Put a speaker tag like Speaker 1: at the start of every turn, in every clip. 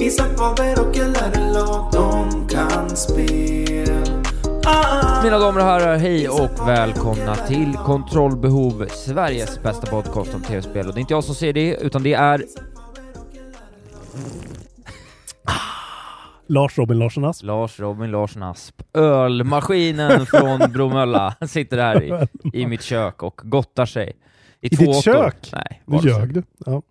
Speaker 1: Isak Faber och LRLA De kan spel ah,
Speaker 2: Mina damer och herrar, hej och välkomna till Kontrollbehov, Sveriges bästa podcast om tv-spel. Och det är inte jag som säger det, utan det är
Speaker 3: Ah, Lars Robin Larsson Asp.
Speaker 2: Lars Robin Larsson Asp. Ölmaskinen från Bromölla sitter här i, i mitt kök och gottar sig. I,
Speaker 3: I
Speaker 2: två
Speaker 3: ditt
Speaker 2: åttor.
Speaker 3: kök?
Speaker 2: Nej,
Speaker 3: Nu
Speaker 2: bara så.
Speaker 3: ljög du. Ja.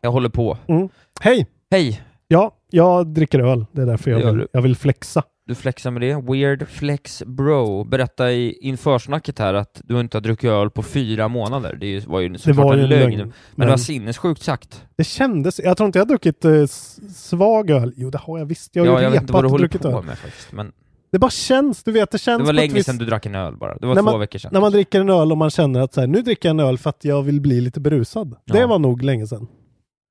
Speaker 2: Jag håller på.
Speaker 3: Mm. Hej!
Speaker 2: Hej!
Speaker 3: Ja, jag dricker öl. Det är därför
Speaker 2: Det gör
Speaker 3: jag
Speaker 2: du.
Speaker 3: vill, jag vill flexa.
Speaker 2: Du flexar med det. Weird flex bro. Berätta i införsnacket här att du inte har druckit öl på fyra månader. Det är ju- var ju
Speaker 3: Det
Speaker 2: såklart
Speaker 3: var ju
Speaker 2: en lögn. Men,
Speaker 3: Men
Speaker 2: det var sinnessjukt sagt.
Speaker 3: det kändes... Jag tror inte jag har druckit eh, s- svag öl. Jo, det har jag visst. Jag har
Speaker 2: ja,
Speaker 3: ju
Speaker 2: jag vet inte
Speaker 3: repat
Speaker 2: vad du
Speaker 3: och
Speaker 2: håller
Speaker 3: druckit
Speaker 2: på
Speaker 3: öl.
Speaker 2: med faktiskt. Men
Speaker 3: Det bara känns. Du vet, det känns
Speaker 2: det
Speaker 3: på
Speaker 2: var
Speaker 3: ett
Speaker 2: länge
Speaker 3: visst-
Speaker 2: sedan du drack en öl bara. Det var
Speaker 3: När
Speaker 2: två
Speaker 3: man-
Speaker 2: veckor sedan.
Speaker 3: När man dricker en öl och man känner att så här, nu dricker jag en öl för att jag vill bli lite berusad.
Speaker 2: Ja.
Speaker 3: Det var nog länge sedan.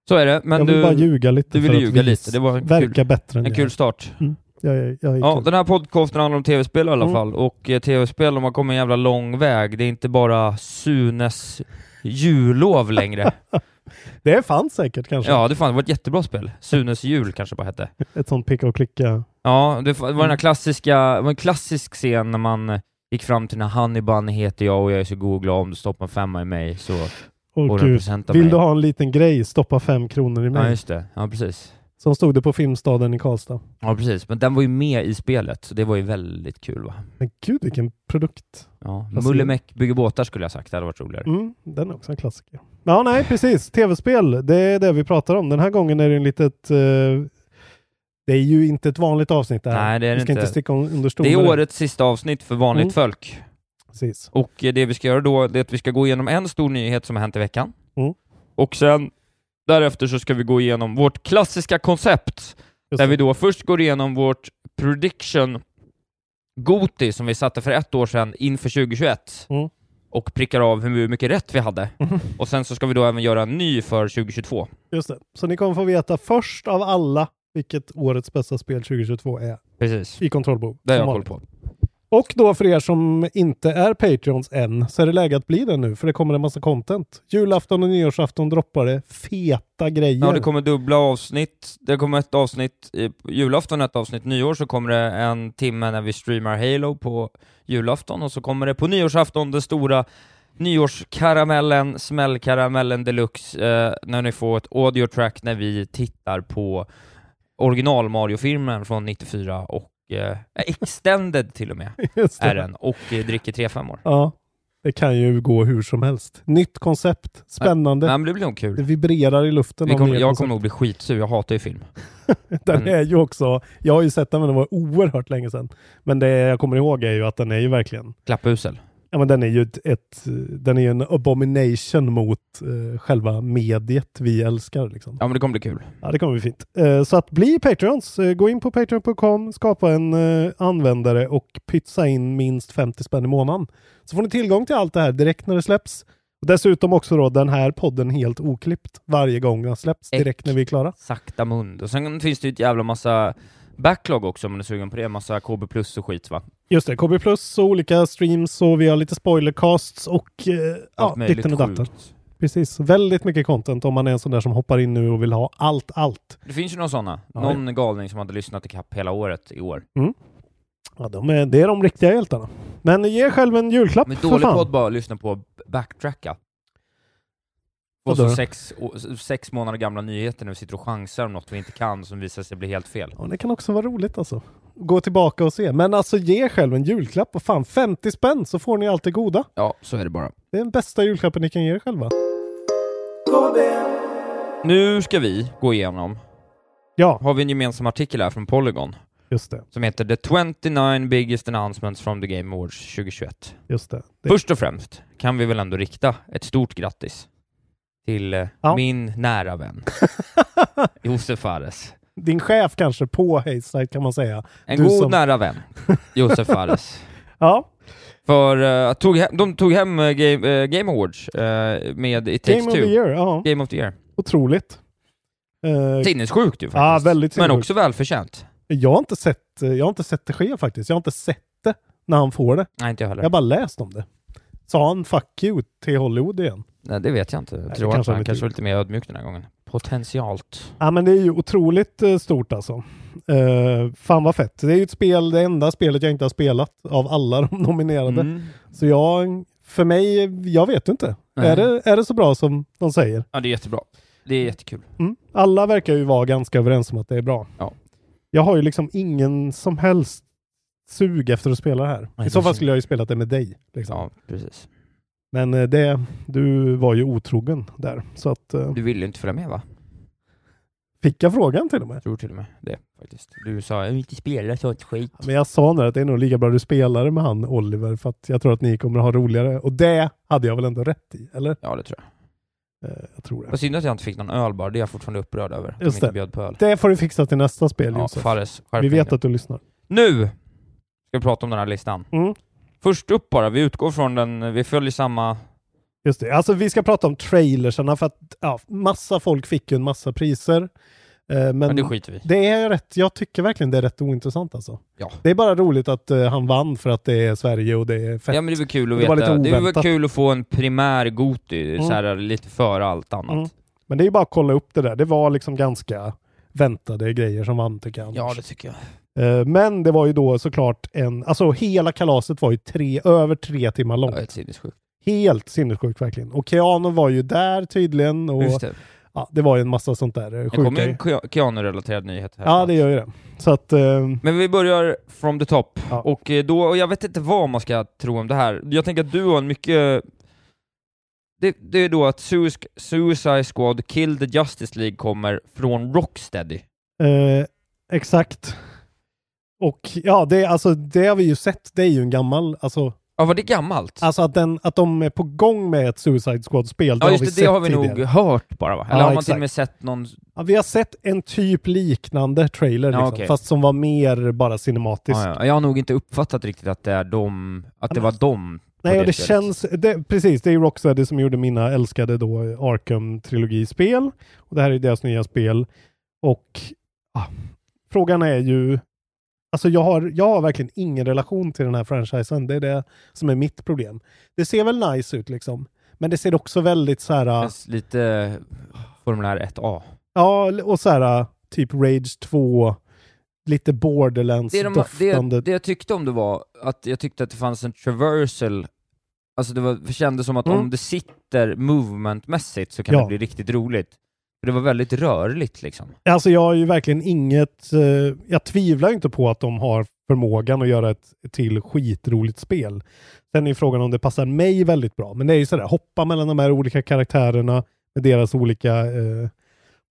Speaker 2: Så är det.
Speaker 3: jag
Speaker 2: Men
Speaker 3: vill bara
Speaker 2: du,
Speaker 3: ljuga lite
Speaker 2: du ville
Speaker 3: för att
Speaker 2: ljuga
Speaker 3: vis-
Speaker 2: lite. Det var en
Speaker 3: verka
Speaker 2: kul,
Speaker 3: bättre än
Speaker 2: en kul start.
Speaker 3: jag, jag, jag, jag,
Speaker 2: Ja,
Speaker 3: ja,
Speaker 2: den här podcasten handlar om tv-spel i alla
Speaker 3: Mm.
Speaker 2: fall, och eh, tv-spel de har kommit en jävla lång väg. Det är inte bara Sunes jullov längre.
Speaker 3: Det fanns säkert kanske.
Speaker 2: ja, det fan, det var ett jättebra spel. Sunes jul kanske bara hette.
Speaker 3: Ett sånt picka och klicka. Mm.
Speaker 2: Ja, det fa- det var den här klassiska, det var en klassisk scen när man eh, gick fram till när Honey Bunny heter jag och jag är så god och glad om du stoppar en femma i mig så
Speaker 3: Åh,
Speaker 2: får du en
Speaker 3: gud.
Speaker 2: present av
Speaker 3: Vill
Speaker 2: mig.
Speaker 3: du ha en liten grej, stoppa fem kronor i mig.
Speaker 2: Ja, just det. Ja, precis.
Speaker 3: Som stod det på Filmstaden i Karlstad.
Speaker 2: Ja, precis. Men den var ju med i spelet, så det var ju väldigt kul va?
Speaker 3: Men gud vilken produkt.
Speaker 2: Ja.
Speaker 3: Fast-
Speaker 2: Mulle Meck bygger båtar skulle jag sagt, det hade varit roligare.
Speaker 3: Mm, den är också en klassiker. Ja, nej, precis. Tv-spel, det är det vi pratar om. Den här gången är det en litet... eh, det är ju inte ett vanligt avsnitt det här.
Speaker 2: Nej, det är
Speaker 3: vi
Speaker 2: det
Speaker 3: ska inte.
Speaker 2: inte.
Speaker 3: sticka un- under stol
Speaker 2: Det
Speaker 3: med
Speaker 2: är årets sista avsnitt för vanligt
Speaker 3: Mm.
Speaker 2: folk.
Speaker 3: Precis.
Speaker 2: Och eh, det vi ska göra då, det är att vi ska gå igenom en stor nyhet som har hänt i veckan.
Speaker 3: Mm.
Speaker 2: Och sen därefter så ska vi gå igenom vårt klassiska koncept,
Speaker 3: Just
Speaker 2: där
Speaker 3: det.
Speaker 2: vi då först går igenom vårt prediction Goti som vi satte för ett år sedan inför 2021
Speaker 3: Mm.
Speaker 2: och prickar av hur mycket rätt vi hade.
Speaker 3: Mhm.
Speaker 2: Och sen så ska vi då även göra en ny för 2022.
Speaker 3: Just det. Så ni kommer få veta först av alla vilket årets bästa spel 2022 är
Speaker 2: Precis.
Speaker 3: i kontrollbok.
Speaker 2: Det har
Speaker 3: som
Speaker 2: jag koll
Speaker 3: vanligt.
Speaker 2: på.
Speaker 3: Och då för er som inte är Patreons än så är det läge att bli det nu för det kommer en massa content. Julafton och nyårsafton droppar det feta grejer.
Speaker 2: Ja, det kommer dubbla avsnitt. Det kommer ett avsnitt i på julafton, ett avsnitt nyår, så kommer det en timme när vi streamar Halo på julafton, och så kommer det på nyårsafton den stora nyårskaramellen, smällkaramellen deluxe, eh, när ni får ett audio track när vi tittar på original Mario-filmen från 94 och eh, extended till och med,
Speaker 3: Just
Speaker 2: är den, och eh, dricker 3-5 år.
Speaker 3: Ja, det kan ju gå hur som helst. Nytt koncept, spännande.
Speaker 2: Nej, men det blir nog kul.
Speaker 3: Det vibrerar i luften.
Speaker 2: Vi
Speaker 3: av
Speaker 2: kommer,
Speaker 3: nya
Speaker 2: jag
Speaker 3: koncept.
Speaker 2: kommer nog bli skitsur, jag hatar ju film.
Speaker 3: Den är ju också, jag har ju sett den men den var oerhört länge sedan. Men det jag kommer ihåg är ju att den är ju verkligen,
Speaker 2: Klappusel.
Speaker 3: ja men den är ju ett, ett eh, den är ju en abomination mot eh, själva mediet vi älskar liksom.
Speaker 2: Ja men det kommer bli kul.
Speaker 3: Ja, det kommer bli fint. Eh, så att bli Patreons. Eh, gå in på patreon.com, skapa en eh, användare och pytsa in minst 50 spänn i månaden. Så får ni tillgång till allt det här direkt när det släpps. Och dessutom också då den här podden helt oklippt varje gång den släpps direkt när vi är klara.
Speaker 2: sakta mund. Och sen finns det ju ett jävla massa
Speaker 4: backlog också om man är sugen på det. Massa KB plus och skit va?
Speaker 2: Just det, KB Plus och olika streams och vi har lite spoilercasts och eh, ja,
Speaker 4: möjligt
Speaker 2: ditten och datten.
Speaker 4: sjukt.
Speaker 2: Precis, väldigt mycket content om man är en sån där som hoppar in nu och vill ha allt, allt.
Speaker 4: Det finns ju några sådana.
Speaker 2: Ja. Mm.
Speaker 4: Någon galning som hade lyssnat i kapp hela året i år.
Speaker 2: Ja, de är, det är de riktiga hjältarna. Men ge er själv en julklapp
Speaker 4: Men
Speaker 2: för
Speaker 4: dålig
Speaker 2: fan.
Speaker 4: podd bara att lyssna på backtracka. Och
Speaker 2: Vadå
Speaker 4: så
Speaker 2: då?
Speaker 4: sex, och, sex månader gamla nyheter när vi sitter och chansar om något vi inte kan som visar sig bli helt fel.
Speaker 2: Ja, det kan också vara roligt alltså. Gå tillbaka och se. Men alltså ge er själv en julklapp. Vad fan, 50 spänn så får ni allt det goda.
Speaker 4: Ja, så är det bara.
Speaker 2: Det är den bästa julklappen ni kan ge er själva.
Speaker 4: Nu ska vi gå igenom,
Speaker 2: Ja,
Speaker 4: har vi en gemensam artikel här från Polygon
Speaker 2: just det.
Speaker 4: som heter “The 29 biggest announcements from the Game Awards 2021”.
Speaker 2: Just det. det
Speaker 4: Först och främst kan vi väl ändå rikta ett stort grattis till eh,
Speaker 2: Ja.
Speaker 4: min nära vän Josef Fares.
Speaker 2: Din chef kanske på Hayside kan man säga.
Speaker 4: En
Speaker 2: Du
Speaker 4: god
Speaker 2: som-
Speaker 4: nära vän, Josef Fares.
Speaker 2: Ja,
Speaker 4: För eh, tog hem, de tog hem eh, game, eh, game Awards eh, med It
Speaker 2: Game
Speaker 4: Takes
Speaker 2: of
Speaker 4: Two.
Speaker 2: the Year. Ja,
Speaker 4: Game of the Year.
Speaker 2: otroligt. Eh,
Speaker 4: Sinnessjukt ju
Speaker 2: Ja,
Speaker 4: faktiskt.
Speaker 2: väldigt
Speaker 4: Men
Speaker 2: sinnessjukt.
Speaker 4: också välförtjänt.
Speaker 2: jag, har inte sett, jag har inte sett det ske faktiskt. Jag har inte sett det när han får det.
Speaker 4: Nej, inte jag heller.
Speaker 2: Jag har bara läst om det. Sa han 'fuck you' till Hollywood igen?
Speaker 4: Nej, det vet jag inte.
Speaker 2: det
Speaker 4: Jag tror att
Speaker 2: kanske han
Speaker 4: han
Speaker 2: vet
Speaker 4: kanske
Speaker 2: ju.
Speaker 4: var lite mer ödmjuk den här gången. Potentialt.
Speaker 2: Ja men det är ju otroligt eh, stort alltså. Eh, fan vad fett. Det är ju ett spel, det enda spelet jag inte har spelat av alla de nominerade.
Speaker 4: Mm.
Speaker 2: Så jag, för mig, jag vet inte.
Speaker 4: Nej.
Speaker 2: Är det, är det så bra som de säger?
Speaker 4: Ja, det är jättebra. Det är jättekul.
Speaker 2: Mm. Alla verkar ju vara ganska överens om att det är bra.
Speaker 4: Ja.
Speaker 2: Jag har ju liksom ingen som helst sug efter att spela det här.
Speaker 4: Nej,
Speaker 2: I så
Speaker 4: det
Speaker 2: fall
Speaker 4: känns-
Speaker 2: skulle jag ju spelat det med dig. Liksom.
Speaker 4: Ja, precis.
Speaker 2: Men eh, det, du var ju otrogen där. Så att, eh,
Speaker 4: Du ville ju inte följa med va?
Speaker 2: fick jag frågan till och med?
Speaker 4: Jag tror till och med det faktiskt. Du sa jag vill inte spela sånt skit.
Speaker 2: Men jag sa när att det är nog lika bra du spelar med han Oliver för att jag tror att ni kommer ha roligare. Och det hade jag väl ändå rätt i, eller?
Speaker 4: Ja, det tror jag.
Speaker 2: Eh, jag tror det.
Speaker 4: Vad synd att jag inte fick någon öl bara. Det är jag fortfarande upprörd över. Att de
Speaker 2: Just
Speaker 4: inte
Speaker 2: det.
Speaker 4: bjöd på öl.
Speaker 2: Det får du fixa till nästa spel
Speaker 4: Ja,
Speaker 2: Josef.
Speaker 4: Fares, skärp
Speaker 2: Vi
Speaker 4: dig
Speaker 2: vet
Speaker 4: nu.
Speaker 2: att du lyssnar.
Speaker 4: Nu ska vi prata om den här listan.
Speaker 2: Mm.
Speaker 4: Först upp bara, vi utgår från den, vi följer samma...
Speaker 2: Just det. Alltså vi ska prata om trailersarna för att ja, massa folk fick ju en massa priser. Eh, men
Speaker 4: Men det skiter vi i.
Speaker 2: det är rätt, jag tycker verkligen det är rätt ointressant alltså.
Speaker 4: Ja.
Speaker 2: Det är bara roligt att eh, han vann för att det är Sverige och det är fett.
Speaker 4: Ja men det är väl kul att
Speaker 2: Det var
Speaker 4: veta.
Speaker 2: lite
Speaker 4: Det är väl
Speaker 2: oväntat.
Speaker 4: kul att få en primär Goti,
Speaker 2: Mm.
Speaker 4: så här, lite före allt annat.
Speaker 2: Mm. Men det är ju bara att kolla upp det där. Det var liksom ganska väntade grejer som vann tycker jag. annars.
Speaker 4: Ja det tycker jag.
Speaker 2: Eh, Men det var ju då såklart en, alltså hela kalaset var ju tre, över tre timmar
Speaker 4: Ja,
Speaker 2: långt.
Speaker 4: Ett sinnessjukt.
Speaker 2: Helt sinnessjukt verkligen. Och Keanu var ju där tydligen och
Speaker 4: Just det.
Speaker 2: ja, det var ju en massa sånt där eh,
Speaker 4: Det kommer
Speaker 2: sjuka.
Speaker 4: ju en Ke- Keanu-relaterad nyhet här.
Speaker 2: ja, det gör ju det. Så att, eh,
Speaker 4: Men vi börjar from the top.
Speaker 2: Ja.
Speaker 4: Och eh, då, och jag vet inte vad man ska tro om det här. Jag tänker att du har en mycket... Det, det är då att Suis- Suicide Squad Kill the Justice League kommer från Rocksteady.
Speaker 2: eh, exakt. Och ja, det, alltså, det har vi ju sett. Det är ju en gammal, alltså,
Speaker 4: Ja, var det gammalt?
Speaker 2: alltså att, den, att de är på gång med ett Suicide Squad-spel.
Speaker 4: ja, just
Speaker 2: vi
Speaker 4: det, det
Speaker 2: sett
Speaker 4: har vi nog
Speaker 2: tidigare.
Speaker 4: hört bara va? Eller
Speaker 2: Ja,
Speaker 4: har man till
Speaker 2: exakt.
Speaker 4: och med sett någon...
Speaker 2: Ja, vi har sett en typ liknande trailer,
Speaker 4: Ja,
Speaker 2: liksom,
Speaker 4: okej.
Speaker 2: fast som var mer bara cinematisk.
Speaker 4: Ja, ja. Jag har nog inte uppfattat riktigt att det är de... Att det var de. på
Speaker 2: Nej, och det
Speaker 4: spelet.
Speaker 2: känns... Det, precis, det är ju Rocksteady som gjorde mina älskade då Arkham-trilogispel. Och det här är deras nya spel. Och ah, frågan är ju... Alltså jag har, jag har verkligen ingen relation till den här franchisen. Det är det som är mitt problem. Det ser väl nice ut liksom. Men det ser också väldigt så här... ah,
Speaker 4: Känns lite eh, formulär 1A.
Speaker 2: Ja, och så här ah, typ Rage 2.
Speaker 4: det, de,
Speaker 2: Lite
Speaker 4: det,
Speaker 2: Borderlands-doftande.
Speaker 4: det jag tyckte om det var att jag tyckte att det fanns en traversal, alltså det, var, det kändes som att
Speaker 2: Mm.
Speaker 4: om det sitter movementmässigt så kan
Speaker 2: Ja.
Speaker 4: det bli riktigt roligt. För det var väldigt rörligt liksom.
Speaker 2: Alltså jag har ju verkligen inget, eh, jag tvivlar inte på att de har förmågan att göra ett till skitroligt spel. Sen är ju frågan om det passar mig väldigt bra. Men det är ju sådär, hoppa mellan de här olika karaktärerna med deras olika, eh,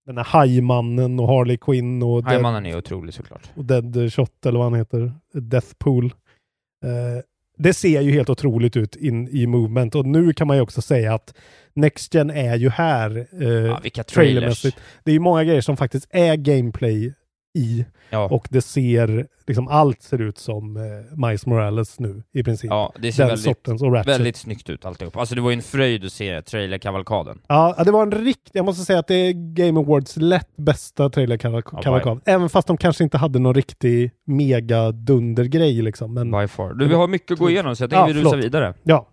Speaker 2: den här hajmannen och Harley Quinn och Dead,
Speaker 4: Hajmannen är otrolig såklart.
Speaker 2: och Dead Shot eller vad han heter, Deathpool. Eh, det ser ju helt otroligt ut in, i Movement och nu kan man ju också säga att Next Gen är ju här. eh,
Speaker 4: Ja, vilka trailers.
Speaker 2: trailermässigt. Det är ju många grejer som faktiskt är gameplay i.
Speaker 4: Ja.
Speaker 2: Och det ser, liksom allt ser ut som eh, Miles Morales nu i princip.
Speaker 4: ja, det ser
Speaker 2: Den
Speaker 4: väldigt,
Speaker 2: sortens och Ratchet.
Speaker 4: väldigt snyggt ut alltihop. Alltså det var ju en fröjd att se trailerkavalkaden.
Speaker 2: Ja, ja, det var en riktig, jag måste säga att det är Game Awards lätt bästa
Speaker 4: Ja,
Speaker 2: trailerkavalkad. Även fast de kanske inte hade någon riktig mega-dundergrej liksom. Men Mm.
Speaker 4: By far. Du, vi har mycket att gå igenom så jag tänker
Speaker 2: Ja,
Speaker 4: vi rusar
Speaker 2: förlåt.
Speaker 4: vidare.
Speaker 2: ja,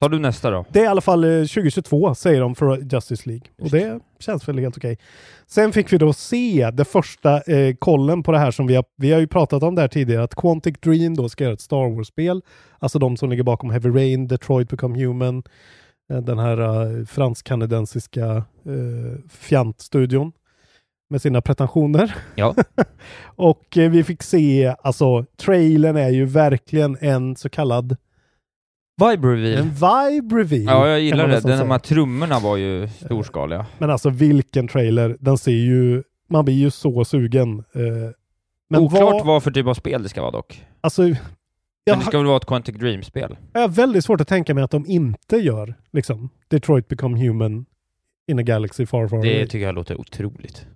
Speaker 4: Tar du nästa då?
Speaker 2: det är i alla fall eh, 2022 säger de för Justice League. Och
Speaker 4: Just
Speaker 2: det känns väl helt okej. Sen fick vi då se det första eh, kollen på det här som vi har, vi har ju pratat om det här tidigare, att Quantic Dream då ska göra ett Star Wars-spel. Alltså de som ligger bakom Heavy Rain, Detroit Become Human, eh, den här eh, fransk-kanadensiska eh, fjantstudion med sina pretensioner.
Speaker 4: Ja.
Speaker 2: Och eh, vi fick se, alltså trailern är ju verkligen en så kallad
Speaker 4: Vibe reveal.
Speaker 2: en vibe reveal.
Speaker 4: Ja, jag
Speaker 2: kan
Speaker 4: gillar
Speaker 2: man
Speaker 4: det.
Speaker 2: nästan
Speaker 4: Den, de
Speaker 2: säga. Eh,
Speaker 4: här trummorna var ju storskaliga.
Speaker 2: Men alltså vilken trailer. Den ser ju, man blir ju så sugen. Eh, Men
Speaker 4: Oklart
Speaker 2: vad,
Speaker 4: vad... för typ av spel det ska vara dock.
Speaker 2: alltså, jag,
Speaker 4: Men det ska väl vara ett Quantic Dream-spel?
Speaker 2: jag har väldigt svårt att tänka mig att de inte gör liksom Detroit Become Human in a Galaxy Far Far Away.
Speaker 4: Det tycker jag låter otroligt.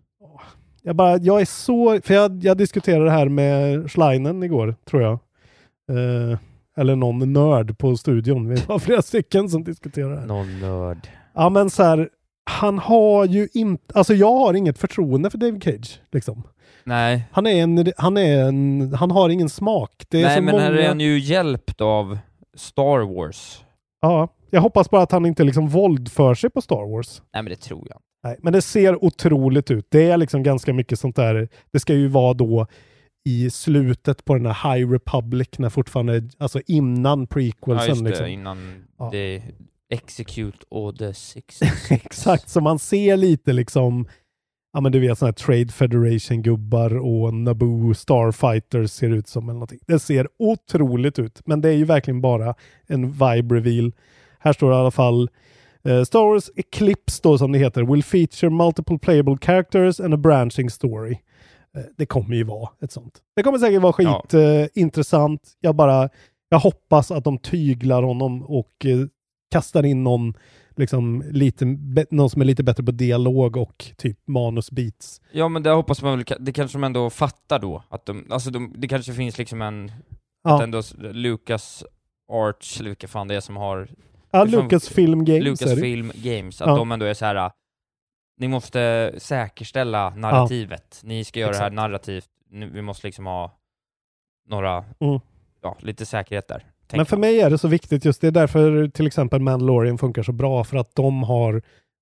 Speaker 2: Jag, bara, jag är så, för jag, jag diskuterade det här med Schleinen igår, tror jag. Eh, eller någon nörd på studion. Vi var flera stycken som diskuterade det här.
Speaker 4: Någon nörd.
Speaker 2: Ja men så här, han har ju inte, alltså jag har inget förtroende för David Cage liksom.
Speaker 4: Nej,
Speaker 2: Han är en, han är en, han har ingen smak. Det är
Speaker 4: Nej
Speaker 2: så
Speaker 4: men
Speaker 2: många...
Speaker 4: här är han ju hjälpt av Star Wars.
Speaker 2: Ja, jag hoppas bara att han inte liksom våldför sig på Star Wars.
Speaker 4: Nej men det tror jag.
Speaker 2: Nej, men det ser otroligt ut. Det är liksom ganska mycket sånt där. Det ska ju vara då i slutet på den här High Republic, när fortfarande, alltså innan
Speaker 4: Ja
Speaker 2: prequelsen.
Speaker 4: just det,
Speaker 2: liksom.
Speaker 4: innan
Speaker 2: Ja.
Speaker 4: det... Execute Order 6.
Speaker 2: Exakt, så man ser lite liksom, ja men du vet sådana här Trade Federation-gubbar och Naboo Starfighters ser ut som eller någonting. Det ser otroligt ut, men det är ju verkligen bara en vibe reveal. Här står det i alla fall eh, Star Wars Eclipse då som det heter, will feature multiple playable characters and a branching story. Eh, Det kommer ju vara ett sånt. Det kommer säkert vara
Speaker 4: Ja.
Speaker 2: skitintressant. Eh, intressant. jag bara, jag hoppas att de tyglar honom och eh, kastar in någon liksom lite, be- någon som är lite bättre på dialog och typ manusbeats.
Speaker 4: Ja men det hoppas man väl, ka- det kanske de ändå fattar då, att de, alltså de, det kanske finns liksom en, att
Speaker 2: Ja,
Speaker 4: ändå s- Lucas Arch, eller vilka fan det är som har
Speaker 2: ja
Speaker 4: det är som-
Speaker 2: Lucasfilm Games är det.
Speaker 4: Lucasfilm Games, att
Speaker 2: Ja.
Speaker 4: de ändå är så här. ni måste säkerställa narrativet, ni ska göra det här
Speaker 2: Exakt.
Speaker 4: narrativt, nu, vi måste liksom ha några,
Speaker 2: Mm.
Speaker 4: ja, lite säkerhet där. tänker
Speaker 2: Men för
Speaker 4: jag.
Speaker 2: mig är det så viktigt just det är därför till exempel Mandalorian funkar så bra för att de har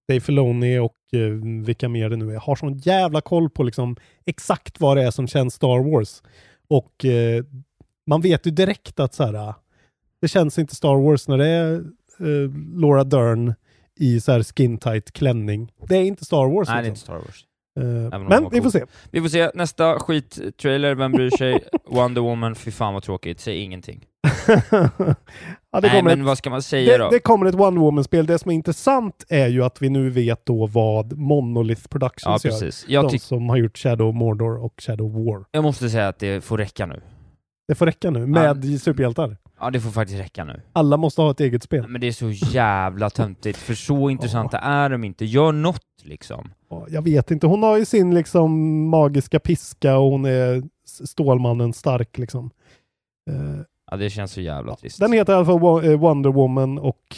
Speaker 2: Dave Filoni och eh, vilka mer det nu är, har sån jävla koll på liksom exakt vad det är som känns Star Wars. Och eh, man vet ju direkt att så här, ah, det känns inte Star Wars när det är eh, Laura Dern i så här skin tight klänning. Det är inte Star Wars.
Speaker 4: Nej, det är inte
Speaker 2: liksom.
Speaker 4: Star Wars.
Speaker 2: Eh,
Speaker 4: om de
Speaker 2: men
Speaker 4: var
Speaker 2: vi får
Speaker 4: cool.
Speaker 2: se.
Speaker 4: Vi får se, nästa skittrailer, vem bryr sig? Wonder Woman, fy fan vad tråkigt, säg ingenting.
Speaker 2: ja, det,
Speaker 4: Nej
Speaker 2: kommer
Speaker 4: men
Speaker 2: ett,
Speaker 4: vad ska man säga
Speaker 2: det,
Speaker 4: då?
Speaker 2: det kommer ett Wonder Woman-spel. Det som är intressant är ju att vi nu vet då vad Monolith
Speaker 4: ja
Speaker 2: Productions gör.
Speaker 4: precis. Jag,
Speaker 2: de
Speaker 4: tyck-
Speaker 2: som har gjort Shadow of Mordor och Shadow of War.
Speaker 4: jag måste säga att det får räcka nu.
Speaker 2: Det får räcka nu med superhjältar.
Speaker 4: Ja det får faktiskt räcka nu.
Speaker 2: Alla måste ha ett eget spel.
Speaker 4: Men det är så jävla töntigt, för så intressanta är de inte. Gör något liksom.
Speaker 2: Ja, Jag vet inte. Hon har ju sin liksom magiska piska och hon är s- Stålmannen stark liksom. Eh,
Speaker 4: Ja, det känns så jävla trist.
Speaker 2: Den heter i alla fall Wo- eh, Wonder Woman och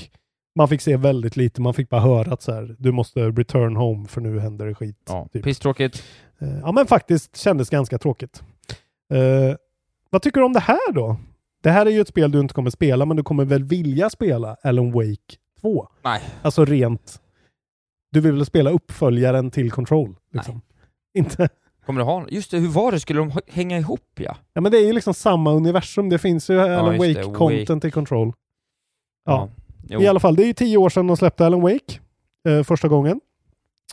Speaker 2: man fick se väldigt lite. Man fick bara höra att så här, du måste return home för nu händer det skit.
Speaker 4: ja,
Speaker 2: typ.
Speaker 4: pisstråkigt.
Speaker 2: Eh, Ja men faktiskt kändes ganska tråkigt. Eh, vad tycker du om det här då? Det här är ju ett spel du inte kommer spela men du kommer väl vilja spela Alan Wake 2?
Speaker 4: Nej.
Speaker 2: Alltså rent... Du vill väl spela uppföljaren till Control? Liksom. Inte?
Speaker 4: Kommer du ha Just det, hur var det? Skulle de h- hänga ihop ja?
Speaker 2: Ja men det är ju liksom samma universum. Det finns ju Alan
Speaker 4: just det,
Speaker 2: Wake-content i Control. Ja.
Speaker 4: Jo.
Speaker 2: I alla fall, det är ju tio år sedan de släppte Alan Wake eh, första gången.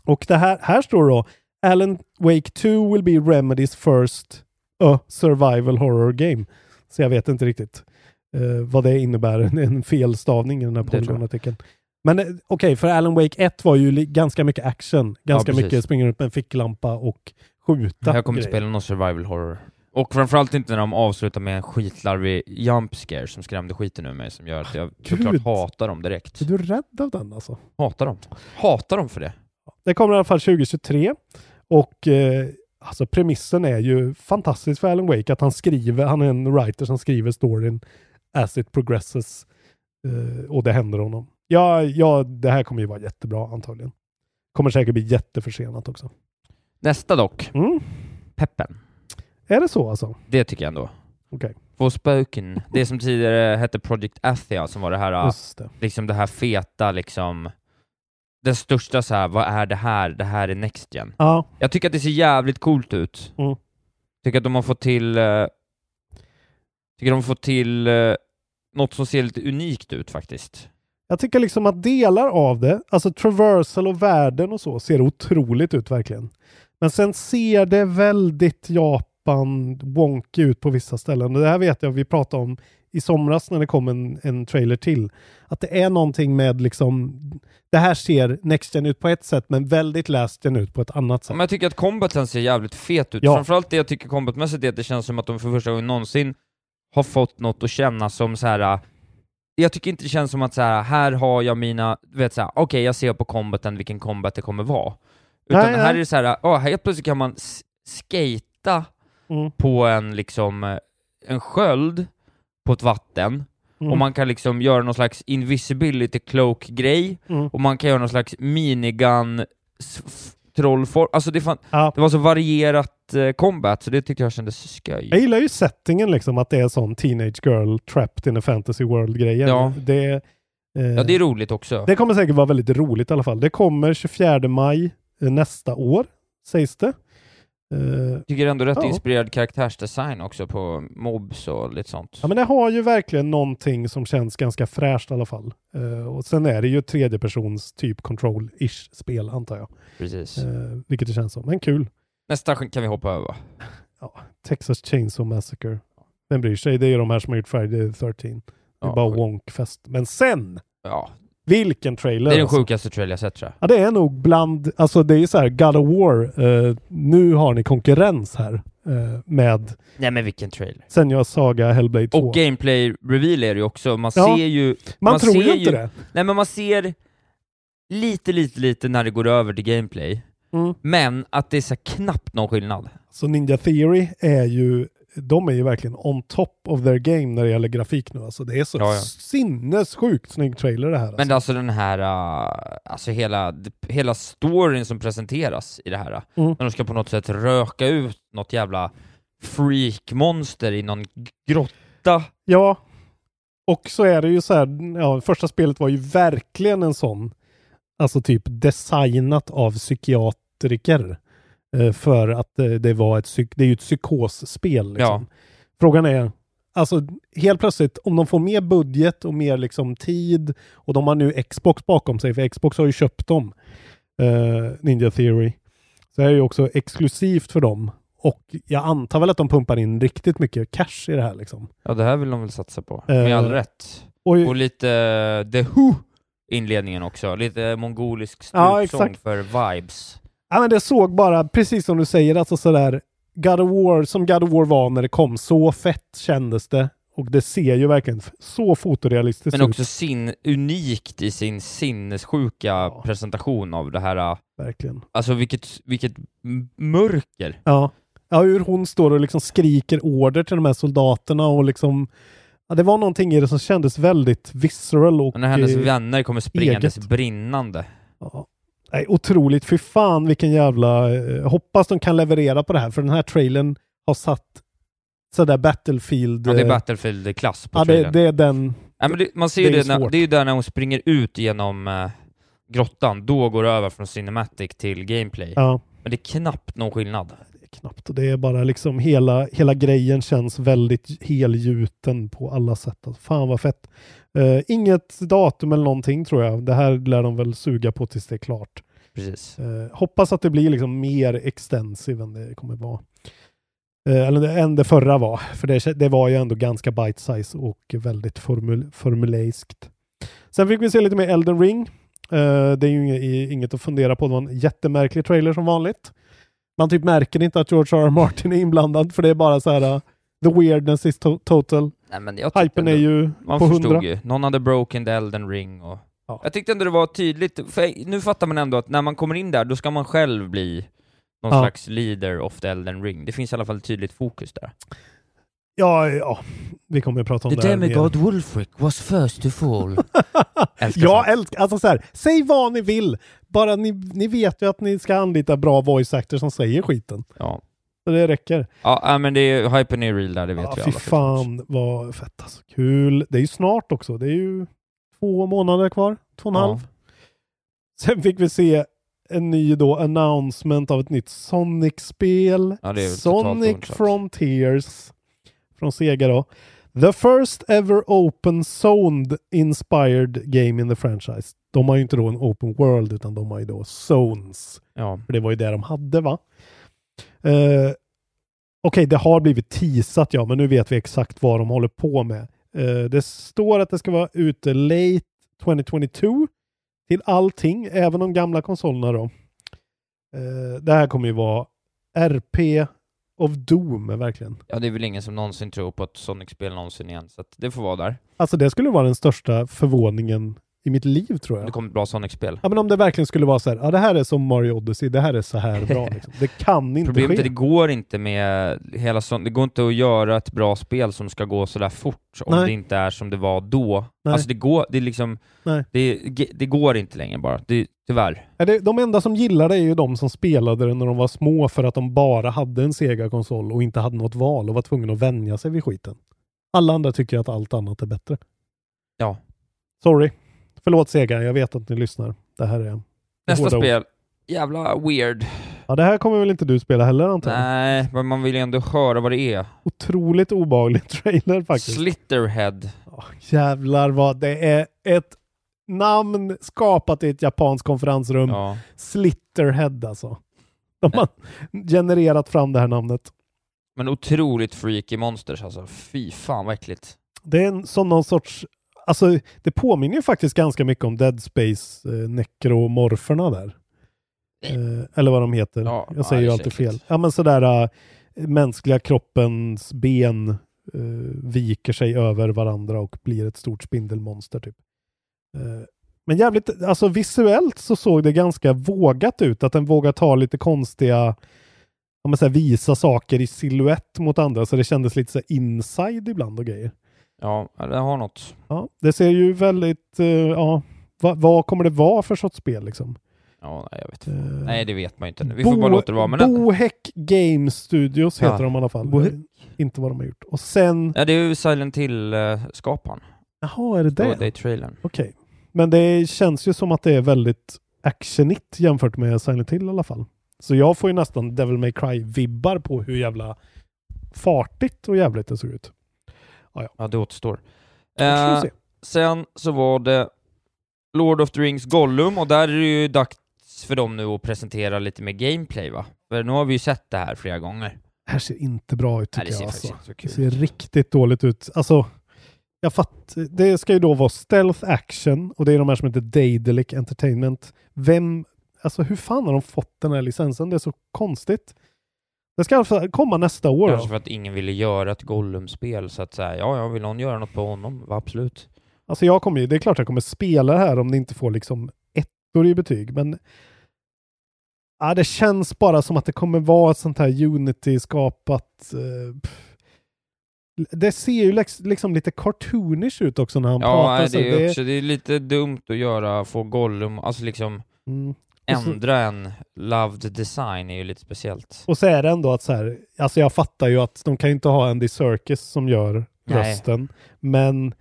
Speaker 2: Och det här, här står då Alan Wake 2 will be Remedys first a survival horror game. Så jag vet inte riktigt eh, vad det innebär, en, en felstavning i den här
Speaker 4: Det tror jag.
Speaker 2: polygonartikeln. Men eh, okej, för Alan Wake 1 var ju li- ganska mycket action, ganska
Speaker 4: precis.
Speaker 2: mycket springa upp med en ficklampa och skjuta.
Speaker 4: jag kommer inte
Speaker 2: grejer.
Speaker 4: spela någon survival horror. Och framförallt inte när de avslutar med en skitlarvig jump scare som skrämde skiten ur mig som gör att jag såklart
Speaker 2: Ah, gud.
Speaker 4: hatar dem direkt.
Speaker 2: Så du är rädd av den alltså?
Speaker 4: Hatar dem. Hatar dem för det.
Speaker 2: Det kommer i alla fall 2023. Och eh, Alltså premissen är ju fantastisk för Alan Wake, att han skriver, han är en writer som skriver storyn as it progresses eh, och det händer honom. Ja, ja, det här kommer ju vara jättebra antagligen. Kommer säkert bli jätteförsenat också.
Speaker 4: Nästa dock,
Speaker 2: Mm.
Speaker 4: peppen.
Speaker 2: Är det så alltså?
Speaker 4: Det tycker jag ändå.
Speaker 2: Okej.
Speaker 4: Forspoken. Det som tidigare hette Project Athia, som var det här,
Speaker 2: Just det.
Speaker 4: liksom det här feta, liksom den största så här, vad är det här? Det här är Next Gen.
Speaker 2: Ja,
Speaker 4: Jag tycker att det ser jävligt coolt ut.
Speaker 2: Mm.
Speaker 4: Tycker att de har fått till... eh, tycker de har fått till eh, något som ser lite unikt ut faktiskt.
Speaker 2: jag tycker liksom att delar av det, alltså traversal och världen och så, ser otroligt ut verkligen. Men sen ser det väldigt Japan wonky ut på vissa ställen. Och det här vet jag vi pratade om i somras när det kom en, en trailer till. Att det är någonting med liksom, det här ser Next Gen ut på ett sätt men väldigt Last Gen ut på ett annat sätt.
Speaker 4: Men jag tycker att combaten ser jävligt fet ut.
Speaker 2: Ja.
Speaker 4: Framförallt det jag tycker combatmässigt är att det känns som att de för första gången någonsin har fått något att känna som så här. eh, Jag tycker inte det känns som att så här, här har jag mina, du vet såhär, okej jag ser på combaten vilken combat det kommer vara. Utan
Speaker 2: Nej,
Speaker 4: här
Speaker 2: nej.
Speaker 4: är det såhär, oh, helt plötsligt kan man s- skata
Speaker 2: Mm.
Speaker 4: på en liksom, eh, en sköld på ett vatten,
Speaker 2: Mm.
Speaker 4: och man kan liksom göra någon slags invisibility cloak-grej,
Speaker 2: Mm.
Speaker 4: och man kan göra någon slags minigun s- f- trollform, alltså det, fan,
Speaker 2: Ja.
Speaker 4: det var så varierat eh, combat, så det tyckte jag kändes skoj.
Speaker 2: Jag gillar ju settingen liksom, att det är sån teenage girl trapped in a fantasy world-grejen.
Speaker 4: Ja.
Speaker 2: Det, eh,
Speaker 4: Ja, det är roligt också.
Speaker 2: Det kommer säkert vara väldigt roligt i alla fall. Det kommer 24 maj eh, nästa år, sägs det. Eh,
Speaker 4: Tycker ändå rätt
Speaker 2: Ja.
Speaker 4: inspirerad karaktärsdesign också på mobs och lite sånt.
Speaker 2: Ja, men det har ju verkligen någonting som känns ganska fräscht i alla fall. Eh, och sen är det ju tredjepersons typ control-ish spel, antar jag.
Speaker 4: Precis.
Speaker 2: Eh, vilket det känns som. Men kul.
Speaker 4: Nästa kan vi hoppa över va?
Speaker 2: Texas Chainsaw Massacre. Vem bryr sig? Det är ju de här som har gjort Friday the 13. Det är
Speaker 4: Ja,
Speaker 2: bara
Speaker 4: sjukt.
Speaker 2: wonkfest. Men sen!
Speaker 4: Ja.
Speaker 2: Vilken trailer!
Speaker 4: Det är den
Speaker 2: alltså.
Speaker 4: sjukaste trail jag sett tror jag.
Speaker 2: Ja, det är nog bland, alltså det är ju så här, God of War, eh, nu har ni konkurrens här eh, med
Speaker 4: Nej men vilken trailer.
Speaker 2: Senja Saga Hellblade 2.
Speaker 4: Och gameplay reveal är det ju också, man
Speaker 2: Ja.
Speaker 4: ser ju
Speaker 2: man,
Speaker 4: man
Speaker 2: tror
Speaker 4: ser
Speaker 2: ju inte
Speaker 4: ju-
Speaker 2: det.
Speaker 4: Nej men man ser lite, lite, lite när det går över till gameplay,
Speaker 2: Mm.
Speaker 4: men att det är så här knappt någon skillnad.
Speaker 2: Så Ninja Theory är ju, de är ju verkligen on top of their game när det gäller grafik nu. Alltså det är så
Speaker 4: Ja, ja.
Speaker 2: sinnessjukt snygg trailer det här. Alltså.
Speaker 4: Men alltså den här, uh, alltså hela, hela storyn som presenteras i det här, uh,
Speaker 2: Mm.
Speaker 4: när de ska på något sätt röka ut något jävla freakmonster i någon grotta.
Speaker 2: Ja, och så är det ju så här, ja, första spelet var ju verkligen en sån, alltså typ designat av psykiatriker. eh, För att eh, det var ett, psyk- det är ju ett psykosspel. Liksom. Frågan är, alltså helt plötsligt om de får mer budget och mer liksom tid och de har nu Xbox bakom sig, för Xbox har ju köpt dem, eh, Ninja Theory. Så det här är ju också exklusivt för dem. Och jag antar väl att de pumpar in riktigt mycket cash i det här liksom.
Speaker 4: Ja det här vill de väl satsa på, med all
Speaker 2: Eh,
Speaker 4: rätt.
Speaker 2: Och,
Speaker 4: Och lite eh, The Who inledningen också, lite mongolisk
Speaker 2: Ja,
Speaker 4: strupsång
Speaker 2: exakt.
Speaker 4: för vibes.
Speaker 2: Ja, men det såg bara, precis som du säger, alltså sådär God of War, som God of War var när det kom, så fett kändes det. Och det ser ju verkligen f- så fotorealistiskt
Speaker 4: Men också
Speaker 2: ut.
Speaker 4: sin, unikt i sin sinnessjuka
Speaker 2: Ja.
Speaker 4: presentation av det här, uh,
Speaker 2: Verkligen.
Speaker 4: alltså vilket, vilket m- mörker.
Speaker 2: Ja. ja, hur hon står och liksom skriker order till de här soldaterna och liksom... Ja, det var någonting i det som kändes väldigt visceral och...
Speaker 4: Och när hennes
Speaker 2: eh,
Speaker 4: vänner kommer springandes
Speaker 2: eget.
Speaker 4: brinnande.
Speaker 2: Ja. Nej, otroligt. Fy fan vilken jävla... eh, Hoppas de kan leverera på det här, för den här trailern har satt sådär Battlefield...
Speaker 4: Ja, det är
Speaker 2: eh,
Speaker 4: Battlefield-klass på
Speaker 2: ja, det,
Speaker 4: trailern.
Speaker 2: det är den...
Speaker 4: ja, men det, man ser
Speaker 2: det
Speaker 4: det,
Speaker 2: är
Speaker 4: det, när,
Speaker 2: svårt.
Speaker 4: det är ju där när hon springer ut genom eh, grottan, då går det över från Cinematic till Gameplay.
Speaker 2: Ja.
Speaker 4: Men det är knappt någon skillnad.
Speaker 2: det är knappt. Och det är bara liksom hela, hela grejen känns väldigt helgjuten på alla sätt. Alltså, fan vad fett. Eh, inget datum eller någonting tror jag. Det här lär de väl suga på tills det är klart.
Speaker 4: Precis.
Speaker 2: Eh, hoppas att det blir liksom mer extensiv än det kommer vara. Eh, eller det- än det förra var. För det, kä- det var ju ändå ganska bite size och väldigt formul, formuleiskt. Sen fick vi se lite mer Elden Ring. Eh, det är ju inget, i- inget att fundera på. Det var en jättemärklig trailer som vanligt. Man typ märker inte att George R. R. Martin är inblandad för det är bara så här eh, the weirdness is to- total.
Speaker 4: Nej, men jag tyckte
Speaker 2: Hypen är
Speaker 4: ändå-
Speaker 2: ju
Speaker 4: Man
Speaker 2: på
Speaker 4: förstod
Speaker 2: hundra.
Speaker 4: ju. Någon hade broken the elden ring och...
Speaker 2: Ja.
Speaker 4: Jag tyckte ändå det var tydligt, för jag- nu fattar man ändå att när man kommer in där, då ska man själv bli någon
Speaker 2: Ja.
Speaker 4: slags leader of the Elden ring. Det finns i alla fall ett tydligt fokus där.
Speaker 2: Ja, ja. Vi kommer att prata om det här mer.
Speaker 4: Wolfric was first to fall. Älskar
Speaker 2: Jag
Speaker 4: sånt.
Speaker 2: älskar, alltså så här, säg vad ni vill. Bara ni, ni vet ju att ni ska anlita bra voice actors som säger skiten.
Speaker 4: Ja.
Speaker 2: Så det räcker.
Speaker 4: Ja, ja, äh, men det är, hypen är real där, det vet
Speaker 2: Ja,
Speaker 4: vi
Speaker 2: fy
Speaker 4: alla.
Speaker 2: fan vad fett alltså. Kul. Det är ju snart också. Det är ju två månader kvar. Två och en
Speaker 4: Ja.
Speaker 2: halv. Sen fick vi se en ny då announcement av ett nytt Sonic-spel.
Speaker 4: Ja, det är väl totalt
Speaker 2: Sonic
Speaker 4: oklart.
Speaker 2: Frontiers. Från Sega då. The first ever open zoned inspired game in the franchise. De har ju inte då en open world utan de har ju då zones.
Speaker 4: Ja.
Speaker 2: För det var ju det de hade va? Eh, Okej, det har blivit teasat ja, men nu vet vi exakt vad de håller på med. Eh, det står att det ska vara ute late 2022 till allting, även de gamla konsolerna då. Eh, det här kommer ju vara RP of Doom, verkligen.
Speaker 4: ja, det är väl ingen som någonsin tror på ett Sonic-spel någonsin igen, så att det får vara där.
Speaker 2: Alltså det skulle vara den största förvåningen i mitt liv tror
Speaker 4: Det
Speaker 2: jag.
Speaker 4: kommer ett bra Sonic-spel.
Speaker 2: Ja men om det verkligen skulle vara så här, ja det här är som Mario Odyssey, det här är så här bra liksom. Det kan inte
Speaker 4: Problemet är
Speaker 2: ske.
Speaker 4: att det går inte med hela sånt, det går inte att göra ett bra spel som ska gå sådär fort om
Speaker 2: Nej.
Speaker 4: det inte är som det var då.
Speaker 2: Nej.
Speaker 4: Alltså det går, det är liksom,
Speaker 2: Nej.
Speaker 4: det, det går inte längre bara, det, tyvärr.
Speaker 2: Ja, det, de enda som gillar det är ju de som spelade det när de var små för att de bara hade en Sega-konsol och inte hade något val och var tvungna att vänja sig vid skiten. Alla andra tycker att allt annat är bättre.
Speaker 4: Ja.
Speaker 2: Sorry. Förlåt Sega, jag vet att ni lyssnar. Det här är...
Speaker 4: Nästa
Speaker 2: Hårda ord.
Speaker 4: spel, jävla weird.
Speaker 2: Ja, det här kommer väl inte du spela heller antar jag?
Speaker 4: Nej, men man vill ju ändå höra vad det är.
Speaker 2: Otroligt obehaglig trailer faktiskt.
Speaker 4: Slitterhead.
Speaker 2: Åh, jävlar vad det är ett namn skapat i ett japanskt konferensrum.
Speaker 4: Ja.
Speaker 2: Slitterhead alltså. De har genererat fram det här namnet.
Speaker 4: Men otroligt freaky monsters alltså, fy fan vad äckligt.
Speaker 2: Det är en, som någon sorts... Alltså, det påminner ju faktiskt ganska mycket om Dead Space eh, nekromorferna där. Eh, eller vad de heter.
Speaker 4: Ja,
Speaker 2: Jag säger ju
Speaker 4: ja,
Speaker 2: alltid
Speaker 4: säkert.
Speaker 2: fel. Ja, men sådär eh, mänskliga kroppens ben eh, viker sig över varandra och blir ett stort spindelmonster typ. Eh, men jävligt, alltså visuellt så såg det ganska vågat ut, att den vågar ta lite konstiga, om man säger visa saker i silhuett mot andra, så det kändes lite så här inside ibland och grejer.
Speaker 4: Ja, det har något.
Speaker 2: Ja, det ser ju väldigt, eh, ja, va, vad kommer det vara för sorts spel liksom?
Speaker 4: Ja, nej, jag vet.
Speaker 2: Eh,
Speaker 4: Nej, det vet man ju inte nu. Vi får bara låta det vara. Men den-
Speaker 2: Bohäck Game Studios
Speaker 4: Ja.
Speaker 2: heter de i alla fall.
Speaker 4: Bohäck.
Speaker 2: Inte vad de har gjort. Och sen,
Speaker 4: ja, det är ju Silent Hill-skaparen.
Speaker 2: jaha är det det?
Speaker 4: Står det
Speaker 2: Okej.
Speaker 4: i trailern.
Speaker 2: Men det känns ju som att det är väldigt actionigt jämfört med Silent Hill i alla fall. Så jag får ju nästan Devil May Cry-vibbar på hur jävla fartigt och jävligt det såg ut.
Speaker 4: Ja, det återstår.
Speaker 2: Vi får
Speaker 4: Eh,
Speaker 2: se.
Speaker 4: sen så var det Lord of the Rings Gollum, och där är det ju dags för dem nu att presentera lite mer gameplay va? För nu har vi ju sett det här flera gånger.
Speaker 2: Det här ser inte bra ut
Speaker 4: Nej,
Speaker 2: tycker
Speaker 4: det ser
Speaker 2: jag.
Speaker 4: faktiskt
Speaker 2: Alltså.
Speaker 4: inte så
Speaker 2: Det
Speaker 4: kul
Speaker 2: ser riktigt dåligt ut. Alltså, jag fatt, det ska ju då vara stealth action och det är de här som heter Daedalic Entertainment. Vem, alltså hur fan har de fått den här licensen? Det är så konstigt. Det ska alltså komma nästa år.
Speaker 4: Kanske
Speaker 2: Då.
Speaker 4: för att ingen ville göra ett Gollum-spel, så att säga, ja, ja, vill någon göra något på honom? Va, absolut.
Speaker 2: Alltså jag kommer ju, det är klart jag kommer spela det här om det inte får liksom ettor i betyg, men ja, det känns bara som att det kommer vara ett sånt här Unity-skapat eh, pff. det ser ju lex- liksom lite cartoonish ut också när han
Speaker 4: Ja,
Speaker 2: pratar.
Speaker 4: nej,
Speaker 2: så
Speaker 4: det
Speaker 2: det
Speaker 4: är
Speaker 2: är-
Speaker 4: också, det är lite dumt att göra, få Gollum, alltså liksom
Speaker 2: Mm. Och så-
Speaker 4: ändra en loved design är ju lite speciellt.
Speaker 2: Och så är det ändå att så här, alltså jag fattar ju att de kan ju inte ha Andy Serkis som gör
Speaker 4: Nej.
Speaker 2: rösten, men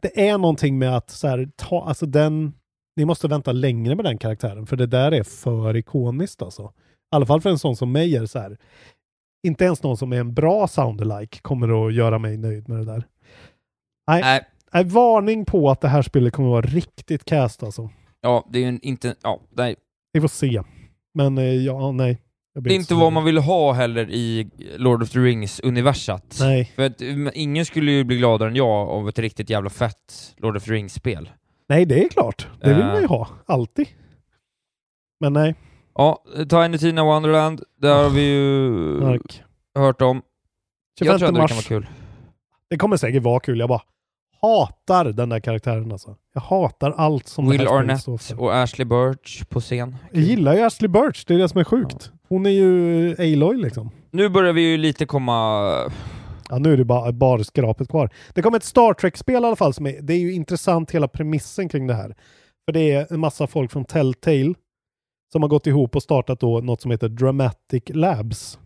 Speaker 2: det är någonting med att så här, ta, alltså den, ni måste vänta längre med den karaktären, för det där är för ikoniskt alltså. I alla fall för en sån som mig är det så här, inte ens någon som är en bra soundalike kommer att göra mig nöjd med det där. Nej.
Speaker 4: Nej,
Speaker 2: Nej, varning på att det här spelet kommer att vara riktigt cast alltså.
Speaker 4: ja, det är ju en- inte, ja, nej,
Speaker 2: Vi får se. Men eh, ja, nej. Jag blir
Speaker 4: Det är inte
Speaker 2: så
Speaker 4: vad
Speaker 2: nöjd.
Speaker 4: man vill ha heller i Lord of the Rings-universat.
Speaker 2: Nej.
Speaker 4: För att mm, ingen skulle ju bli gladare än jag av ett riktigt jävla fett Lord of the Rings-spel.
Speaker 2: Nej, det är klart. Det vill
Speaker 4: Eh.
Speaker 2: man ju ha. Alltid. Men nej,
Speaker 4: Ja, eh, Tiny Tina Wonderland, där har vi ju
Speaker 2: Mark.
Speaker 4: hört om. Jag tror
Speaker 2: 25
Speaker 4: ändå det kan
Speaker 2: mars.
Speaker 4: vara kul.
Speaker 2: Det kommer säkert vara kul. Jag bara hatar den där karaktären alltså. Jag hatar allt som det
Speaker 4: Will
Speaker 2: här spelet står
Speaker 4: Arnett
Speaker 2: för.
Speaker 4: och Ashley Birch på scen.
Speaker 2: Jag gillar ju Ashley Birch, det är det som är sjukt. Hon är ju Aloy liksom.
Speaker 4: Nu börjar vi ju lite komma...
Speaker 2: Ja, nu är det bara, bara skrapet kvar. Det kommer ett Star Trek-spel i alla fall. Som är, det är ju intressant hela premissen kring det här. För det är en massa folk från Telltale som har gått ihop och startat då något som heter Dramatic Labs.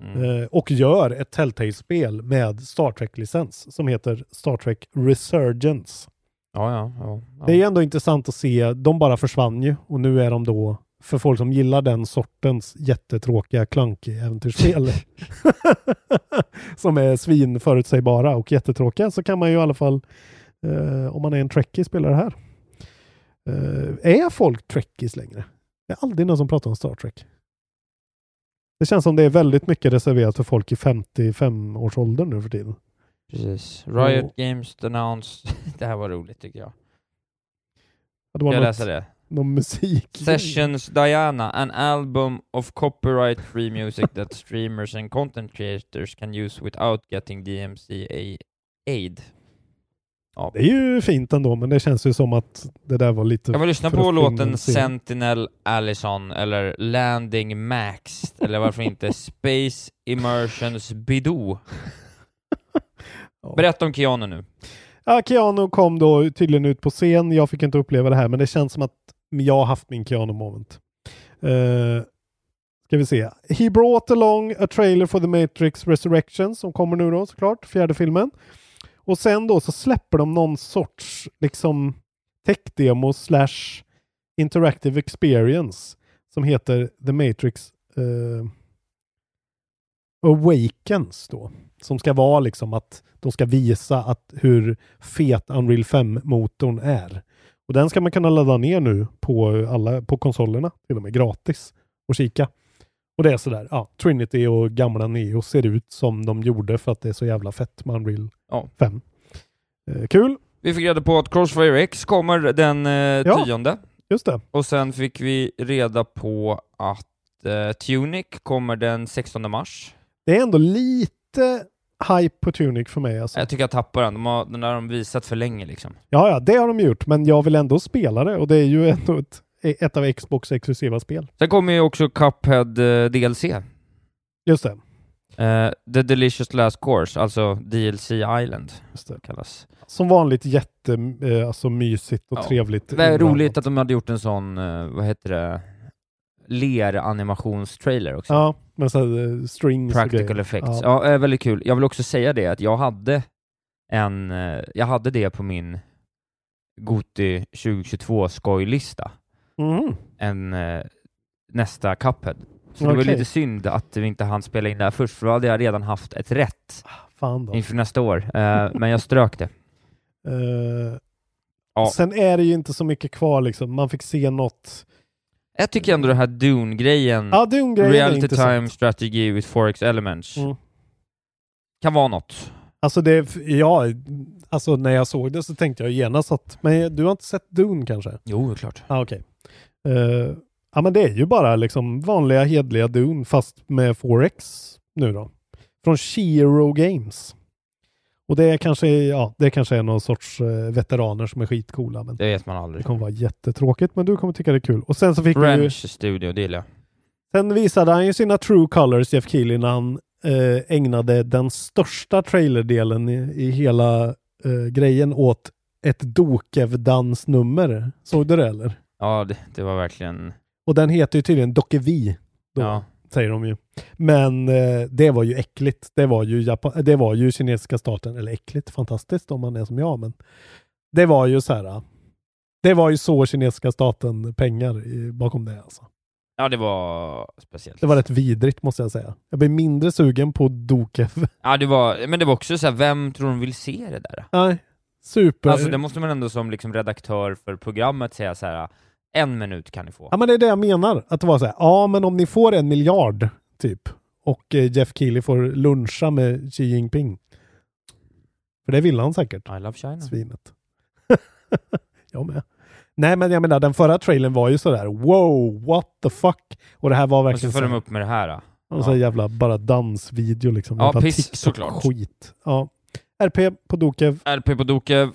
Speaker 4: Mm.
Speaker 2: Eh, och gör ett Telltale-spel med Star Trek-licens som heter Star Trek Resurgence.
Speaker 4: Ja, ja, ja, ja.
Speaker 2: Det är ju ändå intressant att se, de bara försvann ju och nu är de då för folk som gillar den sortens jättetråkiga klunky äventyrsspel som är svinförutsägbara och jättetråkiga så kan man ju i alla fall eh, om man är en trekkie spela det här. Eh, är folk trekkies längre? Det är aldrig någon som pratar om Star Trek. Det känns som det är väldigt mycket reserverat för folk i 55-årsåldern nu för tiden.
Speaker 4: Precis. Riot
Speaker 2: Och-
Speaker 4: Games denounced... det här var roligt tycker jag.
Speaker 2: Ja, Det
Speaker 4: Ska
Speaker 2: var
Speaker 4: jag
Speaker 2: något,
Speaker 4: läsa det?
Speaker 2: någon musik.
Speaker 4: Sessions Diana, an album of copyright free music that streamers and content creators can use without getting DMCA aid. Ja.
Speaker 2: Det är ju fint ändå, men det känns ju som att det där var lite...
Speaker 4: Jag vill lyssna
Speaker 2: för
Speaker 4: på
Speaker 2: att
Speaker 4: låten
Speaker 2: filmen ser-
Speaker 4: Sentinel Allison eller Landing Max eller varför inte Space Immersions Bidoo.
Speaker 2: Ja.
Speaker 4: Berätta om Keanu nu.
Speaker 2: Ja, Keanu kom då tydligen ut på scen. Jag fick inte uppleva det här, men det känns som att jag har haft min Keanu moment. Uh, ska vi se. He brought along a trailer for The Matrix Resurrection som kommer nu då såklart, fjärde filmen. Och sen då så släpper de någon sorts liksom tech-demo slash interactive experience som heter The Matrix eh, Awakens då. Som ska vara liksom att de ska visa att hur fet Unreal 5-motorn är. Och den ska man kunna ladda ner nu på, alla, på konsolerna, till och med gratis, och kika. Och det är sådär, ja, Trinity och gamla Neo ser ut som de gjorde för att det är så jävla fett med Unreal
Speaker 4: Ja.
Speaker 2: 5. Eh, kul,
Speaker 4: Vi fick reda på att Crossfire X kommer den eh,
Speaker 2: Ja.
Speaker 4: tionde.
Speaker 2: just det.
Speaker 4: Och sen fick vi reda på att eh, Tunic kommer den 16 mars.
Speaker 2: Det är ändå lite hype på Tunic för mig. Alltså.
Speaker 4: Jag tycker jag tappar den. De har, den där har de visat för länge liksom.
Speaker 2: Ja, ja, det har de gjort, men jag vill ändå spela det och det är ju ändå ett, ett av Xbox exklusiva spel.
Speaker 4: Sen kommer ju också Cuphead eh, DLC.
Speaker 2: Just det.
Speaker 4: Eh, The Delicious Last Course, alltså DLC Island
Speaker 2: Just det.
Speaker 4: kallas.
Speaker 2: Som vanligt jätte, eh, alltså mysigt och
Speaker 4: Ja.
Speaker 2: trevligt.
Speaker 4: Det är
Speaker 2: inblandat.
Speaker 4: roligt att de hade gjort en sån, eh, vad heter det, ler-animationstrailer också.
Speaker 2: Ja, men så här, eh, strings och
Speaker 4: Practical
Speaker 2: grejer.
Speaker 4: effects.
Speaker 2: Ja.
Speaker 4: Ja. eh, väldigt kul. Jag vill också säga det att jag hade en, eh, jag hade det på min Goti 2022 skojlista.
Speaker 2: Mhm.
Speaker 4: En eh, nästa Cuphead. Så det var
Speaker 2: Okej.
Speaker 4: lite synd att vi inte hann spela in det här först, för då hade jag redan haft ett rätt
Speaker 2: Ah, Fan då.
Speaker 4: inför nästa år. Eh, men jag strök det.
Speaker 2: Eh,
Speaker 4: Ja.
Speaker 2: Sen är det ju inte så mycket kvar liksom. Man fick se något.
Speaker 4: Jag tycker ändå den här Dune-grejen,
Speaker 2: Ja, Dune-grejen är
Speaker 4: Mm. Reality
Speaker 2: intressant.
Speaker 4: Time Strategy with Forex Elements,
Speaker 2: Mm.
Speaker 4: kan vara något.
Speaker 2: Alltså, det, ja, alltså när jag såg det så tänkte jag genast att, men du har inte sett Dune kanske?
Speaker 4: Jo, det är klart.
Speaker 2: Ja, ah, okej. Eh, ja, men det är ju bara liksom vanliga hedliga Dune fast med Forex nu då. Från Shiro Games. Och det är kanske, ja, det kanske är någon sorts eh, veteraner som är skitcoola. Men
Speaker 4: Det vet man
Speaker 2: det
Speaker 4: aldrig.
Speaker 2: kommer vara jättetråkigt, men du kommer tycka det är kul. Och sen så fick vi ju,
Speaker 4: French Studio, det gillar jag.
Speaker 2: sen visade han ju sina true colors, Jeff Keely, när han eh, ägnade den största trailerdelen i, i hela eh, grejen åt ett Dokev-dansnummer. Såg du det eller?
Speaker 4: Ja, det, det var verkligen...
Speaker 2: Och den heter ju tydligen Dockevi, Då.
Speaker 4: Ja.
Speaker 2: säger de ju. Men eh, det var ju äckligt. Det var ju, Japan- det var ju kinesiska staten, eller äckligt, fantastiskt om man är som jag, men det var ju så här. ah, Det var ju så kinesiska staten pengar i, bakom det alltså.
Speaker 4: ja, det var speciellt.
Speaker 2: Det var rätt vidrigt måste jag säga. Jag blir mindre sugen på Dokev.
Speaker 4: Ja, det var... Men det var också så här, vem tror de vill se det där?
Speaker 2: Nej, super.
Speaker 4: Alltså det måste man ändå som liksom redaktör för programmet säga så här. en minut kan ni få.
Speaker 2: Ja men det är det jag menar. Att det var så här, ja men om ni får en miljard typ och eh, Jeff Keely får luncha med Xi Jinping. För det ville han säkert.
Speaker 4: I love China.
Speaker 2: Svinet. jag med. Nej men jag menar den förra trailern var ju sådär wow, what the fuck. Och det här var
Speaker 4: Och så
Speaker 2: verkligen
Speaker 4: följer de
Speaker 2: så-
Speaker 4: upp med det här. då.
Speaker 2: och så
Speaker 4: ja.
Speaker 2: jävla bara dansvideo liksom.
Speaker 4: Ja,
Speaker 2: Jävla
Speaker 4: piss,
Speaker 2: TikTok-skit.
Speaker 4: såklart.
Speaker 2: Ja. RP på Dokev,
Speaker 4: LP på Dokev.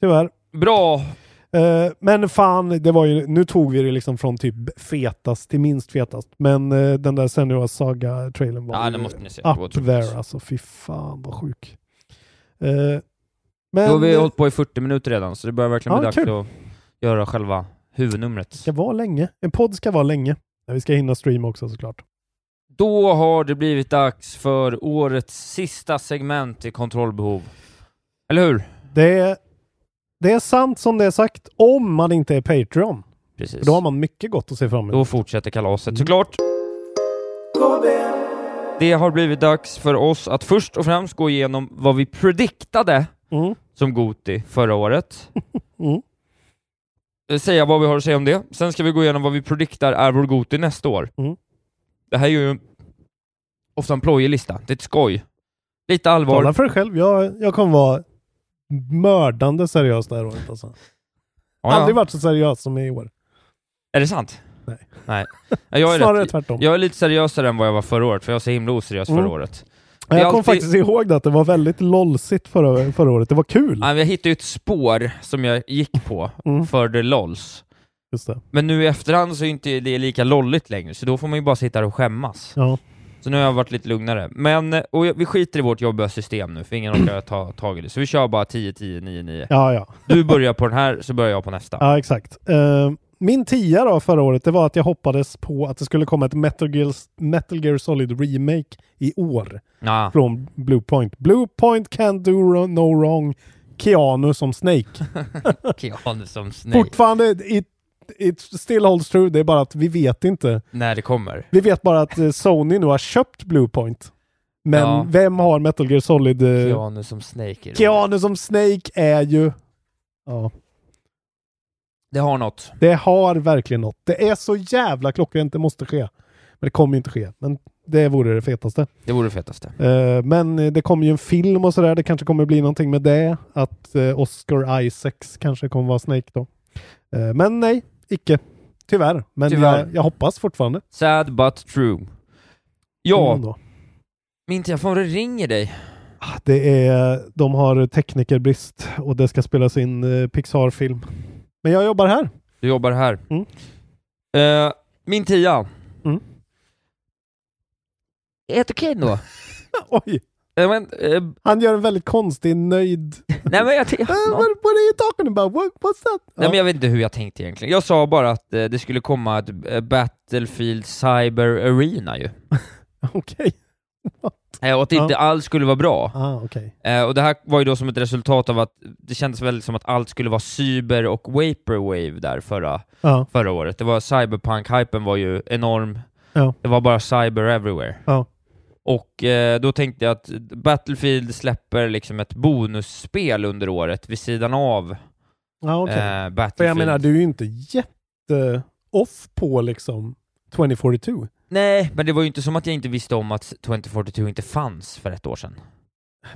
Speaker 2: tyvärr.
Speaker 4: Bra!
Speaker 2: Eh, men fan, det var ju, nu tog vi det liksom från typ fetast till minst fetast. Men eh, den där Senua Saga-trailern var
Speaker 4: Ja,
Speaker 2: ju
Speaker 4: den måste ni se. Det var
Speaker 2: up
Speaker 4: otroligt.
Speaker 2: there alltså. Fy fan vad sjuk. Eh, men
Speaker 4: Då har vi
Speaker 2: eh,
Speaker 4: hållit på i 40 minuter redan, så det börjar verkligen
Speaker 2: Ja,
Speaker 4: bli dags
Speaker 2: kul.
Speaker 4: att göra själva huvudnumret.
Speaker 2: ska vara länge. En podd ska vara länge. Ja, Vi ska hinna streama också såklart.
Speaker 4: Då har det blivit dags för årets sista segment i kontrollbehov. Eller hur?
Speaker 2: Det är, det är sant som det är sagt, om man inte är Patreon.
Speaker 4: Precis.
Speaker 2: För då har man mycket gott att se fram emot.
Speaker 4: Då fortsätter
Speaker 2: Mm.
Speaker 4: kalaset såklart.
Speaker 5: KB.
Speaker 4: Det har blivit dags för oss att först och främst gå igenom vad vi prediktade
Speaker 2: Mm.
Speaker 4: som Goti förra året.
Speaker 2: Mm.
Speaker 4: Eh, Säga vad vi har att säga om det. Sen ska vi gå igenom vad vi prediktar är vår Goti nästa år.
Speaker 2: Mm.
Speaker 4: Det här är ju ofta en plojig lista. Det är ett skoj. Lite allvar.
Speaker 2: Tala för dig själv. Jag, jag kommer vara mördande seriös det här året alltså.
Speaker 4: Ja, ja.
Speaker 2: Aldrig varit så seriös som i år.
Speaker 4: Är det sant?
Speaker 2: Nej.
Speaker 4: Nej. Ja, Jag är,
Speaker 2: Snarare
Speaker 4: rätt,
Speaker 2: tvärtom.
Speaker 4: jag är lite seriösare än vad jag var förra året, för jag var så himla oseriös
Speaker 2: Mm.
Speaker 4: förra året.
Speaker 2: jag
Speaker 4: det är
Speaker 2: kommer
Speaker 4: alltid-
Speaker 2: faktiskt ihåg det, att det var väldigt lolsigt förra, förra året. Det var kul.
Speaker 4: Nej, Jag hittade ju ett spår som jag gick på
Speaker 2: Mm.
Speaker 4: för the LOLs.
Speaker 2: Just det.
Speaker 4: Men nu i efterhand så är inte det lika lolligt längre, så då får man ju bara sitta där och skämmas.
Speaker 2: Ja.
Speaker 4: Så nu har jag varit lite lugnare. Men, eh, och jag- vi skiter i vårt jobbiga system nu, för ingen orkar ta tag i det. Så vi kör bara 10, 10, 9, 9.
Speaker 2: ja, ja.
Speaker 4: Du börjar på den här, så börjar jag på nästa.
Speaker 2: Ja, exakt. Eh, min tia då förra året, det var att jag hoppades på att det skulle komma ett Metal Gear, Metal Gear Solid Remake i år
Speaker 4: Ja.
Speaker 2: från Blue Point. Blue Point can do ro- no wrong. Keanu som Snake.
Speaker 4: Keanu som snake.
Speaker 2: Fortfarande, it, it still holds true. Det är bara att vi vet inte.
Speaker 4: När det kommer.
Speaker 2: Vi vet bara att eh, Sony nu har köpt Blue Point. Men
Speaker 4: Ja.
Speaker 2: vem har Metal Gear Solid? eh,
Speaker 4: Keanu som snake. är roligt.
Speaker 2: Keanu som Snake är ju... Ja.
Speaker 4: Det har något.
Speaker 2: Det har verkligen något. Det är så jävla klockrent, det måste ske. Men det kommer ju inte ske. Men det vore det fetaste.
Speaker 4: Det vore det fetaste.
Speaker 2: Eh, men eh, det kommer ju en film och sådär. Det kanske kommer bli någonting med det. Att eh, Oscar Isaacs kanske kommer vara Snake då. Eh, men nej, icke. Tyvärr. Men
Speaker 4: Tyvärr.
Speaker 2: Jag, jag hoppas fortfarande.
Speaker 4: Sad but true. Ja,
Speaker 2: Mm, då.
Speaker 4: min telefon ringer dig.
Speaker 2: Ah, Det är, de har teknikerbrist och det ska spelas in eh, Pixar-film. Men jag jobbar här.
Speaker 4: Du jobbar här.
Speaker 2: Mm.
Speaker 4: Eh, min tia.
Speaker 2: Mm.
Speaker 4: Helt okej ändå.
Speaker 2: Oj!
Speaker 4: Eh, men, eh,
Speaker 2: Han gör en väldigt konstig nöjd...
Speaker 4: nej, men jag tänkte-
Speaker 2: Eh, what, what are you talking about? What, what's that?
Speaker 4: nej
Speaker 2: Ja.
Speaker 4: men jag vet inte hur jag tänkte egentligen. Jag sa bara att eh, det skulle komma ett eh, Battlefield Cyber Arena ju.
Speaker 2: Okej.
Speaker 4: Eh, och att det
Speaker 2: Ja.
Speaker 4: inte alls skulle vara bra.
Speaker 2: Ah, okej.
Speaker 4: Eh, och det här var ju då som ett resultat av att det kändes väldigt som att allt skulle vara cyber och vaporwave där förra
Speaker 2: Ja,
Speaker 4: förra året. Det var cyberpunk-hypen var ju enorm.
Speaker 2: Ja.
Speaker 4: Det var bara cyber everywhere.
Speaker 2: Ja.
Speaker 4: Och eh, då tänkte jag att Battlefield släpper liksom ett bonusspel under året vid sidan av
Speaker 2: ja okej.
Speaker 4: eh,
Speaker 2: För
Speaker 4: Battlefield.
Speaker 2: jag menar, du är ju inte jätte-off på liksom 2042.
Speaker 4: Nej, men det var ju inte som att jag inte visste om att 2042 inte fanns för ett år sedan.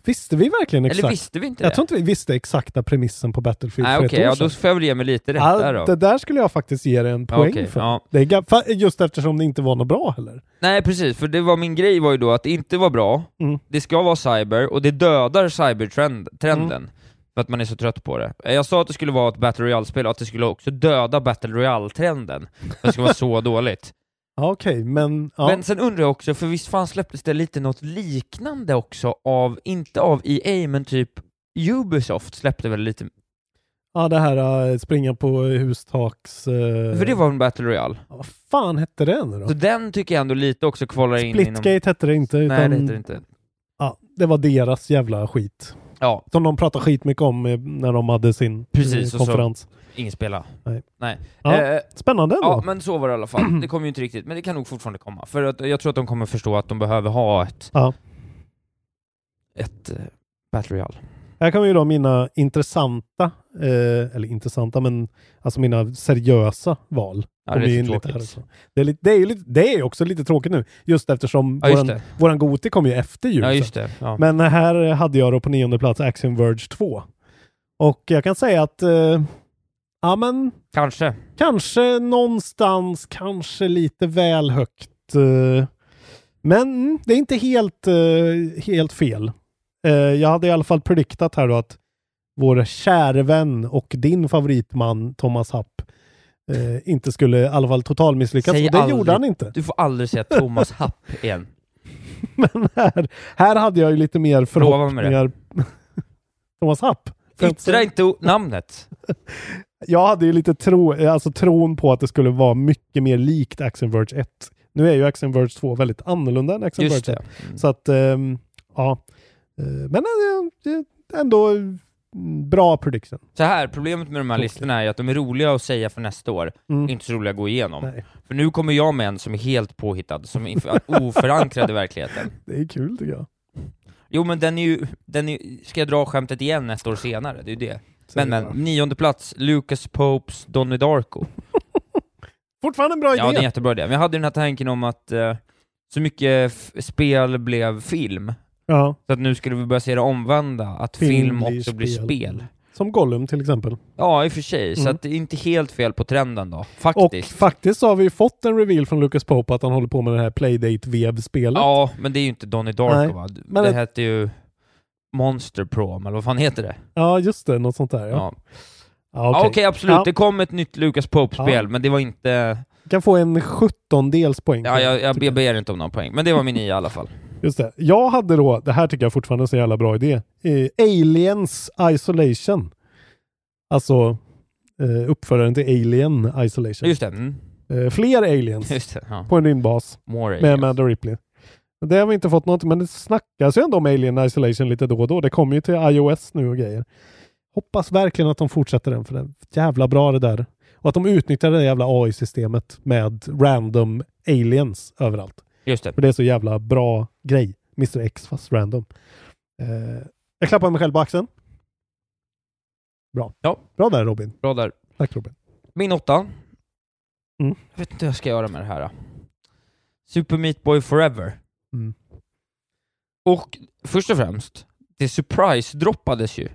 Speaker 2: Visste vi verkligen exakt?
Speaker 4: Eller visste vi inte
Speaker 2: jag
Speaker 4: det?
Speaker 2: tror inte vi visste exakta premissen på Battlefield
Speaker 4: Nej
Speaker 2: för
Speaker 4: okej,
Speaker 2: ett år
Speaker 4: ja,
Speaker 2: sedan.
Speaker 4: då får jag väl ge mig lite rätt
Speaker 2: Ja,
Speaker 4: där då.
Speaker 2: Det där skulle jag faktiskt ge dig en poäng
Speaker 4: okej,
Speaker 2: för.
Speaker 4: ja.
Speaker 2: Det är ga- fa- just eftersom det inte var något bra heller.
Speaker 4: Nej precis, för det var min grej var ju då att det inte var bra,
Speaker 2: Mm.
Speaker 4: det ska vara cyber, och det dödar cybertrenden.
Speaker 2: Mm.
Speaker 4: För att man är så trött på det. Eh, Jag sa att det skulle vara ett Battle Royale-spel och att det skulle också döda Battle Royale-trenden. För Det skulle vara så dåligt.
Speaker 2: Ja, Okej, men... Ja.
Speaker 4: Men sen undrar jag också, för visst fan släpptes det lite något liknande också av, inte av EA, men typ Ubisoft släppte väl lite,
Speaker 2: ja, det här äh, springa på hustaks... eh,
Speaker 4: för det var en Battle Royale.
Speaker 2: Vad fan hette det nu då?
Speaker 4: Så den tycker jag ändå lite också kvalar in
Speaker 2: Splitgate hette det inte, utan...
Speaker 4: Nej det heter det inte.
Speaker 2: Ja, det var deras jävla skit.
Speaker 4: Ja,
Speaker 2: Som de pratade skitmycket om eh, när de hade sin eh,
Speaker 4: Precis, och så-
Speaker 2: konferens.
Speaker 4: ingen spela.
Speaker 2: Nej.
Speaker 4: Nej.
Speaker 2: Ja.
Speaker 4: Eh,
Speaker 2: Spännande ändå.
Speaker 4: Ja, men så var det i alla fall. Det kommer ju inte riktigt, men det kan nog fortfarande komma. För att, jag tror att de kommer förstå att de behöver ha ett,
Speaker 2: Ja.
Speaker 4: ett eh, Battle Royale.
Speaker 2: Här kommer ju då mina intressanta, eh, eller intressanta, men alltså mina seriösa val.
Speaker 4: Ja, det är
Speaker 2: Kommer ju
Speaker 4: lite
Speaker 2: in lite
Speaker 4: tråkigt.
Speaker 2: här också. det, är lite, det, är ju lite, det är ju också lite tråkigt nu, just eftersom
Speaker 4: Ja, just
Speaker 2: våran,
Speaker 4: det.
Speaker 2: våran Goti kom ju efter jul.
Speaker 4: Ja,
Speaker 2: sen.
Speaker 4: just det. Ja.
Speaker 2: Men här hade jag då på nionde plats Axiom Verge 2. Och jag kan säga att, eh, ja men,
Speaker 4: Kanske.
Speaker 2: kanske någonstans, kanske lite väl mm, högt. eh, Men det är inte helt, eh, helt fel. Eh, eh, jag hade i alla fall prediktat här då att vår käre vän och din favoritman Thomas Happ eh, inte skulle i alla fall totalmisslyckas.
Speaker 4: Säg
Speaker 2: Och det
Speaker 4: aldrig.
Speaker 2: gjorde han inte.
Speaker 4: Du får aldrig säga Thomas Happ igen.
Speaker 2: Men här, här hade jag ju lite mer
Speaker 4: Lova mig det.
Speaker 2: förhoppningar. Thomas Happ.
Speaker 4: Yttra inte o- namnet.
Speaker 2: Jag hade ju lite tro, alltså tron på att det skulle vara mycket mer likt Action Verge 1. Nu är ju Action Verge 2 väldigt annorlunda än Action
Speaker 4: Just
Speaker 2: Verge 1.
Speaker 4: det. Mm.
Speaker 2: Så att, ehm, ja. Eh, Men eh, eh, ändå mm, bra prediction.
Speaker 4: Så här, problemet med de här listorna är att de är roliga att säga för nästa år,
Speaker 2: Mm.
Speaker 4: inte så roliga att gå igenom.
Speaker 2: Nej,
Speaker 4: För nu kommer jag med en som är helt påhittad, som är inf- oförankrad i verkligheten.
Speaker 2: det är kul tycker jag.
Speaker 4: Jo men den är ju, den är, ju- ska jag dra skämtet igen ett år senare? Det är ju det.
Speaker 2: Så
Speaker 4: Men
Speaker 2: det är
Speaker 4: men,
Speaker 2: bra.
Speaker 4: nionde plats, Lucas Popes Donny Darko.
Speaker 2: Fortfarande en
Speaker 4: Ja,
Speaker 2: bra
Speaker 4: det är en
Speaker 2: idé.
Speaker 4: jättebra idé. Men jag hade ju den här tanken om att eh, så mycket f- spel blev film,
Speaker 2: Ja,
Speaker 4: så att nu skulle vi börja se det omvända, att
Speaker 2: Film
Speaker 4: film,
Speaker 2: blir
Speaker 4: också blir
Speaker 2: spel.
Speaker 4: spel.
Speaker 2: som Gollum till exempel.
Speaker 4: Ja, i och för sig, så
Speaker 2: Mm.
Speaker 4: att det är inte helt fel på trenden då, faktiskt.
Speaker 2: Och faktiskt så har vi ju fått en reveal från Lucas Pope att han håller på med det här Playdate-vev-spelet.
Speaker 4: ja, men det är ju inte Donny Darko
Speaker 2: Nej,
Speaker 4: va?
Speaker 2: men
Speaker 4: det
Speaker 2: det-
Speaker 4: hette ju Monster Prom, eller vad fan heter det?
Speaker 2: Ja, just det. Något sånt där. Ja.
Speaker 4: Ja.
Speaker 2: Ja,
Speaker 4: Ja, Okej,
Speaker 2: okej.
Speaker 4: absolut.
Speaker 2: Ja.
Speaker 4: Det kom ett nytt Lucas Pope-spel,
Speaker 2: Ja.
Speaker 4: men det var inte...
Speaker 2: Kan få en 17-dels poäng.
Speaker 4: Ja, jag, jag,
Speaker 2: tycker
Speaker 4: jag ber inte om någon poäng, men det var min i alla fall.
Speaker 2: Just det. Jag hade då, det här tycker jag fortfarande är så jävla bra idé, eh, Aliens Isolation. Alltså eh, uppföraren till Alien Isolation.
Speaker 4: Just det. Mm.
Speaker 2: Eh, fler aliens
Speaker 4: Just det. Ja.
Speaker 2: på en rymdbas
Speaker 4: More
Speaker 2: med
Speaker 4: aliens.
Speaker 2: Amanda Ripley. Det har vi inte fått något, men det snackas ju ändå om Alien Isolation lite då och då. Det kommer ju till iOS nu och grejer. Hoppas verkligen att de fortsätter den, för det är jävla bra det där. Och att de utnyttjar det jävla AI-systemet med random aliens överallt.
Speaker 4: Just det.
Speaker 2: För det är så jävla bra grej. Mr X fast random. Eh, jag klappar mig själv på axeln. Bra.
Speaker 4: Ja.
Speaker 2: Bra där Robin.
Speaker 4: Bra där.
Speaker 2: Tack Robin.
Speaker 4: Min åtta.
Speaker 2: Mm.
Speaker 4: Jag vet inte vad jag ska göra med det här. Då. Super Meat Boy Forever.
Speaker 2: Mm.
Speaker 4: Och först och främst, det surprise-droppades ju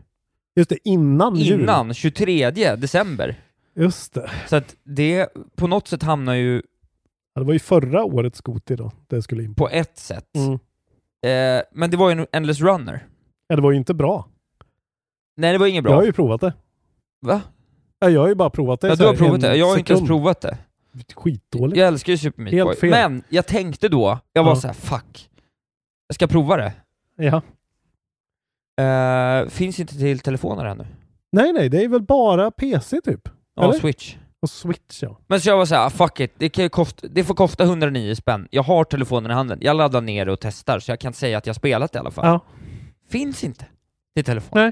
Speaker 2: Just det, innan, jul.
Speaker 4: innan 23 december.
Speaker 2: Just det.
Speaker 4: Så att det på något sätt hamnar ju
Speaker 2: Ja, det var ju förra årets Goti då. Det skulle in på.
Speaker 4: på ett sätt.
Speaker 2: Mm.
Speaker 4: Eh, men det var ju en Endless Runner.
Speaker 2: Ja, det var ju inte bra.
Speaker 4: Nej, det var inget
Speaker 2: Jag
Speaker 4: bra.
Speaker 2: har ju provat det.
Speaker 4: Va?
Speaker 2: Ja, jag har ju bara provat det.
Speaker 4: Ja,
Speaker 2: så
Speaker 4: du har
Speaker 2: här
Speaker 4: provat
Speaker 2: en
Speaker 4: det. Jag har inte ens
Speaker 2: sekund.
Speaker 4: provat det.
Speaker 2: Skitdåligt.
Speaker 4: Jag älskar ju Super Meat
Speaker 2: Helt
Speaker 4: Boy.
Speaker 2: fel.
Speaker 4: Men jag tänkte då, jag var
Speaker 2: Ja.
Speaker 4: så här, fuck. Jag ska prova det.
Speaker 2: Ja.
Speaker 4: Eh, finns inte till telefoner ännu.
Speaker 2: Nej, nej, det är väl bara PC typ.
Speaker 4: Ja,
Speaker 2: Eller?
Speaker 4: Switch.
Speaker 2: Och Switch ja.
Speaker 4: Men så jag var så här, fuck it, det, kan ju kosta, det får kosta 109 spänn. Jag har telefonen i handen, jag laddar ner det och testar, så jag kan säga att jag spelat i alla fall.
Speaker 2: Ja.
Speaker 4: Finns inte till telefon.
Speaker 2: Nej.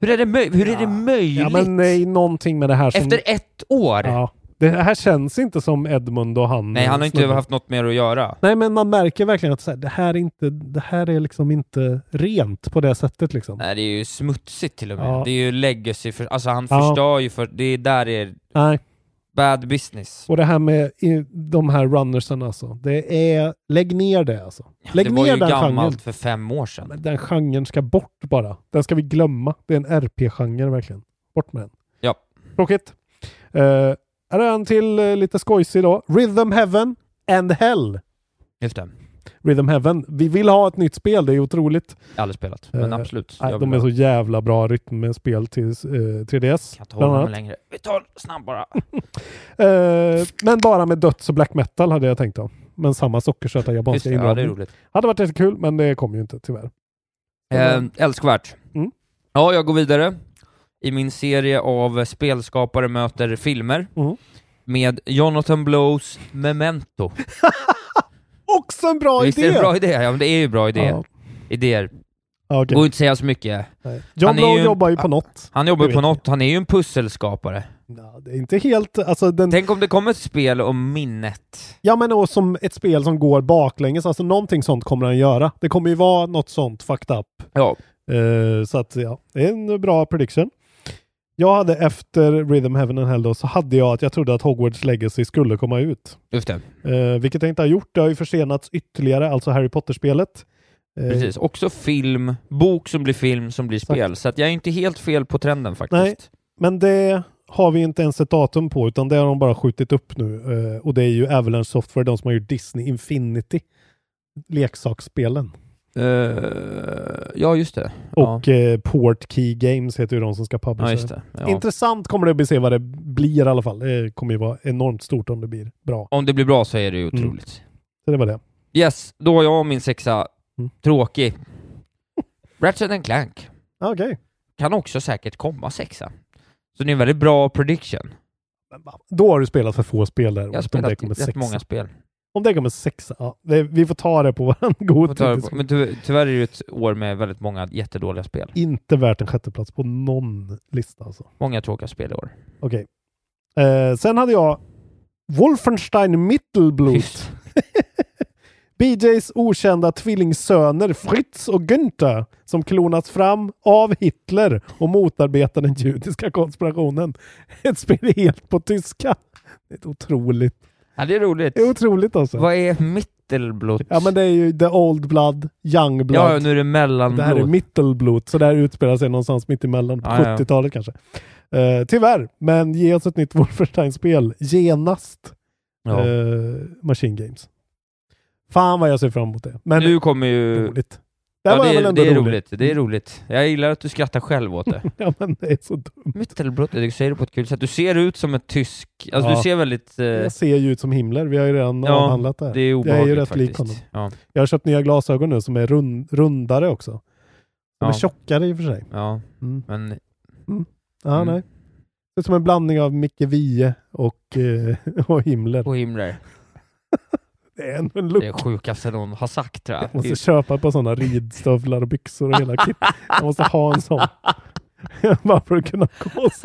Speaker 4: Hur är det, möj- hur är
Speaker 2: Ja.
Speaker 4: det möjligt?
Speaker 2: ja, men nej, någonting med det här som...
Speaker 4: Efter ett år?
Speaker 2: Ja. Det här känns inte som Edmund och han.
Speaker 4: Nej, han har inte
Speaker 2: snubben.
Speaker 4: haft något mer att göra.
Speaker 2: Nej, men man märker verkligen att så här, det, här är inte, det här är liksom inte rent på det sättet. Liksom.
Speaker 4: Nej, det är ju smutsigt till och med.
Speaker 2: Ja.
Speaker 4: Det är ju legacy, för, alltså han
Speaker 2: Ja.
Speaker 4: förstör ju för, det är där det är
Speaker 2: Nej.
Speaker 4: bad business.
Speaker 2: Och det här med i- de här runnersen alltså. Det är, lägg ner det alltså. Lägg
Speaker 4: det
Speaker 2: ner
Speaker 4: var ju
Speaker 2: den
Speaker 4: gammalt
Speaker 2: genren.
Speaker 4: för fem år sedan.
Speaker 2: Men Den genren ska bort bara. Den ska vi glömma. Det är en RP-genre verkligen. Bort med den.
Speaker 4: Ja.
Speaker 2: Tråkigt. Eh, här är en till eh, lite skojsig då. Rhythm Heaven and Hell.
Speaker 4: Just det.
Speaker 2: Rhythm Heaven. Vi vill ha ett nytt spel, det är otroligt.
Speaker 4: Aldrig spelat, men
Speaker 2: Eh,
Speaker 4: absolut.
Speaker 2: Nej,
Speaker 4: jag
Speaker 2: de
Speaker 4: vill
Speaker 2: är
Speaker 4: ha-
Speaker 2: så jävla bra rytmspel till eh, 3DS.
Speaker 4: kan inte
Speaker 2: bland
Speaker 4: hålla
Speaker 2: annat.
Speaker 4: mig längre. Vi tar snabbt bara.
Speaker 2: Eh, men bara med döds och black metal hade jag tänkt om. Men samma sockersöta
Speaker 4: Just
Speaker 2: japanska
Speaker 4: det, ja, det är
Speaker 2: inramning.
Speaker 4: roligt.
Speaker 2: hade varit jättekul, men det kom ju inte tyvärr.
Speaker 4: Eh, älskvärt.
Speaker 2: Mm.
Speaker 4: Ja, jag går vidare i min serie av spelskapare möter filmer
Speaker 2: Mm.
Speaker 4: med Jonathan Blows Memento.
Speaker 2: Också en bra
Speaker 4: Visst är
Speaker 2: idé!
Speaker 4: det en bra idé? Ja, men det är ju bra idé.
Speaker 2: Ja,
Speaker 4: idéer.
Speaker 2: ja, okej.
Speaker 4: Går inte att säga så mycket.
Speaker 2: Nej. John
Speaker 4: Han är
Speaker 2: Blow
Speaker 4: ju-
Speaker 2: jobbar ju på något.
Speaker 4: Han jobbar
Speaker 2: Det
Speaker 4: ju på
Speaker 2: vet Mm.
Speaker 4: något, han är ju en pusselskapare.
Speaker 2: Ja, det är inte helt... Alltså den,
Speaker 4: Tänk om det kommer ett spel om minnet.
Speaker 2: ja, men och som ett spel som går baklänges. Alltså någonting sånt kommer han göra. Det kommer ju vara något sånt fucked up.
Speaker 4: Ja.
Speaker 2: Eh, så att ja, det är en bra prediction. Jag hade efter Rhythm Heaven and Hell då, så hade jag att jag trodde att Hogwarts Legacy skulle komma ut.
Speaker 4: Just det,
Speaker 2: Eh, vilket jag inte har gjort. Det har ju försenats ytterligare, alltså Harry Potter-spelet. Eh,
Speaker 4: precis. Också film, bok som blir film som blir
Speaker 2: Exakt.
Speaker 4: spel. Så att jag är inte helt fel på trenden faktiskt.
Speaker 2: Nej. Men det har vi inte ens ett datum på, utan det har de bara skjutit upp nu. Eh, och det är ju Avalanche Software, de som har gjort Disney Infinity. Leksaksspelen.
Speaker 4: Eh, ja, just det. ja.
Speaker 2: Och eh, Port Key Games heter ju de som ska
Speaker 4: ja,
Speaker 2: publicera.
Speaker 4: just det. Ja.
Speaker 2: Intressant kommer det att bli se vad det blir i alla fall. Det kommer ju vara enormt stort om det blir bra.
Speaker 4: Om det blir bra så är
Speaker 2: Mm.
Speaker 4: det ju otroligt.
Speaker 2: Så det var det.
Speaker 4: Yes, då har jag min sexa.
Speaker 2: Mm.
Speaker 4: Tråkig. Ratchet and Clank
Speaker 2: Ah, Okej.
Speaker 4: kan också säkert komma sexa. Så det är en väldigt bra prediction.
Speaker 2: Men va- Då har du spelat för få spel där.
Speaker 4: Jag har
Speaker 2: om det
Speaker 4: spelat
Speaker 2: kommer
Speaker 4: rätt
Speaker 2: sexa.
Speaker 4: många spel.
Speaker 2: Om det kommer sexa. Ja, det, vi får ta det på våran god
Speaker 4: Får ta det på-
Speaker 2: diskussion.
Speaker 4: Men ty tyvärr är det ju ett år med väldigt många jättedåliga spel.
Speaker 2: Inte värt en sjätteplats på någon lista alltså.
Speaker 4: Många tråkiga spel i år.
Speaker 2: Okej. Eh, sen hade jag Wolfenstein Mittelblut.
Speaker 4: Tyst.
Speaker 2: BJs okända tvillingsöner Fritz och Günther som klonats fram av Hitler och motarbetar den judiska konspirationen. Ett spel helt på tyska. Det är otroligt.
Speaker 4: Ja, det är roligt.
Speaker 2: Det är otroligt alltså.
Speaker 4: Vad är mittelblot?
Speaker 2: Ja men det är ju The Old Blood, Young Blood.
Speaker 4: Ja, nu är det
Speaker 2: Det här är
Speaker 4: mellanblot.
Speaker 2: mittelblot, så det här utspelar sig någonstans mitt emellan, på
Speaker 4: Ja, ja.
Speaker 2: 70-talet kanske. Eh, tyvärr, men ge oss ett nytt Wolfenstein-spel genast.
Speaker 4: Ja.
Speaker 2: Eh, Machine Games. Fan vad jag ser fram emot det. Men
Speaker 4: Nu kommer ju...
Speaker 2: roligt. Det här
Speaker 4: Ja,
Speaker 2: var
Speaker 4: det,
Speaker 2: väl
Speaker 4: är,
Speaker 2: ändå
Speaker 4: det är
Speaker 2: roligt.
Speaker 4: roligt. Det är roligt. Jag gillar att du skrattar själv åt det.
Speaker 2: Ja, men det är så dumt.
Speaker 4: Mittelblot, du säger det på ett kul sätt. Du ser ut som en tysk... Alltså
Speaker 2: Ja.
Speaker 4: du ser väldigt... eh,
Speaker 2: Jag ser ju ut som Himmler. Vi har ju redan
Speaker 4: Ja,
Speaker 2: avhandlat det här.
Speaker 4: det är obehagligt
Speaker 2: jag är ju rätt lik
Speaker 4: faktiskt.
Speaker 2: honom.
Speaker 4: Ja,
Speaker 2: Jag har köpt nya glasögon nu som är rund, rundare också. De
Speaker 4: Ja.
Speaker 2: är tjockare i och för sig.
Speaker 4: ja,
Speaker 2: Mm.
Speaker 4: men
Speaker 2: Ja,
Speaker 4: Mm.
Speaker 2: nej. Det är som en blandning av Micke Wiehe och, eh, och Himmler.
Speaker 4: på himlar.
Speaker 2: Det är ändå en
Speaker 4: Det
Speaker 2: look.
Speaker 4: är sjukaste någon har sagt tror
Speaker 2: Jag
Speaker 4: jag.
Speaker 2: måste köpa på sådana ridstövlar och byxor och hela kit. Jag måste ha en sån. Bara för att kunna cos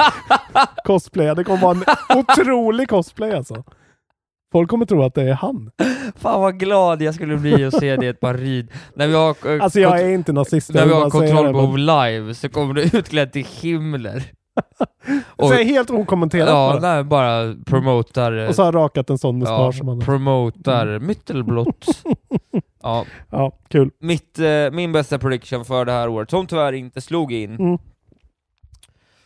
Speaker 2: cosplaya. Det kommer vara en otrolig cosplay alltså. Folk kommer tro att det är han.
Speaker 4: Fan vad glad jag skulle bli att se det i ett par rid. När vi har, eh,
Speaker 2: Alltså jag
Speaker 4: kont-
Speaker 2: är inte nazist. jag
Speaker 4: när vi
Speaker 2: vill
Speaker 4: har
Speaker 2: bara säga det, men-
Speaker 4: kontrollbehov live så kommer du utklädd till Himmler. Och,
Speaker 2: Så jag är helt okommenterat
Speaker 4: ja,
Speaker 2: bara.
Speaker 4: nej, bara promotar... eh,
Speaker 2: Och så har jag rakat en sån
Speaker 4: ja,
Speaker 2: mustasch som han har. Mm.
Speaker 4: promotar Mittelblot. ja,
Speaker 2: Ja, kul.
Speaker 4: mitt, eh, min bästa prediction för det här året, som tyvärr inte slog in.
Speaker 2: Mm.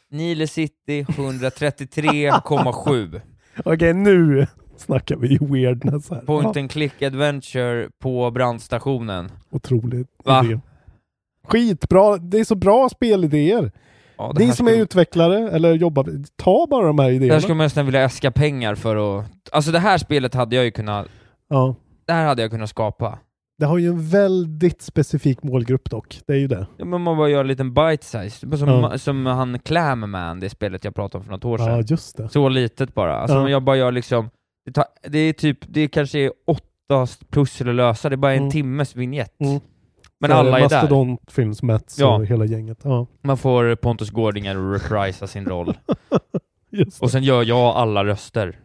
Speaker 4: Nile City 133,7.
Speaker 2: Okej, nu snackar vi ju weirdness här.
Speaker 4: Point
Speaker 2: Ja,
Speaker 4: and click adventure på brandstationen.
Speaker 2: otroligt.
Speaker 4: Va?
Speaker 2: idé. Skitbra. Det är så bra spelidéer.
Speaker 4: Ja,
Speaker 2: Ni
Speaker 4: här
Speaker 2: som är
Speaker 4: skulle-
Speaker 2: utvecklare eller jobbar, ta bara de här
Speaker 4: det här
Speaker 2: idéerna.
Speaker 4: skulle man nästan vilja äska pengar för att... Alltså det här spelet hade jag ju kunnat...
Speaker 2: Ja.
Speaker 4: Det här hade jag kunnat skapa.
Speaker 2: Det har ju en väldigt specifik målgrupp dock. Det är ju det.
Speaker 4: Ja, men man bara gör en liten bite size. Som,
Speaker 2: Ja.
Speaker 4: som han Clamman, det spelet jag pratade om för något år sedan.
Speaker 2: Ja, just det.
Speaker 4: Så litet bara. Alltså
Speaker 2: Ja.
Speaker 4: om jag bara gör liksom, det, tar, det är typ, det kanske är åtta s- pussel att lösa, det är bara en
Speaker 2: Mm.
Speaker 4: timmes vignett.
Speaker 2: Mm.
Speaker 4: Men alla är där.
Speaker 2: Mastodontfilms Mets
Speaker 4: Ja.
Speaker 2: och hela gänget. Ja,
Speaker 4: Man får Pontus Gårdinger att reprisa sin roll.
Speaker 2: just
Speaker 4: Och sen gör jag alla röster.
Speaker 2: det.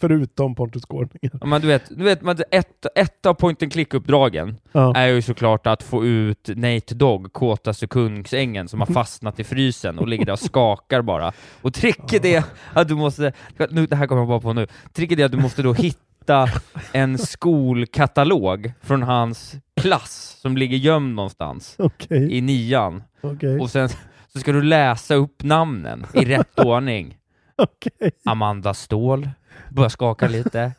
Speaker 2: Förutom Pontus Gårdinger.
Speaker 4: Ja, Men du vet, du vet men ett, ett av point and click-uppdragen
Speaker 2: Ja.
Speaker 4: är ju såklart att få ut Nate Dogg, kåtaste kungsängen, som har fastnat i frysen och ligger där och skakar bara. Och tricket är att du måste, nu, det här kommer jag bara på nu, tricket är att du måste då hitta en skolkatalog från hans klass som ligger gömd någonstans
Speaker 2: Okej,
Speaker 4: i nian.
Speaker 2: okej,
Speaker 4: Och sen så ska du läsa upp namnen i rätt ordning.
Speaker 2: okej.
Speaker 4: Amanda Ståhl, börjar skaka lite.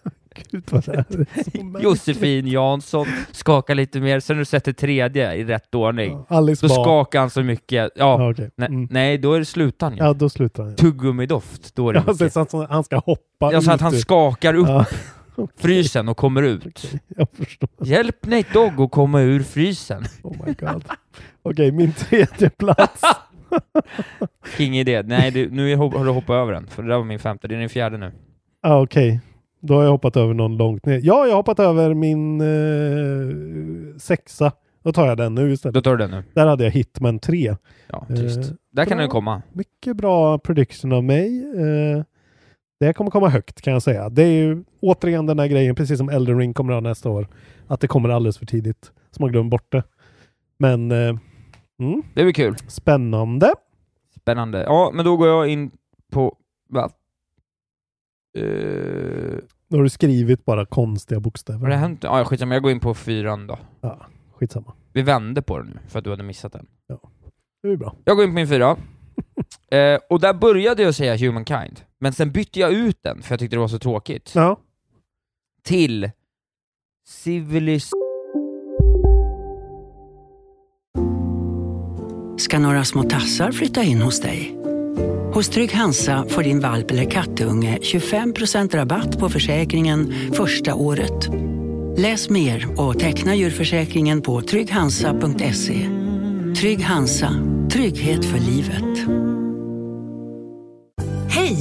Speaker 2: Gud vad det här är så märkligt.
Speaker 4: Josefin Jansson, skaka lite mer. Sen när du sätter tredje i rätt ordning,
Speaker 2: Ja, Alice
Speaker 4: då
Speaker 2: Bah.
Speaker 4: skakar han så mycket. Ja,
Speaker 2: Ja, okej.
Speaker 4: nej,
Speaker 2: Mm.
Speaker 4: nej, då är det slutan. Ja.
Speaker 2: Ja, då slutar han.
Speaker 4: Tuggummidoft, då är det
Speaker 2: Ja,
Speaker 4: mycket.
Speaker 2: så att han- han ska hoppa
Speaker 4: Ja, så
Speaker 2: ut
Speaker 4: att han
Speaker 2: ur-
Speaker 4: skakar upp
Speaker 2: Ja,
Speaker 4: frysen och kommer ut.
Speaker 2: jag förstår.
Speaker 4: Hjälp Nate Dogg att komma ur frysen.
Speaker 2: Oh my god. Okej, min tredje plats.
Speaker 4: King idé. Nej, du, nu hop- har du hoppat över den, för det där var min femte. Det är din fjärde nu.
Speaker 2: Ja, Ah, okej. Då har jag hoppat över någon långt ner. Ja, jag har hoppat över min eh, sexa. Då tar jag den nu istället.
Speaker 4: Då tar du den nu.
Speaker 2: Där hade jag Hitman 3.
Speaker 4: Ja, tyst.
Speaker 2: Eh,
Speaker 4: Där kan
Speaker 2: bra.
Speaker 4: den komma.
Speaker 2: Mycket bra prediction av mig. Eh, det kommer komma högt kan jag säga. Det är ju återigen den här grejen, precis som Elden Ring kommer att ha nästa år, att det kommer alldeles för tidigt. Så man glömmer bort det. Men eh, mm,
Speaker 4: Det blir kul.
Speaker 2: spännande.
Speaker 4: Spännande. Ja, men då går jag in på... Va? Eh,
Speaker 2: Nu har du skrivit bara konstiga bokstäver.
Speaker 4: har det hänt? Ja, ah, skitsamma. Jag går in på fyran då.
Speaker 2: Skitsamma.
Speaker 4: Vi vände på den nu, för att du hade missat den.
Speaker 2: Det är bra.
Speaker 4: Jag går in på min fyra. Eh, och där började jag säga Humankind, men sen bytte jag ut den, för jag tyckte det var så tråkigt,
Speaker 2: Ja.
Speaker 4: till Civilis...
Speaker 6: ska några små tassar flytta in hos dig. Hos Trygg Hansa får din valp eller kattunge 25% rabatt på försäkringen första året. Läs mer och teckna djurförsäkringen på trygghansa.se. Trygg Hansa, trygghet för livet.
Speaker 7: Hej,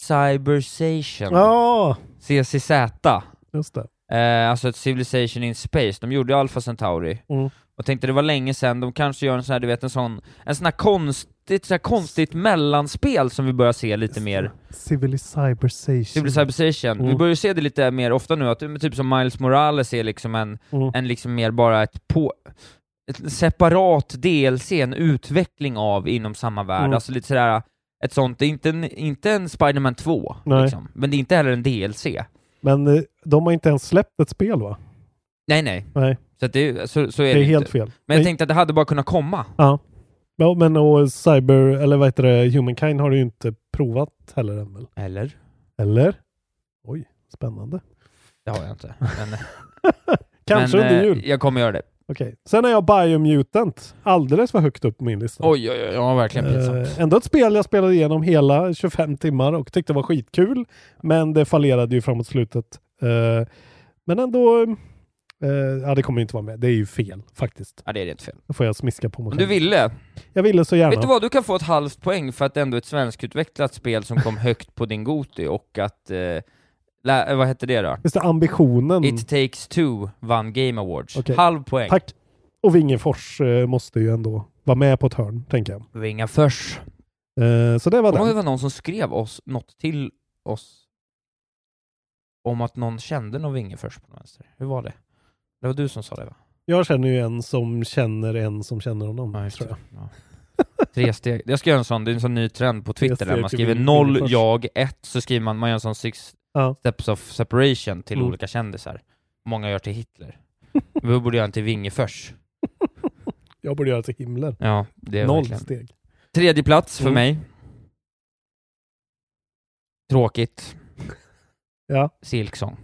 Speaker 4: Cybersation.
Speaker 2: Ja,
Speaker 4: CCZ.
Speaker 2: just det.
Speaker 4: Eh, alltså ett Civilization in Space. De gjorde ju Alpha Centauri.
Speaker 2: Mm.
Speaker 4: Och tänkte det var länge sedan, de kanske gör en sån här, du vet en sån, en sån här konstigt, så här konstigt mellanspel som vi börjar se lite mer.
Speaker 2: Civilization.
Speaker 4: Civilization. Vi
Speaker 2: Mm.
Speaker 4: börjar ju se det lite mer ofta nu, att men typ som Miles Morales är liksom en,
Speaker 2: Mm.
Speaker 4: en liksom mer bara ett på ett separat DLC, en utveckling av inom samma värld.
Speaker 2: Mm.
Speaker 4: Alltså lite sådär, ett sånt, det är inte en, inte en Spider-Man 2,
Speaker 2: Nej.
Speaker 4: liksom. men det är inte heller en DLC.
Speaker 2: Men eh, de har inte ens släppt ett spel va?
Speaker 4: Nej, nej.
Speaker 2: Nej,
Speaker 4: Så, att det, så, så är
Speaker 2: det
Speaker 4: det,
Speaker 2: är
Speaker 4: inte.
Speaker 2: helt fel.
Speaker 4: Men jag
Speaker 2: Nej.
Speaker 4: tänkte att det hade bara kunnat komma.
Speaker 2: Ja. ja, men och Cyber, eller vad heter det, Humankind har du ju inte provat heller än väl?
Speaker 4: Eller?
Speaker 2: Eller? Oj, spännande.
Speaker 4: Det har jag inte. Men,
Speaker 2: Kanske
Speaker 4: men,
Speaker 2: under
Speaker 4: eh,
Speaker 2: jul.
Speaker 4: Jag kommer göra det.
Speaker 2: Okej. Sen är jag Biomutant. Alldeles för högt upp på min lista.
Speaker 4: Oj, oj, oj. Ja, verkligen pinsamt.
Speaker 2: Eh, ändå ett spel jag spelade igenom hela 25 timmar och tyckte var skitkul. Men det fallerade ju framåt slutet. Eh, men ändå... eh, ja, det kommer ju inte vara med. Det är ju fel faktiskt.
Speaker 4: Ja, det är inte fel.
Speaker 2: Då får jag smiska på mig
Speaker 4: Om
Speaker 2: själv.
Speaker 4: du ville,
Speaker 2: Jag ville så gärna.
Speaker 4: Vet du vad, du kan få ett halvt poäng för att det ändå är ett svenskutvecklat spel som kom högt på din Goti och att... Eh, lä- eh, vad hette det då?
Speaker 2: Just det, ambitionen.
Speaker 4: It takes two vann Game Awards.
Speaker 2: Okej.
Speaker 4: Halv poäng.
Speaker 2: Tack. Och Vingefors eh, måste ju ändå vara med på ett hörn, tänker jag.
Speaker 4: Ringa först.
Speaker 2: Eh, så det
Speaker 4: Kommer
Speaker 2: var
Speaker 4: du ihåg
Speaker 2: det.
Speaker 4: det var någon som skrev oss, något till oss om att någon kände någon vinge först på någon vänster? Hur var det? Det var du som sa det va?
Speaker 2: Jag känner ju en som känner en som känner honom, tror jag.
Speaker 4: Ja. Tre steg. Jag ska göra en sån, det är en sån ny trend på Twitter
Speaker 2: Tre
Speaker 4: där man
Speaker 2: steg
Speaker 4: skriver
Speaker 2: till
Speaker 4: noll,
Speaker 2: vinge först.
Speaker 4: jag, ett, så skriver man, man gör en sån six
Speaker 2: Ja.
Speaker 4: steps of separation till
Speaker 2: Mm.
Speaker 4: olika kändisar. Många gör till Hitler. Vi borde göra en till Wingefors.
Speaker 2: Jag borde göra till himlen.
Speaker 4: Ja, det är
Speaker 2: Noll
Speaker 4: verkligen.
Speaker 2: steg.
Speaker 4: Tredje plats för
Speaker 2: Mm.
Speaker 4: mig. Tråkigt.
Speaker 2: Ja.
Speaker 4: Silksång.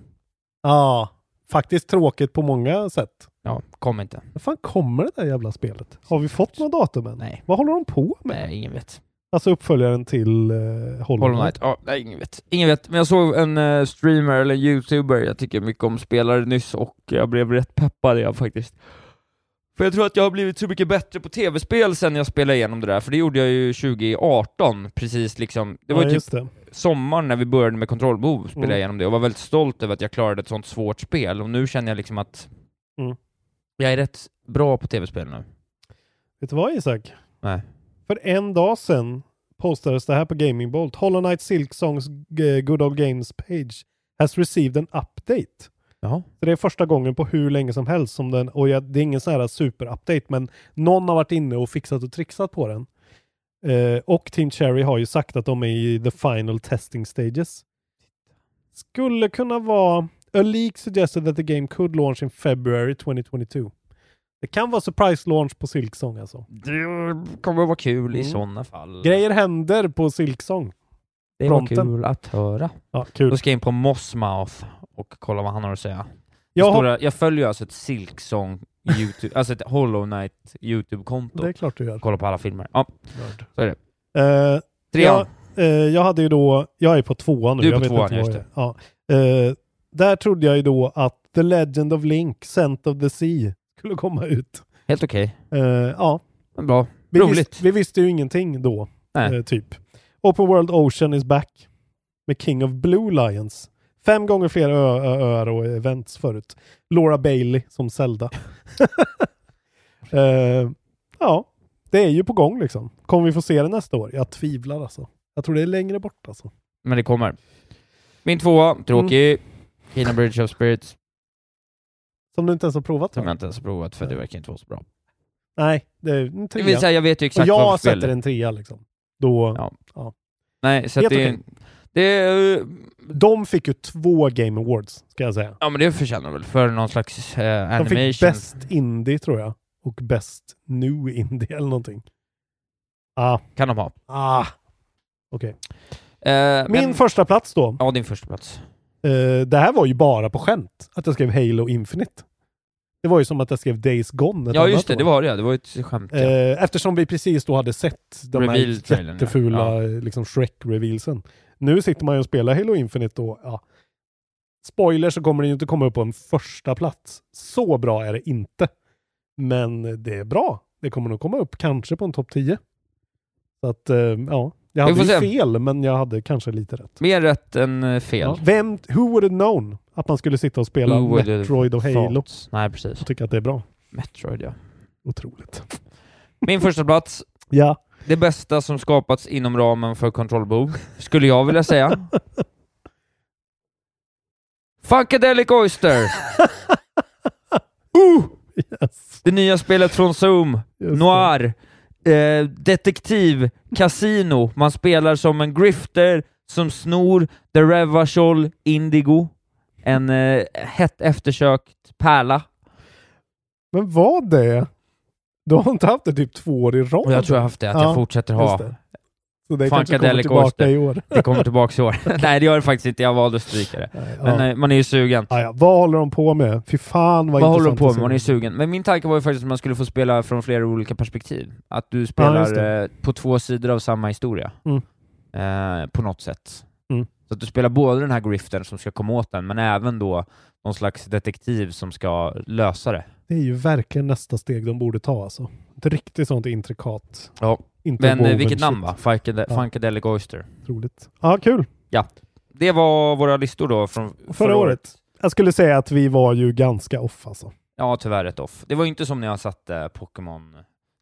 Speaker 2: Ja, faktiskt tråkigt på många sätt.
Speaker 4: Ja, kom inte.
Speaker 2: När fan kommer det där jävla spelet? Har vi fått något datum än?
Speaker 4: Nej.
Speaker 2: Vad håller de på med?
Speaker 4: Nej, ingen vet.
Speaker 2: Alltså uppföljaren till eh, Hollow
Speaker 4: Hollow Knight.
Speaker 2: Knight.
Speaker 4: Ja, nej, ingen vet. Ingen vet. Men jag såg en eh, streamer, eller youtuber, jag tycker mycket om spelare nyss och jag blev rätt peppad jag faktiskt. För jag tror att jag har blivit så mycket bättre på tv-spel sen jag spelade igenom det där, för det gjorde jag ju 2018, precis liksom. Det var
Speaker 2: ja,
Speaker 4: ju typ
Speaker 2: just det.
Speaker 4: sommaren när vi började med kontrollbehov spelade jag
Speaker 2: Mm.
Speaker 4: igenom det och var väldigt stolt över att jag klarade ett sånt svårt spel och nu känner jag liksom att
Speaker 2: Mm.
Speaker 4: jag är rätt bra på tv-spel nu.
Speaker 2: Vet du vad Isak?
Speaker 4: Nej.
Speaker 2: För en dag sedan postades det här på Gaming Bolt. Hollow Knight Silksongs eh, Good Old Games page has received an update.
Speaker 4: Jaha.
Speaker 2: Så det är första gången på hur länge som helst som den, och jag, det är ingen sån här superupdate, men någon har varit inne och fixat och trixat på den. Eh, och Team Cherry har ju sagt att de är i the final testing stages. Skulle kunna vara A leak suggested that the game could launch in February 2022. Det kan vara surprise launch på Silksong alltså.
Speaker 4: Det kommer att vara kul i
Speaker 2: Mm.
Speaker 4: sådana fall.
Speaker 2: Grejer händer på Silksong.
Speaker 4: det var
Speaker 2: fronten.
Speaker 4: kul att höra.
Speaker 2: Ja,
Speaker 4: Då
Speaker 2: kul.
Speaker 4: ska jag in på Mossmouth och kolla vad han har att säga. Det
Speaker 2: Jag har,
Speaker 4: stora, jag följer alltså ett Silksong YouTube, alltså ett Hollow Knight YouTube-konto.
Speaker 2: det är klart du gör.
Speaker 4: Och kollar på alla filmer. Ja,
Speaker 2: Nörd.
Speaker 4: så är det.
Speaker 2: Eh,
Speaker 4: Trean.
Speaker 2: Ja, eh, jag hade ju då, jag är på tvåan nu.
Speaker 4: Du är
Speaker 2: jag
Speaker 4: på tvåan,
Speaker 2: vad
Speaker 4: just
Speaker 2: jag är. Ja. Eh, där trodde jag ju då att The Legend of Link, Scent of the Sea, skulle komma ut.
Speaker 4: Helt okej.
Speaker 2: Eh, ja,
Speaker 4: Men bra.
Speaker 2: vi,
Speaker 4: Roligt.
Speaker 2: visst, vi visste ju ingenting då,
Speaker 4: Nej.
Speaker 2: eh, typ. Open World Ocean is back med King of Blue Lions. Fem gånger fler ö- ö- öar och events förut. Laura Bailey som Zelda. eh, ja, det är ju på gång liksom. Kommer vi få se det nästa år? Jag tvivlar alltså. Jag tror det är längre bort alltså.
Speaker 4: Men det kommer. Min tvåa, tråkig. Kina Bridge of Spirits,
Speaker 2: Som du inte ens har provat?
Speaker 4: som
Speaker 2: va?
Speaker 4: jag inte ens har provat för det verkar inte vara så bra.
Speaker 2: Nej, det är en trea.
Speaker 4: Det vill säga, jag vet ju exakt
Speaker 2: Och jag
Speaker 4: vad för spel
Speaker 2: sätter
Speaker 4: det är.
Speaker 2: en trea liksom. Då...
Speaker 4: Ja.
Speaker 2: ja.
Speaker 4: Nej, så att
Speaker 2: Helt
Speaker 4: det,
Speaker 2: okej.
Speaker 4: det är...
Speaker 2: De fick ju två Game Awards, ska jag säga.
Speaker 4: Ja men det förtjänar väl för någon slags eh,
Speaker 2: De
Speaker 4: animation.
Speaker 2: fick bäst indie, tror jag. Och bäst new indie eller någonting. Ah.
Speaker 4: Kan de ha.
Speaker 2: Ah. Okej.
Speaker 4: Eh,
Speaker 2: Min
Speaker 4: men-
Speaker 2: första plats då.
Speaker 4: Ja, din första plats.
Speaker 2: Eh, det här var ju bara på skämt, att jag skrev Halo Infinite. Det var ju som att jag skrev Days Gone ett
Speaker 4: Ja
Speaker 2: annat
Speaker 4: just det,
Speaker 2: år.
Speaker 4: det var det Det var ju ett skämt. ja.
Speaker 2: Eh, Eftersom vi precis då hade sett de här
Speaker 4: Reveal-trailern, ja.
Speaker 2: jättefula
Speaker 4: Ja.
Speaker 2: eh, liksom Shrek-revealsen. Nu sitter man ju och spelar Halo Infinite då. Ja. Spoiler så kommer den ju inte komma upp på en första plats. Så bra är det inte. Men det är bra. Det kommer nog komma upp kanske på en topp 10. Så att eh, ja, jag
Speaker 4: Vi
Speaker 2: hade ju
Speaker 4: får se.
Speaker 2: fel men jag hade kanske lite rätt.
Speaker 4: Mer rätt än eh, fel.
Speaker 2: Ja, vem, who would have known att man skulle sitta och spela
Speaker 4: Who would have
Speaker 2: Metroid och Halo?
Speaker 4: thought? Nej precis.
Speaker 2: Jag tycker att det är bra.
Speaker 4: Metroid ja.
Speaker 2: Otroligt.
Speaker 4: Min första plats
Speaker 2: Ja.
Speaker 4: det bästa som skapats inom ramen för kontrollbehov, skulle jag vilja säga. Funkadelic Oyster!
Speaker 2: uh!
Speaker 4: Det nya spelet från Zoom,
Speaker 2: Just
Speaker 4: Noir, eh, detektiv, kasino. Man spelar som en grifter som snor The Revachol Indigo, en eh, hett eftersökt pärla.
Speaker 2: Men vad det? Du har inte haft det typ två år i rad?
Speaker 4: Och jag tror jag har haft det, att jag fortsätter ha.
Speaker 2: just det. Så det kanske kommer
Speaker 4: Funkadelic
Speaker 2: tillbaka
Speaker 4: Oyster.
Speaker 2: i år.
Speaker 4: Det kommer tillbaka i år. Nej, det gör det faktiskt inte. Jag valde att stryka det. Men
Speaker 2: ja.
Speaker 4: eh, man är ju sugen.
Speaker 2: Ja, ja. Vad håller de på med? Fy fan vad,
Speaker 4: Vad håller de på
Speaker 2: intressant
Speaker 4: med? Man är
Speaker 2: att se.
Speaker 4: sugen. Men min tanke var ju faktiskt att man skulle få spela från flera olika perspektiv. Att du
Speaker 2: Ja,
Speaker 4: spelar
Speaker 2: just det.
Speaker 4: eh, på två sidor av samma historia.
Speaker 2: Mm.
Speaker 4: Eh, på något sätt.
Speaker 2: Mm.
Speaker 4: Så att du spelar både den här griften som ska komma åt den, men även då någon slags detektiv som ska lösa det.
Speaker 2: Det är ju verkligen nästa steg de borde ta alltså. Ett riktigt sånt intrikat.
Speaker 4: Ja.
Speaker 2: Inte
Speaker 4: Men eh,
Speaker 2: woven
Speaker 4: vilket namn
Speaker 2: shit.
Speaker 4: va? Funkade-
Speaker 2: Ja.
Speaker 4: Funkadelic Oyster.
Speaker 2: Roligt. Ja, kul.
Speaker 4: Det var våra listor då från
Speaker 2: Förra, året. Jag skulle säga att vi var ju ganska off alltså.
Speaker 4: Ja, tyvärr ett off. Det var ju inte som när jag satte eh, Pokémon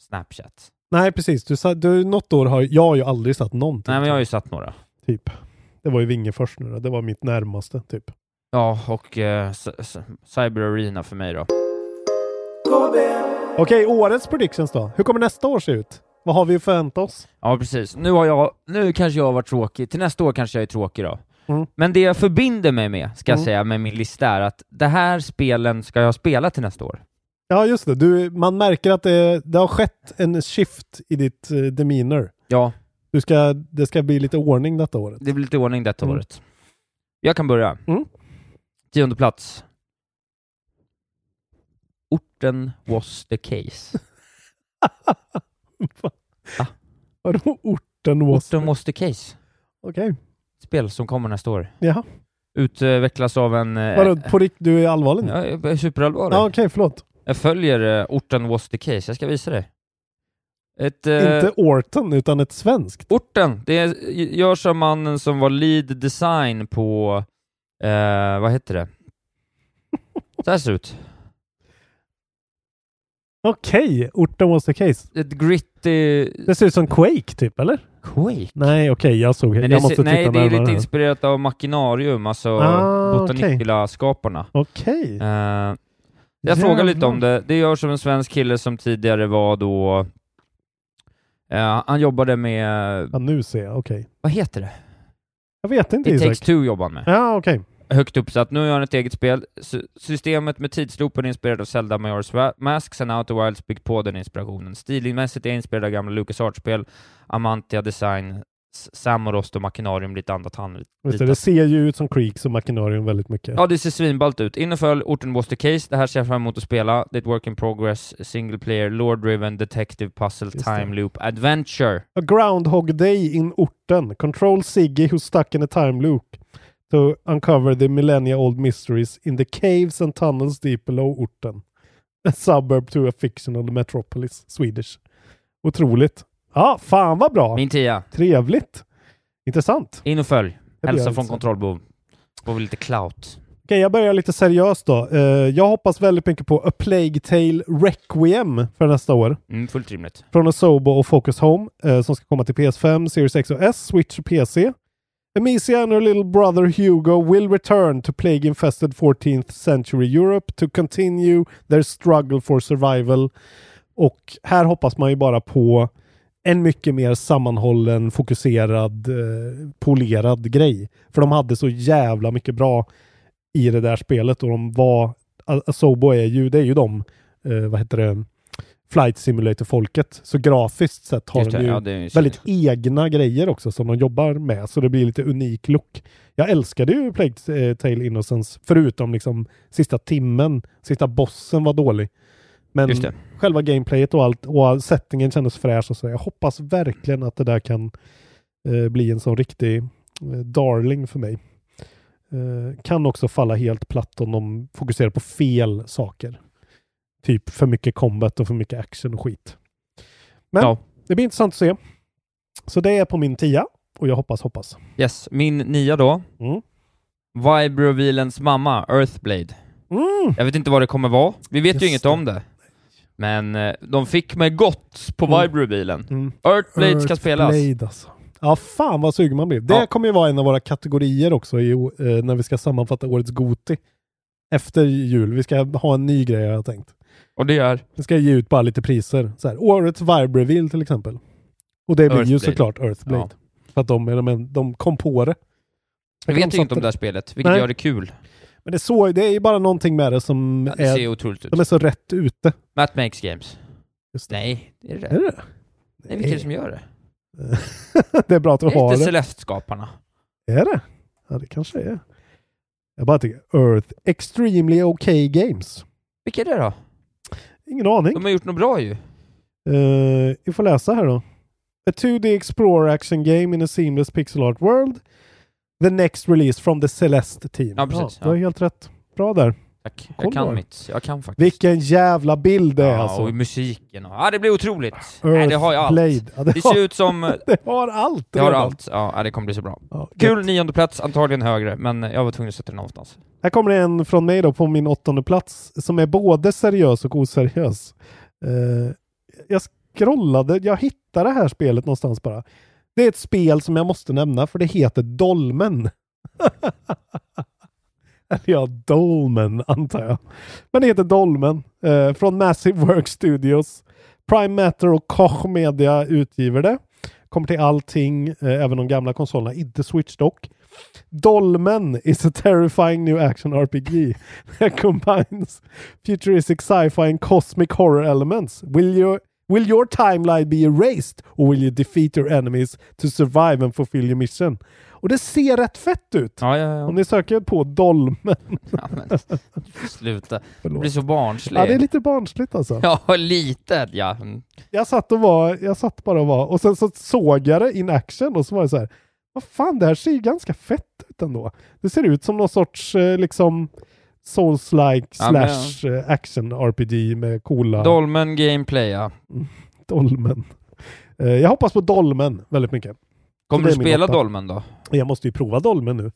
Speaker 4: Snapchat.
Speaker 2: Nej, precis. Du, sa, du, något år har jag har ju aldrig satt någonting.
Speaker 4: Nej, men jag har ju satt några.
Speaker 2: Typ. Det var ju Vinge först nu då. Det var mitt närmaste typ.
Speaker 4: Ja, och eh, c- c- Cyber Arena för mig då.
Speaker 2: Okej, årets predictions då. Hur kommer nästa år se ut? Vad har vi att förvänta oss?
Speaker 4: Ja, precis. Nu, har jag, nu kanske jag har varit tråkig, till nästa år kanske jag är tråkig då.
Speaker 2: Mm.
Speaker 4: Men det jag förbinder mig med, ska jag
Speaker 2: Mm.
Speaker 4: säga, med min lista är att det här spelen ska jag spela till nästa år.
Speaker 2: Ja, just det. Du, man märker att det, det har skett en shift i ditt eh, demeanor.
Speaker 4: Ja,
Speaker 2: Du ska, det ska bli lite ordning detta året.
Speaker 4: det blir lite ordning detta
Speaker 2: Mm.
Speaker 4: året. Jag kan börja.
Speaker 2: Mm.
Speaker 4: Tionde plats. Orten was the case.
Speaker 2: Ah. Vadå orten was?
Speaker 4: Orten was the case.
Speaker 2: Okej.
Speaker 4: Spel som kommer nästa år.
Speaker 2: Jaha.
Speaker 4: Utvecklas av en... eh,
Speaker 2: Vadå, på rikt- du är allvarlig nu?
Speaker 4: Ja, jag är superallvarlig.
Speaker 2: Ja, okej, förlåt.
Speaker 4: Jag följer eh, orten was the case. Jag ska visa dig. Ett, eh,
Speaker 2: Inte Orton, utan ett svenskt.
Speaker 4: Orten, det är- görs av mannen som var lead design på, eh, vad heter det? Så här ser det ut.
Speaker 2: Okej, orten was the case.
Speaker 4: Ett gritty
Speaker 2: Det ser ut som Quake typ, eller?
Speaker 4: Quake.
Speaker 2: Nej, okej, jag såg
Speaker 4: Nej,
Speaker 2: Jag
Speaker 4: det,
Speaker 2: måste
Speaker 4: ser-
Speaker 2: titta
Speaker 4: nej, det är
Speaker 2: närmare
Speaker 4: lite
Speaker 2: här.
Speaker 4: inspirerat av Machinarium, alltså
Speaker 2: Ah, okej.
Speaker 4: Botanicula-skaparna.
Speaker 2: Okej.
Speaker 4: Eh, jag frågar lite om
Speaker 2: Jävlar.
Speaker 4: det. Det görs av en svensk kille som tidigare var då... eh, han jobbade med...
Speaker 2: Ja, nu ser jag. Okej.
Speaker 4: Vad heter det?
Speaker 2: Jag vet inte,
Speaker 4: It takes
Speaker 2: Isak.
Speaker 4: two jobbar han med.
Speaker 2: Ja, okej.
Speaker 4: högt uppsatt. Nu gör han ett eget spel. Sy- systemet med tidsloopen är inspirerad av Zelda Majora's Wa- Mask, sen Outer Wilds byggt på den inspirationen. Stilmässigt är jag inspirerad av gamla Lucas spel Amantia Design, S- Samorost och Machinarium, lite annat handligt.
Speaker 2: Visst, det ser ju ut som Creeks och Machinarium väldigt mycket.
Speaker 4: Ja, det ser svinballt ut. Inneföll orten was the case. Det här ser jag fram emot att spela. Det är ett work in progress, single player, lore-driven, detective puzzle,
Speaker 2: Just
Speaker 4: time
Speaker 2: det.
Speaker 4: loop, adventure.
Speaker 2: A Groundhog Day in orten. Control Siggy who's stuck in a time loop to uncover the millennia-old mysteries in the caves and tunnels deep below orten. A suburb to a fictional metropolis, Swedish. Otroligt. Ja, fan vad bra.
Speaker 4: Min tia.
Speaker 2: Trevligt. Intressant.
Speaker 4: In och följ.
Speaker 2: Det blir
Speaker 4: Hälsa
Speaker 2: jag
Speaker 4: från
Speaker 2: inte.
Speaker 4: kontrollbehov. Får vi lite clout.
Speaker 2: Okej, jag börjar lite seriöst då. Eh, jag hoppas väldigt mycket på A Plague Tale Requiem för nästa år.
Speaker 4: Mm, fullt rimligt.
Speaker 2: Från Asobo och Focus Home eh, som ska komma till PS5, Series X och S, Switch och PC. Amicia and her little brother Hugo will return to plague-infested 14th century Europe to continue their struggle for survival Och här hoppas man ju bara på en mycket mer sammanhållen, fokuserad, eh, polerad grej. För de hade så jävla mycket bra i det där spelet och de var... Asobo är ju, det är ju de, eh, vad heter det, Flight Simulator-folket. Så grafiskt sett har
Speaker 4: Just
Speaker 2: de
Speaker 4: det,
Speaker 2: ju
Speaker 4: ja, det är ju
Speaker 2: väldigt egna grejer också som de jobbar med. Så det blir lite unik look. Jag älskade ju Plague eh, Tale Innocence, förutom liksom sista timmen, sista bossen var dålig. Men
Speaker 4: Just det.
Speaker 2: själva gameplayet och allt och all settingen kändes fräsch och så. Jag hoppas verkligen att det där kan eh, bli en sån riktig eh, darling för mig. Eh, kan också falla helt platt om de fokuserar på fel saker. Typ för mycket combat och för mycket action och skit. Men det blir intressant att se. Så det är på min tia och jag hoppas, hoppas.
Speaker 4: Yes, min nia då.
Speaker 2: Mm.
Speaker 4: Vibrovilens mamma, Earthblade.
Speaker 2: Mm.
Speaker 4: Jag vet inte vad det kommer vara. Vi vet ju
Speaker 2: Just
Speaker 4: inget
Speaker 2: det.
Speaker 4: om det. Men eh, de fick mig gott på
Speaker 2: Mm.
Speaker 4: Vibrovilen.
Speaker 2: Mm.
Speaker 4: Earthblade ska spelas.
Speaker 2: Blade, alltså. Ja, fan vad sugen man blir. Det
Speaker 4: Ja.
Speaker 2: kommer ju vara en av våra kategorier också i, o- eh, när vi ska sammanfatta årets Goti. Efter jul. Vi ska ha en ny grej har jag tänkt.
Speaker 4: Och det är?
Speaker 2: Vi ska ge ut bara lite priser. Så här, årets Vibe Reveal till exempel. Och det blir ju
Speaker 4: Earthblade.
Speaker 2: såklart Earthblade. För att de, är de, en- de kom på det.
Speaker 4: Vi
Speaker 2: Tänk om
Speaker 4: vet
Speaker 2: de
Speaker 4: inget
Speaker 2: satte
Speaker 4: om det här spelet, vilket
Speaker 2: Nej.
Speaker 4: gör det kul.
Speaker 2: Men det är, så, det är ju bara någonting med det som
Speaker 4: det ser ju
Speaker 2: är...
Speaker 4: otroligt ut.
Speaker 2: De är så rätt ute.
Speaker 4: Matt Makes Games.
Speaker 2: Just
Speaker 4: Nej, det är det.
Speaker 2: Är det det?
Speaker 4: Nej, vilka är det som gör det?
Speaker 2: det är bra att
Speaker 4: Det
Speaker 2: du har
Speaker 4: är inte
Speaker 2: det.
Speaker 4: Celeste-skaparna.
Speaker 2: Är det? Ja, det kanske är. Jag bara tycker Earth Extremely Okay Games.
Speaker 4: Vilka är det då?
Speaker 2: Ingen aning.
Speaker 4: De har gjort något bra ju.
Speaker 2: Eh, vi får läsa här då. A 2D Explorer Action Game in a Seamless Pixel Art World. The next release from the Celeste Team.
Speaker 4: Ja, precis,
Speaker 2: Du har
Speaker 4: ja.
Speaker 2: helt rätt. Bra där.
Speaker 4: Tack.
Speaker 2: Kolla
Speaker 4: Jag kan
Speaker 2: där.
Speaker 4: mitt. Jag kan faktiskt.
Speaker 2: Vilken jävla bild det är
Speaker 4: Ja,
Speaker 2: alltså.
Speaker 4: och musiken och... Ja, det blir otroligt. Nej, det har jag allt.
Speaker 2: Earthblade. Ja, det
Speaker 4: det, ser
Speaker 2: har-
Speaker 4: ut som...
Speaker 2: det har allt.
Speaker 4: Det har
Speaker 2: redan.
Speaker 4: allt. Ja, ja, det kommer bli så bra.
Speaker 2: gött.
Speaker 4: Kul nionde plats, antagligen högre, men jag var tvungen att sätta den någonstans.
Speaker 2: Här kommer det en från mig då på min åttonde plats som är både seriös och oseriös. Eh, jag scrollade, jag hittade det här spelet någonstans bara. Det är ett spel som jag måste nämna för det heter Dolmen. Eller ja, Dolmen antar jag. Men det heter Dolmen eh, från Massive Work Studios. Prime Matter och Koch Media utgiver det. Kommer till allting, eh, även de gamla konsolerna, inte Switch dock. Dolmen is a terrifying new action RPG that combines futuristic sci-fi and cosmic horror elements. Will your, will your timeline be erased or will you defeat your enemies to survive and fulfill your mission? Och det ser rätt fett ut.
Speaker 4: Ja, ja, ja.
Speaker 2: Om ni söker på Dolmen.
Speaker 4: Sluta. Det
Speaker 2: Förlåt.
Speaker 4: blir så barnsligt.
Speaker 2: Ja, det är lite barnsligt alltså.
Speaker 4: Ja, lite. Ja. Mm.
Speaker 2: Jag satt och var, jag satt bara och var, och sen så såg jag det in action och så var det så här, vad fan det här ser ju ganska fett ut ändå. Det ser ut som någon sorts eh, liksom Souls-like
Speaker 4: Ja, men-
Speaker 2: slash eh, action RPG med coola
Speaker 4: Dolmen gameplay, ja.
Speaker 2: dolmen. Eh, jag hoppas på dolmen väldigt mycket.
Speaker 4: Kommer
Speaker 2: det
Speaker 4: du
Speaker 2: är min
Speaker 4: spela
Speaker 2: åtta.
Speaker 4: Dolmen då?
Speaker 2: Jag måste ju prova dolmen nu.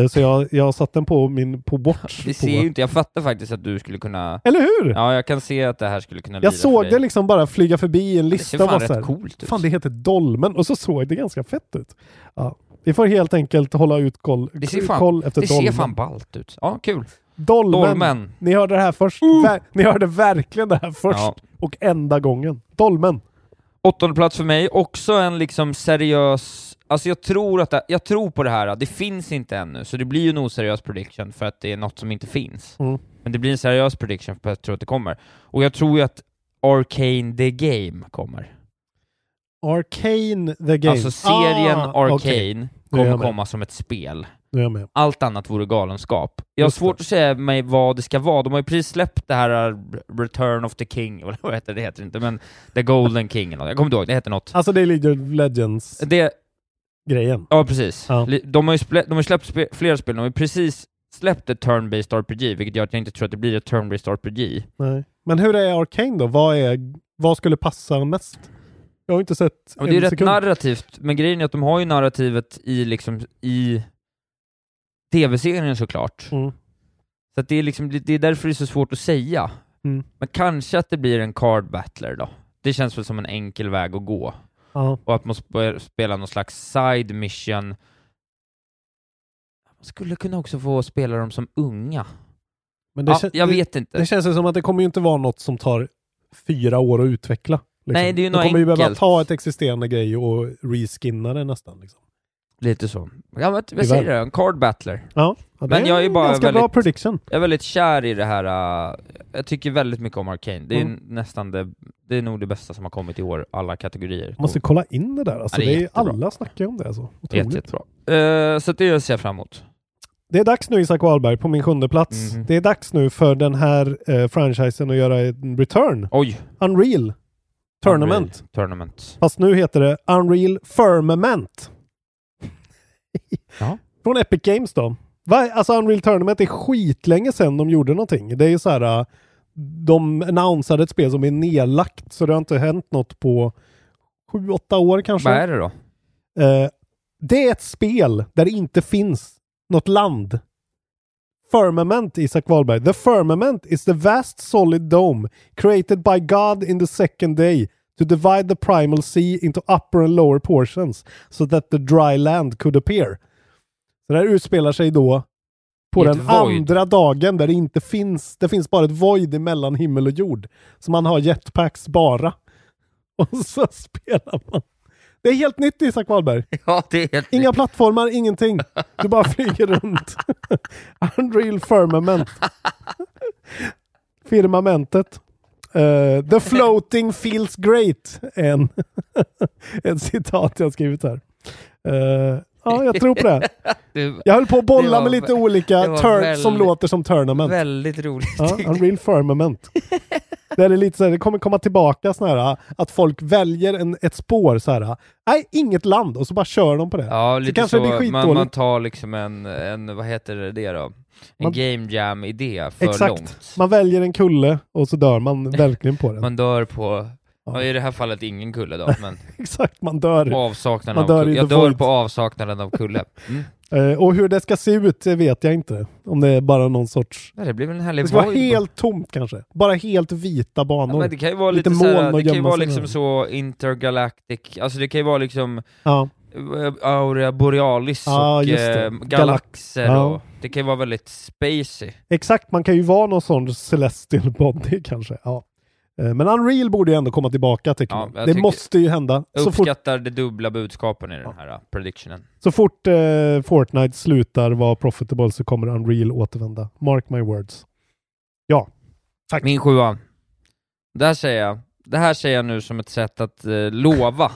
Speaker 2: Eh, så jag, jag har satt den på min på watch.
Speaker 4: Det
Speaker 2: på,
Speaker 4: ser ju inte, jag fattar faktiskt att du skulle kunna...
Speaker 2: Eller hur?
Speaker 4: Ja, jag kan se att det här skulle kunna lira
Speaker 2: Jag
Speaker 4: för
Speaker 2: såg
Speaker 4: dig.
Speaker 2: det liksom bara flyga förbi i en lista.
Speaker 4: ser fan
Speaker 2: och var
Speaker 4: rätt
Speaker 2: så här,
Speaker 4: coolt ut.
Speaker 2: Typ. Fan, det heter Dolmen. Och så såg det ganska fett ut. Ja. Vi får helt enkelt hålla ut koll,
Speaker 4: Det ser fan,
Speaker 2: koll efter
Speaker 4: det
Speaker 2: Dolmen.
Speaker 4: ser fan ballt ut. Ja, kul.
Speaker 2: dolmen.
Speaker 4: Dolmen. Uh!
Speaker 2: Ni hörde det här först. Ver- Ni hörde verkligen det här först.
Speaker 4: Ja.
Speaker 2: Och enda gången. Dolmen.
Speaker 4: Åttonde plats för mig, också en liksom seriös... Alltså jag tror, att det, jag tror på det här, det finns inte ännu, så det blir ju en oseriös prediction för att det är något som inte finns.
Speaker 2: Mm.
Speaker 4: Men det blir en seriös prediction för att jag tror att det kommer. Och jag tror ju att Arcane the Game kommer.
Speaker 2: Arcane the Game.
Speaker 4: Alltså serien
Speaker 2: Ah,
Speaker 4: Arcane
Speaker 2: okej. Nu är
Speaker 4: kommer
Speaker 2: jag med.
Speaker 4: komma som ett spel.
Speaker 2: Nu är jag med.
Speaker 4: Allt annat vore galenskap. Jag har
Speaker 2: Just
Speaker 4: svårt att säga mig vad det ska vara. De har ju precis släppt det här uh, Return of the King, eller vad heter det? Det heter inte, men The Golden King eller något. Jag kommer inte ihåg, det heter något.
Speaker 2: Alltså det är League of Legends-grejen.
Speaker 4: Det, ja, precis.
Speaker 2: Ja.
Speaker 4: Li- De har ju splä- de har ju släppt spe, flera spel, de har ju precis släppt ett Turn-Based RPG, vilket gör att jag inte tror att det blir ett Turn-Based RPG.
Speaker 2: Nej. Men hur är Arcane då? Vad, är, vad skulle passa mest? Jag har inte sett
Speaker 4: Ja, men det är ju
Speaker 2: en
Speaker 4: rätt
Speaker 2: sekund.
Speaker 4: narrativt, men grejen är att de har ju narrativet i, liksom, i tv-serien såklart.
Speaker 2: Mm.
Speaker 4: Så att det, är liksom, det- det är därför det är så svårt att säga.
Speaker 2: Mm.
Speaker 4: Men kanske att det blir en card battler då. Det känns väl som en enkel väg att gå.
Speaker 2: Ja.
Speaker 4: Och att man sp- spelar någon slags side mission. Man skulle kunna också få spela dem som unga.
Speaker 2: Men det
Speaker 4: Ja,
Speaker 2: kän-
Speaker 4: jag
Speaker 2: det-
Speaker 4: vet inte.
Speaker 2: Det känns ju som att det kommer ju inte vara något som tar fyra år att utveckla. Liksom.
Speaker 4: Nej, det är ju
Speaker 2: De
Speaker 4: något
Speaker 2: kommer ju behöva
Speaker 4: enkelt.
Speaker 2: ta ett existerande grej och reskinna det nästan. Liksom.
Speaker 4: Lite så. Ja, men jag säger det, en card battler.
Speaker 2: Ja, ja, det
Speaker 4: Men jag är bara
Speaker 2: ganska bra
Speaker 4: väldigt-
Speaker 2: prediction.
Speaker 4: Jag är väldigt kär i det här, äh, jag tycker väldigt mycket om Arcane. Det är
Speaker 2: Mm.
Speaker 4: nästan det, det är nog det bästa som har kommit i år, alla kategorier.
Speaker 2: Måste kolla in det där. Alltså,
Speaker 4: Oh. Ja, det
Speaker 2: det
Speaker 4: är
Speaker 2: är
Speaker 4: jättebra.
Speaker 2: alla snackar ju om det. Alltså.
Speaker 4: Jätte,
Speaker 2: Otroligt.
Speaker 4: jättebra. Eh, så det ser jag fram emot.
Speaker 2: Det är dags nu Isak Wahlberg på min sjunde plats.
Speaker 4: Mhm.
Speaker 2: Det är dags nu för den här eh, franchisen att göra en return.
Speaker 4: Oj!
Speaker 2: Unreal Tournament.
Speaker 4: Unreal Tournament.
Speaker 2: Fast nu heter det Unreal Firmament.
Speaker 4: Ja.
Speaker 2: Från Epic Games då. Va? Alltså Unreal Tournament är skitlänge sedan de gjorde någonting. Det är ju så här, äh, de annonsade ett spel som är nedlagt så det har inte hänt något på sju, åtta år kanske.
Speaker 4: Vad är det då?
Speaker 2: Eh, det är ett spel där det inte finns något land. Firmament, Isak Wahlberg. The firmament is the vast solid dome created by God in the second day to divide the primal sea into upper and lower portions so that the dry land could appear. Så det här utspelar sig då på
Speaker 4: I ett
Speaker 2: den
Speaker 4: void.
Speaker 2: andra dagen där det inte finns, det finns bara ett void mellan himmel och jord. Så man har jetpacks bara. Och så spelar man. Det är helt nytt Isak Wahlberg.
Speaker 4: Ja, det är helt
Speaker 2: Inga plattformar, ingenting. Du bara flyger runt. Unreal firmament. Firmamentet. Eh, the floating feels great. En, en citat jag har skrivit här. Eh, ja, jag tror på det.
Speaker 4: Det-
Speaker 2: Jag höll på att bolla
Speaker 4: det var
Speaker 2: med lite
Speaker 4: vä-
Speaker 2: olika
Speaker 4: det var
Speaker 2: turn
Speaker 4: väldigt-
Speaker 2: som låter som tournament.
Speaker 4: Väldigt roligt.
Speaker 2: Ja, Unreal Firmament. Där det, är lite så här, det kommer komma tillbaka sån här, att folk väljer en, ett spår så här. Nej, inget land och så bara kör de på det.
Speaker 4: Ja,
Speaker 2: så
Speaker 4: lite
Speaker 2: kanske det blir
Speaker 4: så. Man, man
Speaker 2: skitdåligt.
Speaker 4: tar liksom en, en, vad heter det då? En
Speaker 2: Man-
Speaker 4: game jam-idé för
Speaker 2: Exakt.
Speaker 4: långt.
Speaker 2: Man väljer en kulle och så dör man verkligen på den.
Speaker 4: Man dör på, ja. i det här fallet ingen kulle då, men
Speaker 2: Exakt, man dör.
Speaker 4: på avsaknaden
Speaker 2: Man
Speaker 4: av
Speaker 2: dör
Speaker 4: kulle.
Speaker 2: i the
Speaker 4: Jag dör
Speaker 2: void.
Speaker 4: på avsaknaden av kulle. Mm.
Speaker 2: Eh, och hur det ska se ut det vet jag inte. Om det är bara någon sorts...
Speaker 4: Ja, det blir väl en
Speaker 2: Det
Speaker 4: härlig
Speaker 2: ska vara
Speaker 4: void då.
Speaker 2: helt tomt kanske. Bara helt vita
Speaker 4: Ja,
Speaker 2: banor.
Speaker 4: men det kan ju vara
Speaker 2: Lite
Speaker 4: lite, såhär,
Speaker 2: moln och
Speaker 4: det kan ju
Speaker 2: gömma
Speaker 4: vara
Speaker 2: sig
Speaker 4: liksom
Speaker 2: där.
Speaker 4: så intergalactic, alltså det kan ju vara liksom
Speaker 2: Ja.
Speaker 4: eh, Aurora Borealis
Speaker 2: Ja,
Speaker 4: och
Speaker 2: just det.
Speaker 4: eh, galaxer
Speaker 2: Galax. Ja.
Speaker 4: och, det kan ju vara väldigt spacey.
Speaker 2: Exakt, man kan ju vara någon sån celestial body kanske. Ja. Eh, Men Unreal borde ju ändå komma tillbaka tycker
Speaker 4: Ja,
Speaker 2: man.
Speaker 4: jag
Speaker 2: Det
Speaker 4: tycker-
Speaker 2: måste ju hända.
Speaker 4: Jag
Speaker 2: Så fort,
Speaker 4: uppskattar de dubbla budskapen i den här eh, predictionen.
Speaker 2: så fort eh, Fortnite slutar vara profitable så kommer Unreal återvända. Mark my words. Ja, tack.
Speaker 4: Min sjua. Det här säger jag, det här säger jag nu som ett sätt att eh, lova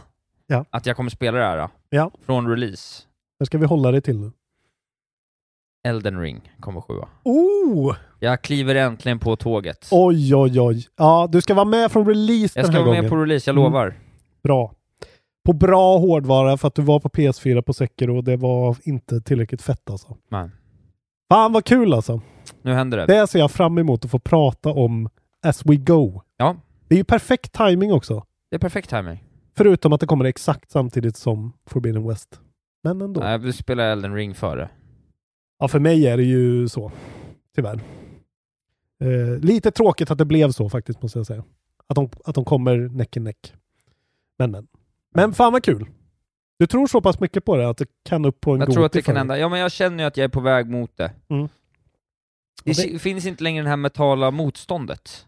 Speaker 2: Ja.
Speaker 4: att jag kommer spela det här eh,
Speaker 2: Ja.
Speaker 4: från release.
Speaker 2: Där ska vi hålla det till nu.
Speaker 4: Elden ring kommer sjua.
Speaker 2: Oh!
Speaker 4: Jag kliver äntligen på tåget.
Speaker 2: Oj, oj, oj. Ja, du ska vara med från release
Speaker 4: jag
Speaker 2: den
Speaker 4: ska vara
Speaker 2: här gången.
Speaker 4: med på release, jag
Speaker 2: Mm.
Speaker 4: lovar.
Speaker 2: Bra. På bra hårdvara för att du var på PS4 på Secure och det var inte tillräckligt fett alltså.
Speaker 4: Nej.
Speaker 2: Fan vad kul alltså.
Speaker 4: Nu händer det.
Speaker 2: Det ser jag fram emot att få prata om as we go.
Speaker 4: Ja.
Speaker 2: Det är ju perfekt timing också.
Speaker 4: Det är perfekt timing.
Speaker 2: Förutom att det kommer exakt samtidigt som Forbidden West. Men ändå.
Speaker 4: Nej, vi spelar Elden ring före.
Speaker 2: Ja, för mig är det ju så. Tyvärr. Eh, lite tråkigt att det blev så faktiskt, måste jag säga. Att de, att de kommer näck i näck. Men, men. Men fan vad kul. Du tror så pass mycket på det att det kan upp på en
Speaker 4: Jag tror att
Speaker 2: Goti
Speaker 4: det kan
Speaker 2: för
Speaker 4: hända. Ja, men jag känner ju att jag är på väg mot det.
Speaker 2: Mm.
Speaker 4: Det
Speaker 2: Och
Speaker 4: si- finns inte längre det här mentala motståndet.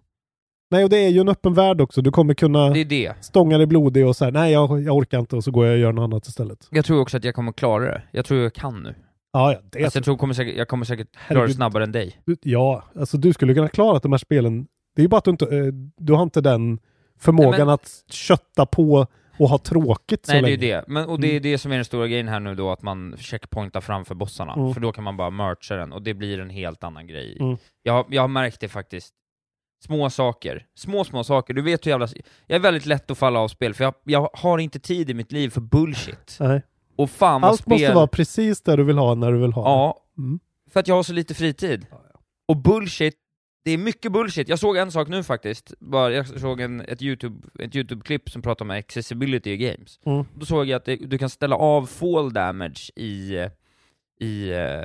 Speaker 2: Nej, och det är ju en öppen värld också. Du kommer kunna
Speaker 4: Det är det.
Speaker 2: stånga dig blodig och så här, nej jag, jag orkar inte och så går jag och gör något annat istället.
Speaker 4: Jag tror också att jag kommer klara det. Jag tror jag kan nu.
Speaker 2: Ja, ja. Det,
Speaker 4: Alltså, jag tror jag kommer säkert, jag kommer säkert klara det
Speaker 2: Herregud.
Speaker 4: snabbare än dig.
Speaker 2: du, ja, alltså du skulle kunna klara att de här spelen, det är ju bara att du inte, eh, du har inte den förmågan
Speaker 4: Nej, men-
Speaker 2: att kötta på och ha tråkigt så
Speaker 4: Nej, det är
Speaker 2: länge. Mm.
Speaker 4: ju det. Men, och det är det som är den stora grejen här nu då, att man checkpointar framför bossarna.
Speaker 2: Mm.
Speaker 4: För då kan man bara mercha den, och det blir en helt annan grej.
Speaker 2: Mm.
Speaker 4: Jag, har- jag har märkt det faktiskt. Små saker. Små, små saker. Du vet hur jävla... Jag är väldigt lätt att falla av spel, för jag, jag har inte tid i mitt liv för bullshit.
Speaker 2: Nej.
Speaker 4: Och fan vad
Speaker 2: Allt
Speaker 4: spel...
Speaker 2: måste vara precis där du vill ha när du vill ha
Speaker 4: Ja,
Speaker 2: det. Mm.
Speaker 4: för att jag har så lite fritid. Och bullshit, det är mycket bullshit. Jag såg en sak nu faktiskt, bara, jag såg en, ett, YouTube, ett YouTube-klipp som pratade om accessibility i games.
Speaker 2: Mm.
Speaker 4: Då såg jag att det, du kan ställa av fall damage i, i uh,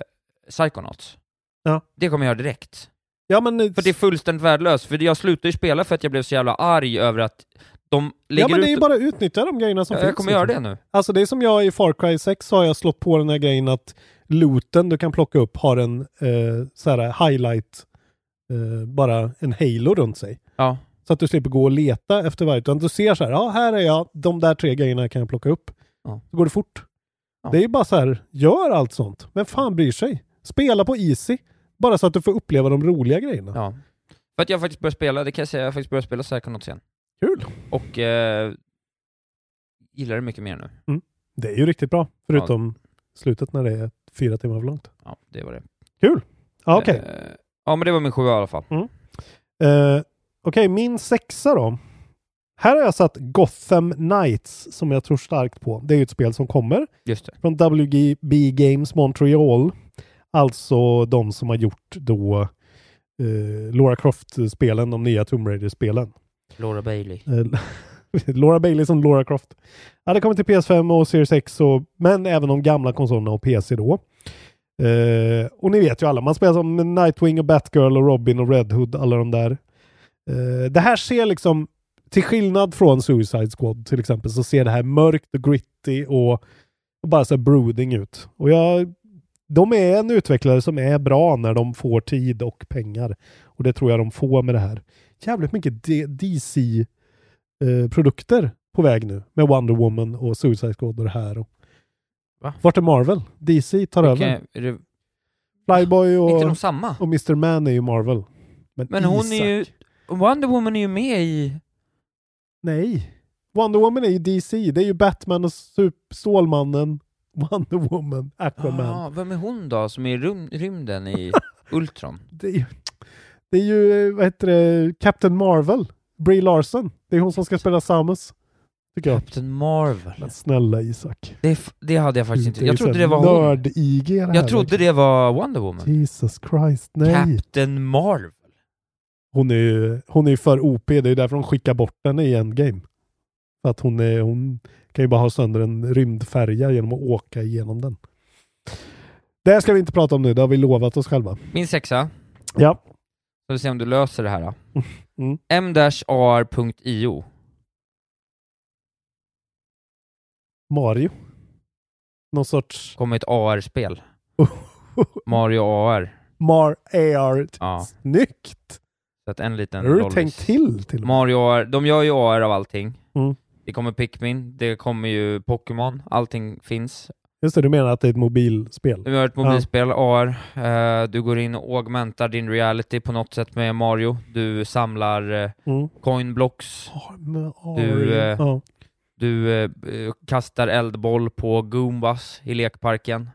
Speaker 4: Psychonauts.
Speaker 2: Ja.
Speaker 4: Det kommer jag göra direkt.
Speaker 2: Ja, men, eh,
Speaker 4: För det är fullständigt värdelöst, för jag slutade ju spela för att jag blev så jävla arg över att de lägger
Speaker 2: ja, men
Speaker 4: ut...
Speaker 2: det är ju bara att utnyttja de grejerna som
Speaker 4: Ja,
Speaker 2: finns.
Speaker 4: jag kommer göra det
Speaker 2: liksom.
Speaker 4: nu.
Speaker 2: Alltså det är som jag i Far Cry 6 har jag slått på den här grejen att looten du kan plocka upp har en eh, så här highlight, eh, bara en halo runt sig.
Speaker 4: Ja.
Speaker 2: Så att du slipper gå och leta efter varje. Utan du ser så här, ja här är jag, de där tre grejerna kan jag plocka upp.
Speaker 4: Ja.
Speaker 2: Så går det fort.
Speaker 4: Ja.
Speaker 2: Det är ju bara så här, gör allt sånt. Vem fan bryr sig? Spela på Easy. Bara så att du får uppleva de roliga grejerna.
Speaker 4: Ja. För att jag faktiskt började spela, det kan jag säga, jag har faktiskt börjat spela Psychonauts igen.
Speaker 2: Kul!
Speaker 4: Och eh, gillar det mycket mer nu.
Speaker 2: Det är ju riktigt bra. Förutom slutet när det är fyra timmar för långt.
Speaker 4: Ja, det var det.
Speaker 2: Kul! Ja, Okej,
Speaker 4: Eh, ja, men det var min sjua i alla fall.
Speaker 2: Eh, okej, min sexa då. Här har jag satt Gotham Knights som jag tror starkt på. Det är ju ett spel som kommer
Speaker 4: Just det.
Speaker 2: från WGB Games Montreal. Alltså de som har gjort då eh, Laura Croft-spelen, de nya Tomb Raider-spelen.
Speaker 4: Laura Bailey.
Speaker 2: Eh, Laura Bailey som Laura Croft. Ja, det kommer till PS5 och Series X, och, men även de gamla konsolerna och PC då. Eh, och ni vet ju alla, man spelar som Nightwing och Batgirl och Robin och Red Hood, alla de där. Eh, det här ser liksom, till skillnad från Suicide Squad till exempel, så ser det här mörkt och gritty och, och bara så här brooding ut. Och jag, de är en utvecklare som är bra när de får tid och pengar. Och det tror jag de får med det här. Jävligt mycket D- DC eh, produkter på väg nu med Wonder Woman och Suicide Squad och det här. Och...
Speaker 4: Va?
Speaker 2: Vart är Marvel? DC tar över.
Speaker 4: Okej, är det,
Speaker 2: Flyboy
Speaker 4: inte de
Speaker 2: och,
Speaker 4: samma?
Speaker 2: och Mr. Man är ju Marvel. Men,
Speaker 4: Men hon
Speaker 2: Isak-
Speaker 4: är ju... Wonder Woman är ju med i...
Speaker 2: Nej. Wonder Woman är ju DC. Det är ju Batman och Sup- Stålmannen, Wonder Woman, Aquaman.
Speaker 4: Ah, vem är hon då, som är i rym- rymden i Ultron?
Speaker 2: Det, är ju, det är ju, eh, vad heter det, Captain Marvel, Brie Larson. Det är hon som ska spela Samus. Tycker jag.
Speaker 4: Captain Marvel.
Speaker 2: Men snälla Isak.
Speaker 4: Det, f- det hade jag faktiskt inte...
Speaker 2: är
Speaker 4: Jag
Speaker 2: ju så
Speaker 4: trodde
Speaker 2: här
Speaker 4: det var hon.
Speaker 2: Nörd-IG det här. liksom.
Speaker 4: Jag trodde det var Wonder Woman.
Speaker 2: Jesus Christ, nej.
Speaker 4: Captain Marvel.
Speaker 2: Hon är ju hon är ju för OP, det är ju därför de skickar bort henne i Endgame. För att hon, är, hon kan ju bara ha sönder en rymdfärja genom att åka igenom den. Det här ska vi inte prata om nu, det har vi lovat oss själva.
Speaker 4: Min sexa.
Speaker 2: Ja.
Speaker 4: Ska vi se om du löser det här då.
Speaker 2: Mm.
Speaker 4: m-ar.io
Speaker 2: Mario. Någon sorts
Speaker 4: kommer ett AR-spel. Mario AR.
Speaker 2: Mar AR.
Speaker 4: Ja,
Speaker 2: Snyggt!
Speaker 4: så att en liten
Speaker 2: Har du
Speaker 4: lollis.
Speaker 2: tänkt till? till och med?
Speaker 4: Mario AR, de gör ju AR av allting.
Speaker 2: Mm.
Speaker 4: Det kommer Pikmin, det kommer ju Pokémon, allting finns.
Speaker 2: Just det, du menar att det är ett mobilspel?
Speaker 4: De gör ett mobilspel, AR. Eh, du går in och augmentar din reality på något sätt med Mario. Du samlar eh,
Speaker 2: Mm.
Speaker 4: coinblocks.
Speaker 2: Ar- med AR.
Speaker 4: Du, eh,
Speaker 2: ja.
Speaker 4: Du eh, eh, kastar eldboll på Goombas i lekparken.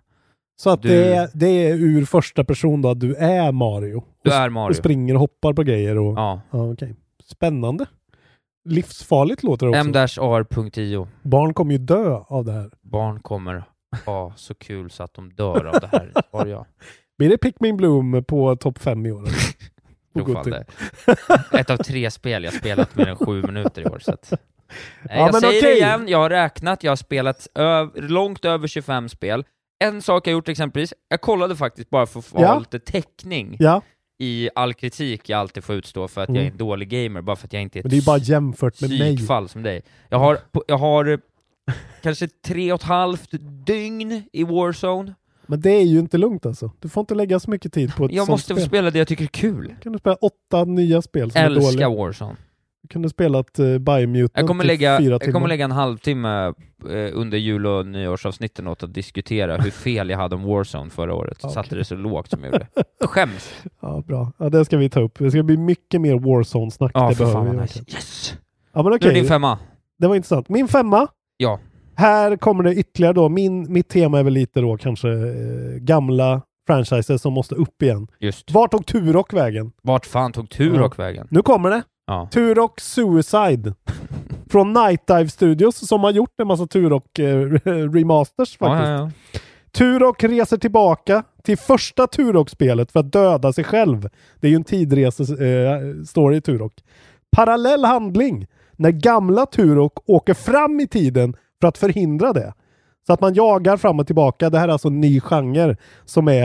Speaker 2: Så att
Speaker 4: du-
Speaker 2: det, är, det är ur första person då, att du är Mario?
Speaker 4: Du
Speaker 2: Och
Speaker 4: är
Speaker 2: och
Speaker 4: Mario.
Speaker 2: springer och hoppar på grejer och... Ja.
Speaker 4: Ja.
Speaker 2: okej. Spännande. Livsfarligt låter det också.
Speaker 4: m-ar.io
Speaker 2: Barn kommer ju dö av det här.
Speaker 4: Barn kommer ha så kul så att de dör av det här, var jag.
Speaker 2: Blir det Pikmin Bloom på topp fem i år? eller? På
Speaker 4: Tror fan
Speaker 2: Goodie.
Speaker 4: det. Ett av tre spel jag spelat mer än sju minuter i år. Så att... Nej,
Speaker 2: Ja,
Speaker 4: jag
Speaker 2: men
Speaker 4: säger
Speaker 2: okej.
Speaker 4: det igen, jag har räknat, jag har spelat ö- långt över 25 spel. En sak jag gjort exempelvis, jag kollade faktiskt bara för att få
Speaker 2: Ja.
Speaker 4: lite täckning
Speaker 2: Ja, Mm.
Speaker 4: i all kritik jag alltid får utstå för att jag är en dålig gamer, bara för att jag inte är
Speaker 2: men det är ju bara jämfört med mig.
Speaker 4: psykfall som dig. Jag har, på- jag har eh, kanske tre och ett halvt dygn i Warzone.
Speaker 2: Men det är ju inte lugnt alltså. Du får inte lägga så mycket tid på ett
Speaker 4: Jag
Speaker 2: sånt
Speaker 4: måste få
Speaker 2: spel.
Speaker 4: spela det jag tycker är kul.
Speaker 2: kan du spela åtta nya spel som är
Speaker 4: Älskar
Speaker 2: dåliga.
Speaker 4: Warzone.
Speaker 2: Du kunde spela ett uh, Biomutant
Speaker 4: Jag kommer,
Speaker 2: i
Speaker 4: lägga,
Speaker 2: fyra
Speaker 4: jag
Speaker 2: timmar.
Speaker 4: kommer lägga en halvtimme eh, under jul och nyårsavsnitten åt att diskutera hur fel jag hade om Warzone förra året.
Speaker 2: Ja,
Speaker 4: Satte
Speaker 2: okej.
Speaker 4: det så lågt som jag gjorde. Skäms!
Speaker 2: Ja, bra. Ja, det ska vi ta upp. Det ska bli mycket mer Warzone-snack.
Speaker 4: Ja,
Speaker 2: det
Speaker 4: för
Speaker 2: behöver
Speaker 4: fan
Speaker 2: vi
Speaker 4: vad nice.
Speaker 2: verkligen.
Speaker 4: Yes!
Speaker 2: Ja, men
Speaker 4: Nu är
Speaker 2: okej.
Speaker 4: din femma.
Speaker 2: Det var intressant. Min femma.
Speaker 4: Ja.
Speaker 2: Här kommer det ytterligare då. Min, mitt tema är väl lite då kanske eh, gamla franchises som måste upp igen.
Speaker 4: Just.
Speaker 2: Vart tog Turok vägen?
Speaker 4: Vart fan tog Turok vägen?
Speaker 2: Nu kommer det.
Speaker 4: Ja.
Speaker 2: Turok Suicide. Från Night Dive Studios som har gjort en massa Turok eh, remasters faktiskt.
Speaker 4: Ja, ja, ja.
Speaker 2: Turok reser tillbaka till första Turok-spelet för att döda sig själv. Det är ju en tidrese-story i Turok. Parallell handling när gamla Turok åker fram i tiden för att förhindra det. Så att man jagar fram och tillbaka. Det här är alltså en ny genre som är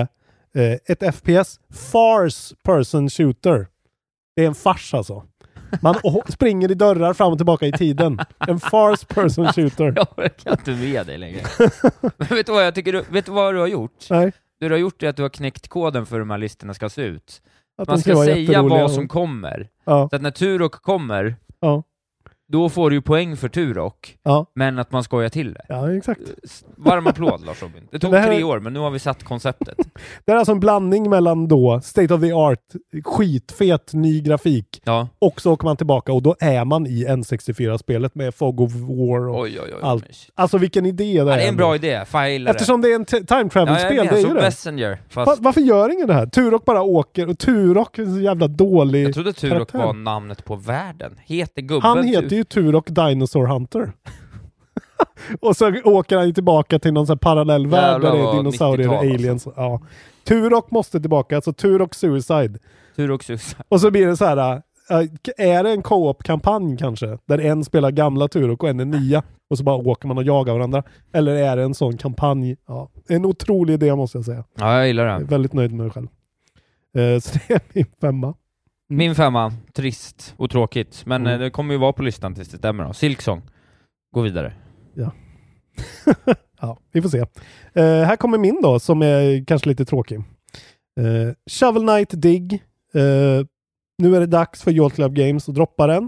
Speaker 2: eh, ett FPS, Farce Person Shooter. Det är en fars alltså. Man å- springer i dörrar fram och tillbaka i tiden. En Farce Person Shooter.
Speaker 4: Jag orkar inte med dig längre. Men vet du vad jag tycker? Du, vet du vad du har gjort?
Speaker 2: Nej.
Speaker 4: Det du har gjort är att du har knäckt koden för hur de här listorna ska se ut.
Speaker 2: Att
Speaker 4: Man
Speaker 2: de
Speaker 4: ska
Speaker 2: vara
Speaker 4: säga
Speaker 2: jätteroliga.
Speaker 4: vad som kommer.
Speaker 2: Ja.
Speaker 4: Så att när Turok kommer,
Speaker 2: Ja.
Speaker 4: då får du ju poäng för Turok,
Speaker 2: Ja.
Speaker 4: men att man skojar till det.
Speaker 2: Ja, exakt.
Speaker 4: S- Varm applåd Lars Robin. Det tog
Speaker 2: Det här-
Speaker 4: tre år, men nu har vi satt konceptet.
Speaker 2: Det är alltså en blandning mellan då state of the art, skitfet ny grafik och så åker man tillbaka och då är man i N64-spelet med Fog of War och
Speaker 4: Oj, oj, oj.
Speaker 2: allt. Alltså vilken idé det
Speaker 4: Ja, det är en
Speaker 2: ändå.
Speaker 4: bra idé, file
Speaker 2: Eftersom det är en t- time travel-spel,
Speaker 4: ja, alltså jag
Speaker 2: det är
Speaker 4: som
Speaker 2: ju det.
Speaker 4: Messenger, fast
Speaker 2: Va- varför gör ingen det här? Turok bara åker och Turok är en så jävla dålig
Speaker 4: jag trodde Turok
Speaker 2: karaktär.
Speaker 4: var namnet på världen. Heter gubben typ-
Speaker 2: Han heter ju Turok Dinosaur Hunter. och så åker han ju tillbaka till någon sån här parallellvärld
Speaker 4: Jävlar
Speaker 2: där det är
Speaker 4: vad alltså.
Speaker 2: dinosaurier och
Speaker 4: 90-tal
Speaker 2: aliens. Ja. Turok måste tillbaka, alltså Turok Suicide.
Speaker 4: Turok Suicide.
Speaker 2: Och så blir det så här, äh, är det en co-op-kampanj kanske? Där en spelar gamla Turok och en är nya. Och så bara åker man och jagar varandra. Eller är det en sån kampanj? Ja. En otrolig idé måste jag säga.
Speaker 4: Ja, jag gillar
Speaker 2: Jag är
Speaker 4: den.
Speaker 2: väldigt nöjd med mig själv. Eh, så det är min femma.
Speaker 4: Min femma, trist och tråkigt, men
Speaker 2: Mm.
Speaker 4: eh, det kommer ju vara på listan tills det stämmer då. Silksong. Gå vidare.
Speaker 2: Ja, vi får se. Eh, här kommer min då, som är kanske lite tråkig. Eh, Shovel Knight Dig. Eh, nu är det dags för Yacht Club Games att droppa den.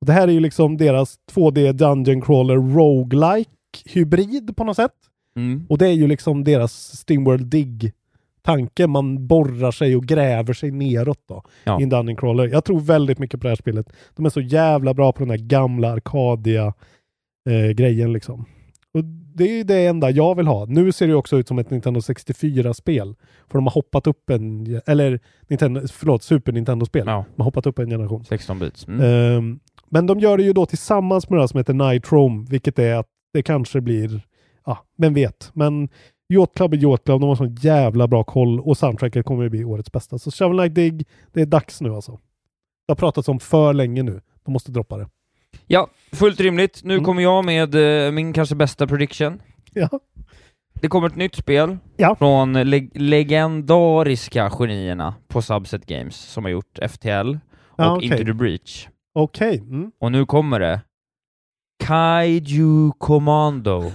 Speaker 2: Och det här är ju liksom deras 2D Dungeon Crawler Roguelike hybrid på något sätt.
Speaker 4: Mm.
Speaker 2: Och det är ju liksom deras Steamworld Dig tanke. Man borrar sig och gräver sig neråt då
Speaker 4: Ja.
Speaker 2: i en Dungeon Crawler. Jag tror väldigt mycket på det här spelet. De är så jävla bra på den här gamla Arcadia eh, grejen liksom. Och det är ju det enda jag vill ha. Nu ser det ju också ut som ett Nintendo 64-spel. För de har hoppat upp en... ge- Eller Nintendo, förlåt, Super Nintendo-spel.
Speaker 4: Ja.
Speaker 2: De har hoppat upp en generation.
Speaker 4: 16 bits. Mm.
Speaker 2: Ehm, men de gör det ju då tillsammans med det här som heter Nightrome, vilket är att det kanske blir, ja, vem vet. Men Yacht Club är Yacht Club, de har sån jävla bra koll och soundtracket kommer ju bli årets bästa. Så Shovel Knight Dig, det är dags nu alltså. Det har pratats om för länge nu. De måste droppa det.
Speaker 4: Ja, fullt rimligt. Nu
Speaker 2: Mm.
Speaker 4: kommer jag med eh, min kanske bästa prediction.
Speaker 2: Ja.
Speaker 4: Det kommer ett nytt spel
Speaker 2: Ja.
Speaker 4: från leg- legendariska genierna på Subset Games som har gjort FTL och
Speaker 2: Ja, okej.
Speaker 4: Into the Breach.
Speaker 2: Okej. Mm.
Speaker 4: Och nu kommer det Kaiju Commando.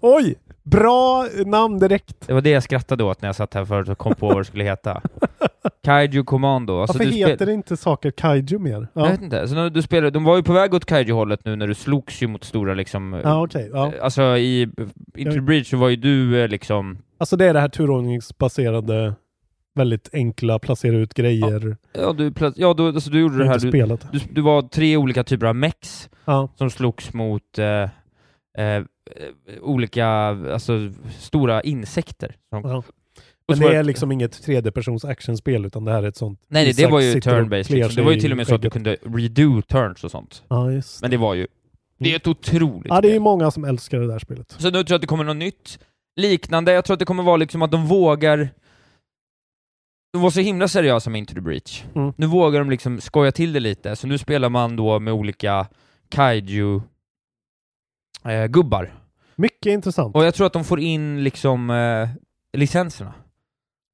Speaker 2: Oj! Bra namn direkt.
Speaker 4: Det var det jag skrattade åt när jag satt här förut och kom på vad det skulle heta. Kaiju Commando. Alltså,
Speaker 2: Varför
Speaker 4: du spel-
Speaker 2: heter det inte saker Kaiju mer?
Speaker 4: Jag
Speaker 2: Ja,
Speaker 4: vet inte. Så när du spelade, de var ju på väg åt Kaiju-hållet nu när du slogs ju mot stora liksom...
Speaker 2: ja okej. Ja.
Speaker 4: Alltså i Into the Breach så var ju du eh, liksom...
Speaker 2: Alltså det är det här turordningsbaserade, väldigt enkla, placera ut grejer.
Speaker 4: Ja, du, plöts- ja du, alltså, du gjorde det
Speaker 2: Jag har
Speaker 4: här...
Speaker 2: inte
Speaker 4: Du,
Speaker 2: spelat.
Speaker 4: du, du var tre olika typer av mex
Speaker 2: Ja.
Speaker 4: som slogs mot eh, eh, eh, olika, alltså stora insekter. Som,
Speaker 2: Ja.
Speaker 4: och
Speaker 2: Men
Speaker 4: så
Speaker 2: det
Speaker 4: var
Speaker 2: är liksom inget tredjepersons actionspel utan det här är ett sånt...
Speaker 4: Nej, nej, det
Speaker 2: Isak
Speaker 4: var ju
Speaker 2: sitter och
Speaker 4: turn-based liksom.
Speaker 2: kliar
Speaker 4: Det
Speaker 2: sig
Speaker 4: var ju
Speaker 2: i
Speaker 4: till och med så att du
Speaker 2: skägget.
Speaker 4: kunde redo turns och sånt.
Speaker 2: Ja, just det.
Speaker 4: Men det var ju... Det är ett otroligt
Speaker 2: Ja, det är ju
Speaker 4: spel.
Speaker 2: många som älskar det där spelet.
Speaker 4: Så nu tror jag att det kommer något nytt liknande. Jag tror att det kommer vara liksom att de vågar... De var så himla seriösa med Into the Breach.
Speaker 2: Mm.
Speaker 4: Nu vågar de liksom skoja till det lite, så nu spelar man då med olika kaiju-gubbar.
Speaker 2: Mycket intressant.
Speaker 4: och jag tror att de får in liksom eh, licenserna.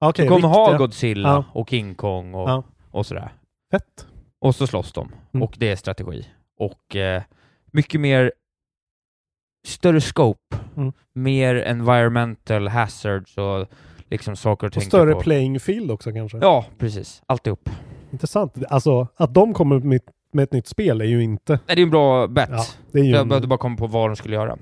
Speaker 2: Okej,
Speaker 4: de kommer ha
Speaker 2: riktiga-
Speaker 4: Godzilla
Speaker 2: Ja.
Speaker 4: och King Kong och,
Speaker 2: Ja.
Speaker 4: och sådär.
Speaker 2: Fett.
Speaker 4: Och så slåss de.
Speaker 2: Mm.
Speaker 4: Och det är strategi. Och eh, mycket mer större scope.
Speaker 2: Mm.
Speaker 4: Mer environmental hazards och liksom saker att
Speaker 2: Och
Speaker 4: tänka
Speaker 2: större
Speaker 4: på.
Speaker 2: playing field också kanske.
Speaker 4: Ja, precis. Alltihop.
Speaker 2: Intressant. Alltså, att de kommer med, med ett nytt spel är ju inte...
Speaker 4: Nej, det är en bra bet.
Speaker 2: Ja, det är ju...
Speaker 4: Jag
Speaker 2: En...
Speaker 4: behövde bara komma på vad de skulle göra.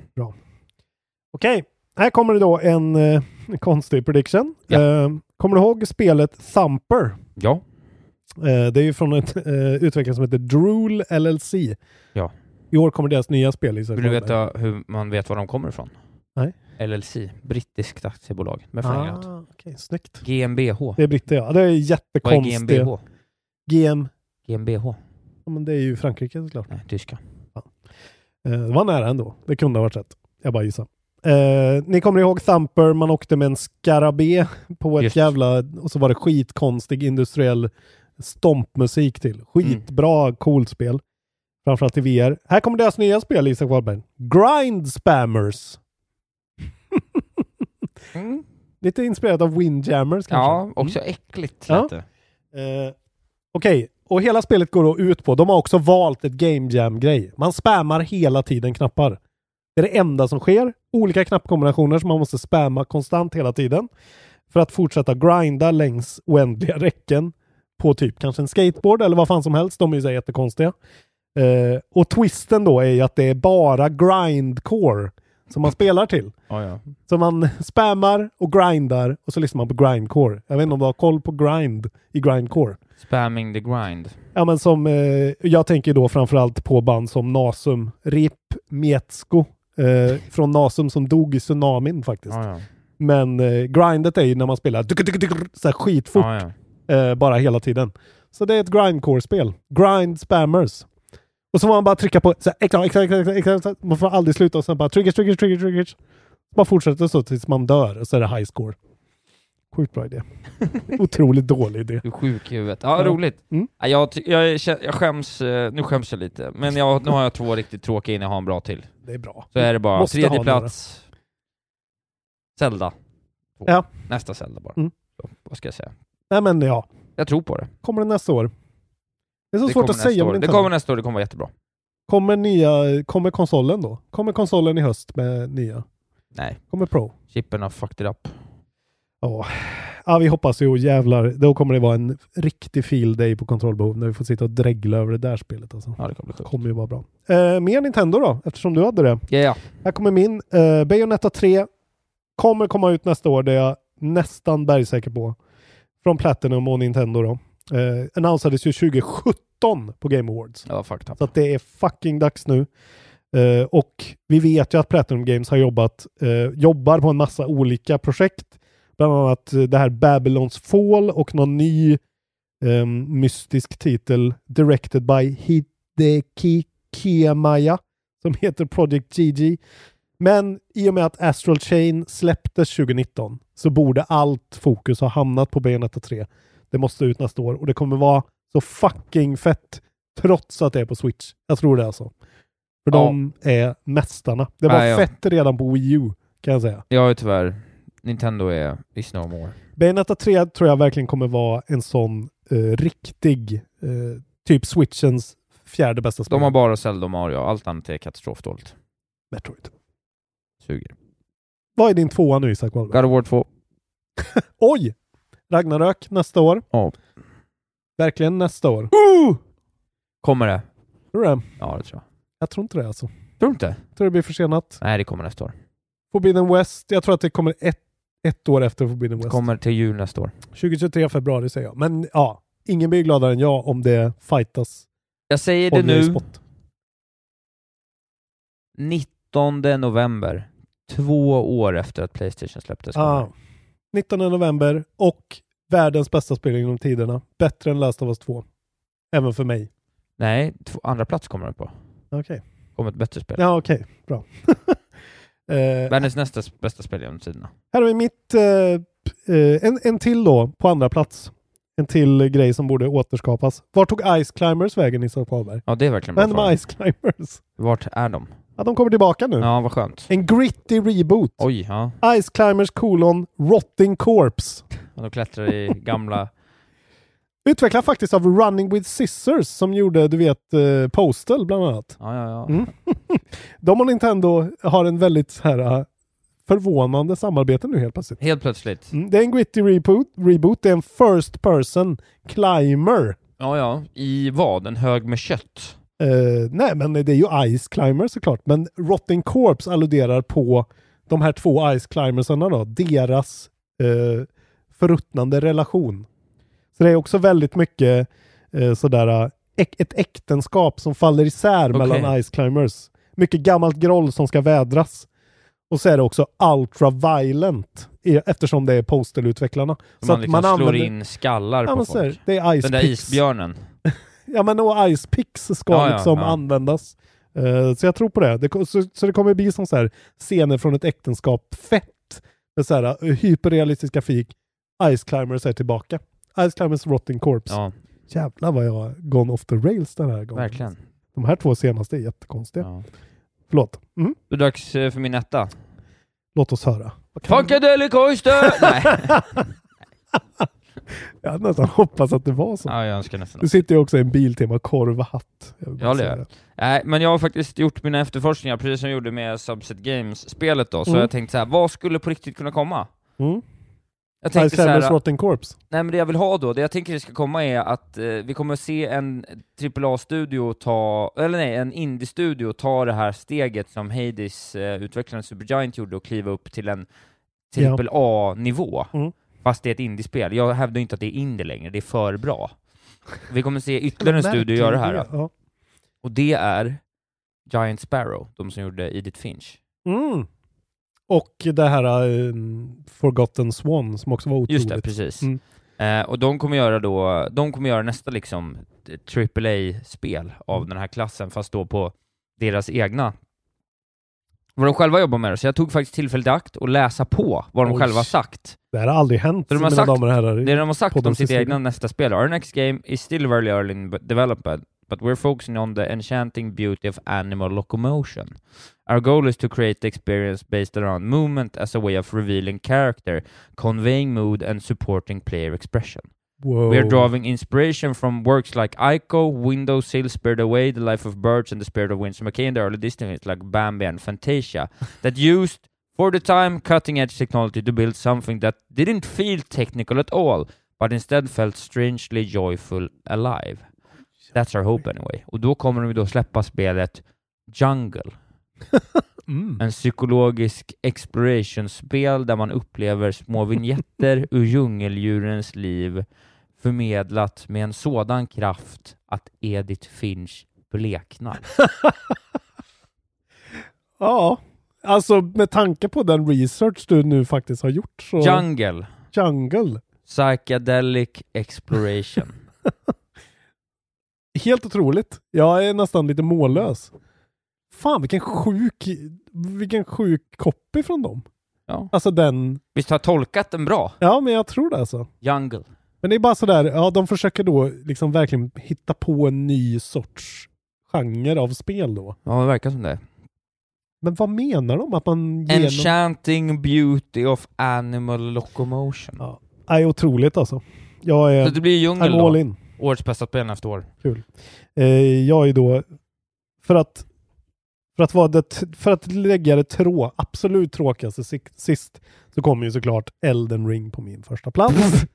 Speaker 2: Okej, här kommer det då en eh, konstig prediction.
Speaker 4: Ja.
Speaker 2: Eh, kommer du ihåg spelet Thumper?
Speaker 4: Ja.
Speaker 2: Eh, det är ju från ett eh, utvecklare som heter Drool LLC.
Speaker 4: Ja.
Speaker 2: I år kommer deras nya spel. Isak
Speaker 4: Vill du
Speaker 2: Holmberg.
Speaker 4: veta hur man vet var de kommer ifrån?
Speaker 2: Nej.
Speaker 4: LLC, brittiskt aktiebolag med från England.
Speaker 2: Ah, okej, snyggt.
Speaker 4: GmbH.
Speaker 2: Det är britter ja. Det är
Speaker 4: Vad är
Speaker 2: jättekonstigt.
Speaker 4: GmbH?
Speaker 2: GM.
Speaker 4: GmbH?
Speaker 2: Ja, men det är ju Frankrike såklart.
Speaker 4: Nej, tyska.
Speaker 2: Eh, det var nära ändå. Det kunde ha varit rätt. Jag bara gissar. Eh, ni kommer ihåg Thumper, man åkte med en skarabé på ett
Speaker 4: Just.
Speaker 2: jävla... Och så var det skitkonstig industriell stompmusik till. Skitbra,
Speaker 4: Mm.
Speaker 2: coolt spel. Framförallt i VR. Här kommer deras nya spel, Isak Wahlberg. Grind Spammers.
Speaker 4: Mm.
Speaker 2: Lite inspirerat av Windjammers kanske?
Speaker 4: Ja, också äckligt
Speaker 2: Mm. Ja.
Speaker 4: lät det.
Speaker 2: Eh, Okej, och hela spelet går då ut på, de har också valt ett game jam-grej. Man spammar hela tiden knappar. Det är det enda som sker. Olika knappkombinationer som man måste spamma konstant hela tiden för att fortsätta grinda längs oändliga räcken på typ kanske en skateboard eller vad fan som helst. De är ju så här jättekonstiga. Eh, och twisten då är ju att det är bara grindcore som man spelar till.
Speaker 4: Ja, ja.
Speaker 2: Så man spammar och grindar och så lyssnar man på grindcore. Jag vet inte om du har koll på grind i grindcore?
Speaker 4: Spamming the grind.
Speaker 2: Ja, men som, eh, jag tänker ju då framförallt på band som Nasum, RIP, Mietsko eh, från Nasum som dog i tsunamin faktiskt. Men eh, grindet är ju när man spelar tuk- tuk- tuk- så här skitfort. Eh, bara hela tiden. Så det är ett grindcore-spel. Grind spammers. Och så får man bara trycka på så här, extra, extra, extra, extra, extra, extra. Man får aldrig sluta och sen bara triggers, triggers, triggers, triggers. Bara fortsätter så tills man dör och så är det high score. Sjukt bra idé. Otroligt dålig idé.
Speaker 4: Du är sjuk i huvudet. Ja, roligt.
Speaker 2: Mm.
Speaker 4: Ja, Jag, ty- jag, är- kä- jag skäms, eh, nu skäms jag lite, men jag, nu har jag två riktigt tråkiga innan jag har en bra till.
Speaker 2: Det är bra.
Speaker 4: Så är det bara,
Speaker 2: Mm. Måste
Speaker 4: tredje
Speaker 2: ha några.
Speaker 4: plats, Zelda. Två.
Speaker 2: Ja.
Speaker 4: Nästa Zelda bara.
Speaker 2: Mm.
Speaker 4: Så, vad ska jag säga?
Speaker 2: Nej men ja.
Speaker 4: Jag tror på det.
Speaker 2: Kommer det nästa år? Det är så
Speaker 4: det
Speaker 2: svårt
Speaker 4: kommer
Speaker 2: att
Speaker 4: nästa
Speaker 2: säga. om
Speaker 4: år. Det
Speaker 2: Nintendo.
Speaker 4: kommer nästa år, det kommer vara jättebra.
Speaker 2: Kommer nya, kommer konsolen då? Kommer konsolen i höst med nya?
Speaker 4: Nej.
Speaker 2: Kommer Pro?
Speaker 4: Chippen har fucked it up.
Speaker 2: Ja, ja vi hoppas ju jävlar. Då kommer det vara en riktig feel day på kontrollbehov när vi får sitta och dregla över det där spelet alltså.
Speaker 4: Ja, det kommer bli sjukt.
Speaker 2: kommer ju vara bra. Eh, mer Nintendo då, eftersom du hade det.
Speaker 4: Ja, ja.
Speaker 2: Här kommer min. Eh, Bayonetta 3 kommer komma ut nästa år, det är jag nästan bergsäker på. Från Platinum och Nintendo då. Eh, annonsades ju 2017 på Game Awards.
Speaker 4: Ja, fucked up.
Speaker 2: Så att det är fucking dags nu. Eh, och vi vet ju att Platinum Games har jobbat, eh, jobbar på en massa olika projekt. Bland annat eh, det här Babylons Fall och någon ny eh, mystisk titel Directed by Hideki Kiemaya som heter Project GG. Men i och med att Astral Chain släpptes 2019 så borde allt fokus ha hamnat på Bayonetta 3. Det måste ut nästa år och det kommer vara så fucking fett trots att det är på Switch. Jag tror det alltså. För
Speaker 4: Ja.
Speaker 2: de är mästarna. Det var
Speaker 4: Ja, ja.
Speaker 2: fett redan på Wii U kan jag säga.
Speaker 4: Jag är tyvärr, Nintendo är is no more.
Speaker 2: Bayonetta 3 tror jag verkligen kommer vara en sån eh, riktig, eh, typ Switchens fjärde bästa spel.
Speaker 4: De har bara Zelda och Mario, allt annat är katastrofdåligt.
Speaker 2: Metroid.
Speaker 4: Suger.
Speaker 2: Vad är din tvåa nu Isak Wahlberg?
Speaker 4: God of War 2.
Speaker 2: Oj! Ragnarök nästa år.
Speaker 4: Ja.
Speaker 2: Verkligen nästa år.
Speaker 4: Kommer det?
Speaker 2: Tror du det?
Speaker 4: Ja, det tror jag.
Speaker 2: Jag tror inte det alltså.
Speaker 4: Tror du inte?
Speaker 2: Jag tror det blir försenat.
Speaker 4: Nej, det kommer nästa år.
Speaker 2: Forbidden West. Jag tror att det kommer ett, ett år efter Forbidden
Speaker 4: Det
Speaker 2: West.
Speaker 4: kommer till jul nästa år.
Speaker 2: 2023 februari säger jag. Men ja, ingen blir gladare än jag om det fightas.
Speaker 4: Jag säger det
Speaker 2: om i
Speaker 4: nu,
Speaker 2: spot.
Speaker 4: 19 november. Två år efter att Playstation släpptes. kommer
Speaker 2: Ah. 19 november och världens bästa spel genom tiderna. Bättre än Last of Us 2. Även för mig.
Speaker 4: det. Nej, två, andra plats kommer den på.
Speaker 2: Okej.
Speaker 4: Kommer ett bättre spel.
Speaker 2: Ja, okej. Bra. Eh,
Speaker 4: Världens nästa s- bästa spel genom tiderna.
Speaker 2: Här har vi mitt, eh, p- eh, en, en till då, på andra plats. En till grej som borde återskapas. Var tog Ice Climbers vägen i Karlberg?
Speaker 4: Ja, det är verkligen
Speaker 2: Vad hände
Speaker 4: bra
Speaker 2: med Ice Climbers?
Speaker 4: Vart är de?
Speaker 2: Ja, de kommer tillbaka nu.
Speaker 4: Ja, vad skönt.
Speaker 2: En gritty reboot.
Speaker 4: Oj, ja.
Speaker 2: Ice Climbers kolon Rotting Corpse.
Speaker 4: Och de klättrar i gamla...
Speaker 2: Utvecklad faktiskt av Running With Scissors som gjorde, du vet, eh, Postal bland annat.
Speaker 4: Ja, ja, ja.
Speaker 2: Mm. de och Nintendo har en väldigt så här eh, förvånande samarbete nu helt plötsligt.
Speaker 4: Helt plötsligt.
Speaker 2: Mm, det är en gritty reboot, reboot. Det är en first person climber.
Speaker 4: Ja, ja. I vad? En hög med kött?
Speaker 2: Eh, nej, men det är ju Ice Climber såklart. Men Rotting Corps alluderar på de här två Ice Climbersarna då. Deras eh, förruttnande relation. Så det är också väldigt mycket eh, sådär eh, äk- ett äktenskap som faller isär
Speaker 4: Okej.
Speaker 2: mellan Ice Climbers. Mycket gammalt groll som ska vädras. Och så är det också ultraviolent e- eftersom det är postelutvecklarna.
Speaker 4: Så man liksom slår in skallar
Speaker 2: ja,
Speaker 4: på
Speaker 2: men
Speaker 4: folk.
Speaker 2: så här, det är Ice
Speaker 4: Den där
Speaker 2: Picks.
Speaker 4: isbjörnen.
Speaker 2: Ja men och Ice Picks ska
Speaker 4: Ja, ja,
Speaker 2: liksom
Speaker 4: ja.
Speaker 2: användas. Eh, så jag tror på det. det ko- så, så det kommer bli som så här scener från ett äktenskap, fett med så här eh, hyperrealistisk grafik. Ice Climbers är tillbaka. Ice Climbers Rotting Corpse.
Speaker 4: Ja,
Speaker 2: Jävlar vad jag har gone off the rails den här gången.
Speaker 4: verkligen.
Speaker 2: De här två senaste är jättekonstiga.
Speaker 4: Ja.
Speaker 2: Förlåt. Mm.
Speaker 4: Då är det dags eh, för min etta.
Speaker 2: Låt oss höra. Vad kan det-
Speaker 4: Funkadelic Oyster! Nej,
Speaker 2: Jag hade nästan hoppats att det var så.
Speaker 4: ja, jag önskar nästan
Speaker 2: Du sitter ju också i en Biltema korvhatt. Jag vill bara
Speaker 4: Ja, det
Speaker 2: säga
Speaker 4: gör jag. Nej, men jag har faktiskt gjort mina efterforskningar, precis som jag gjorde med Subset Games-spelet då, så
Speaker 2: Mm.
Speaker 4: jag tänkte så här: vad skulle på riktigt kunna komma?
Speaker 2: Mm.
Speaker 4: Jag
Speaker 2: Ty
Speaker 4: tänkte så
Speaker 2: Sellers
Speaker 4: här-
Speaker 2: Rotten Corpse.
Speaker 4: Nej men det jag vill ha då, det jag tänker det ska komma är att eh, vi kommer se en AAA-studio ta, eller nej, en indie-studio ta det här steget som Hades, eh, utvecklaren Supergiant gjorde och kliva upp till en
Speaker 2: Ja. Mm.
Speaker 4: AAA-nivå. Fast det är ett indiespel. Jag hävdar inte att det är indie längre, det är för bra. Vi kommer se ytterligare en studio göra det här.
Speaker 2: Ja.
Speaker 4: Och det är Giant Sparrow, de som gjorde Edith Finch.
Speaker 2: Mm. Och det här eh, Forgotten Swan som också var otroligt.
Speaker 4: Just det, precis.
Speaker 2: Mm.
Speaker 4: Eh, och de kommer göra då, de kommer göra nästa liksom AAA-spel av
Speaker 2: Mm.
Speaker 4: den här klassen, fast då på deras egna vad de själva jobbar med. Så jag tog faktiskt tillfället i akt och läsa på vad de
Speaker 2: Oj.
Speaker 4: själva har sagt.
Speaker 2: Det här har aldrig hänt,
Speaker 4: Så de har
Speaker 2: mina
Speaker 4: sagt-
Speaker 2: damer och herrar. i
Speaker 4: Det de har sagt om
Speaker 2: poddens
Speaker 4: sitt
Speaker 2: historia.
Speaker 4: egna nästa spel, our next game is still very early in b- development, but we're focusing on the enchanting beauty of animal locomotion. Our goal is to create the experience based around movement as a way of revealing character, conveying mood and supporting player expression.
Speaker 2: Wow.
Speaker 4: We're drawing inspiration from works like Ico, Windows Hill, Spirit Away, The Life of Birds, and The Spirit of Winsor McKay, and the early Disney hits like Bambi and Fantasia that used, for the time, cutting edge technology to build something that didn't feel technical at all, but instead felt strangely joyful alive. That's our hope anyway. Och då kommer de ju då släppa spelet Jungle. En psykologisk exploration-spel där man upplever små vignetter ur djungeldjurens liv förmedlat med en sådan kraft att Edith Finch bleknar.
Speaker 2: Ja, alltså med tanke på den research du nu faktiskt har gjort så...
Speaker 4: Jungle.
Speaker 2: Jungle.
Speaker 4: Psychedelic exploration.
Speaker 2: Helt otroligt. Jag är nästan lite mållös. Fan vilken sjuk, vilken sjuk copy från dem.
Speaker 4: Ja.
Speaker 2: Alltså den...
Speaker 4: Visst har jag tolkat den bra?
Speaker 2: Ja, men jag tror det alltså.
Speaker 4: Jungle.
Speaker 2: Men det är bara sådär, ja de försöker då liksom verkligen hitta på en ny sorts genre av spel då.
Speaker 4: Ja, det verkar som det.
Speaker 2: Men vad menar de att man genom...
Speaker 4: Enchanting beauty of animal locomotion.
Speaker 2: Nej, otroligt alltså. Jag är...
Speaker 4: Så det blir djungel
Speaker 2: I'm all in.
Speaker 4: då. Årets bästa spel nästa år.
Speaker 2: Kul. Eh, jag är då, för att, för att, vara det, för att lägga det trå, absolut tråkigaste sik- sist, så kommer ju såklart Elden Ring på min första plats.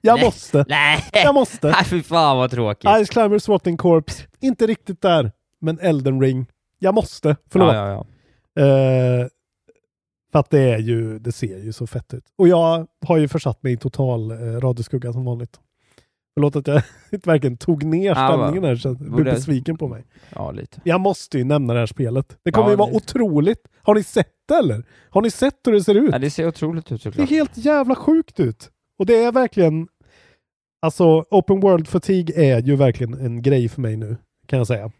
Speaker 2: jag
Speaker 4: Nej.
Speaker 2: måste.
Speaker 4: Nej!
Speaker 2: Jag måste.
Speaker 4: Nej, fy fan vad tråkigt.
Speaker 2: Ice Climbers Rotten Corps, inte riktigt där, men Elden Ring. Jag måste, förlåt.
Speaker 4: Ja, ja, ja.
Speaker 2: Eh, för att det är ju, det ser ju så fett ut. Och jag har ju försatt mig i total eh, radioskugga som vanligt. Förlåt att jag verkligen tog ner
Speaker 4: Ja, va.
Speaker 2: stämningen här, så att du blir
Speaker 4: Borde-
Speaker 2: besviken på mig.
Speaker 4: Ja, lite.
Speaker 2: Jag måste ju nämna det här spelet. Det kommer
Speaker 4: Ja,
Speaker 2: ju vara
Speaker 4: det-
Speaker 2: otroligt. Har ni sett det eller? Har ni sett hur det ser ut?
Speaker 4: Ja, det ser otroligt ut
Speaker 2: Det är
Speaker 4: såklart.
Speaker 2: helt jävla sjukt ut. Och det är verkligen... Alltså, open world fatigue är ju verkligen en grej för mig nu, kan jag säga.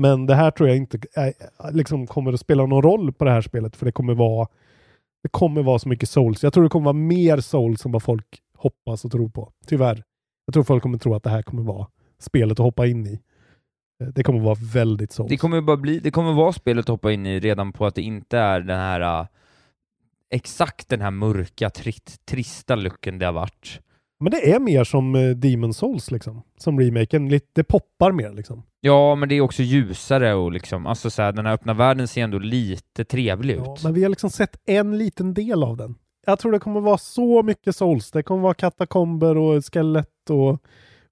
Speaker 2: Men det här tror jag inte eh, liksom kommer att spela någon roll på det här spelet, för det kommer vara det kommer vara så mycket souls. Jag tror det kommer vara mer souls än vad folk hoppas och tror på. Tyvärr. Jag tror folk kommer tro att det här kommer vara spelet att hoppa in i. Eh, Det kommer vara väldigt souls.
Speaker 4: Det kommer bara bli, det kommer vara spelet att hoppa in i redan på att det inte är den här äh, exakt den här mörka, tritt, trista looken det har varit.
Speaker 2: Men det är mer som eh, Demon Souls liksom. Som remaken. Lite- Det poppar mer liksom.
Speaker 4: Ja, men det är också ljusare och liksom, alltså så här, den här öppna världen ser ändå lite trevlig ut.
Speaker 2: Ja, men vi har liksom sett en liten del av den. Jag tror det kommer vara så mycket souls. Det kommer vara katakomber och skelett och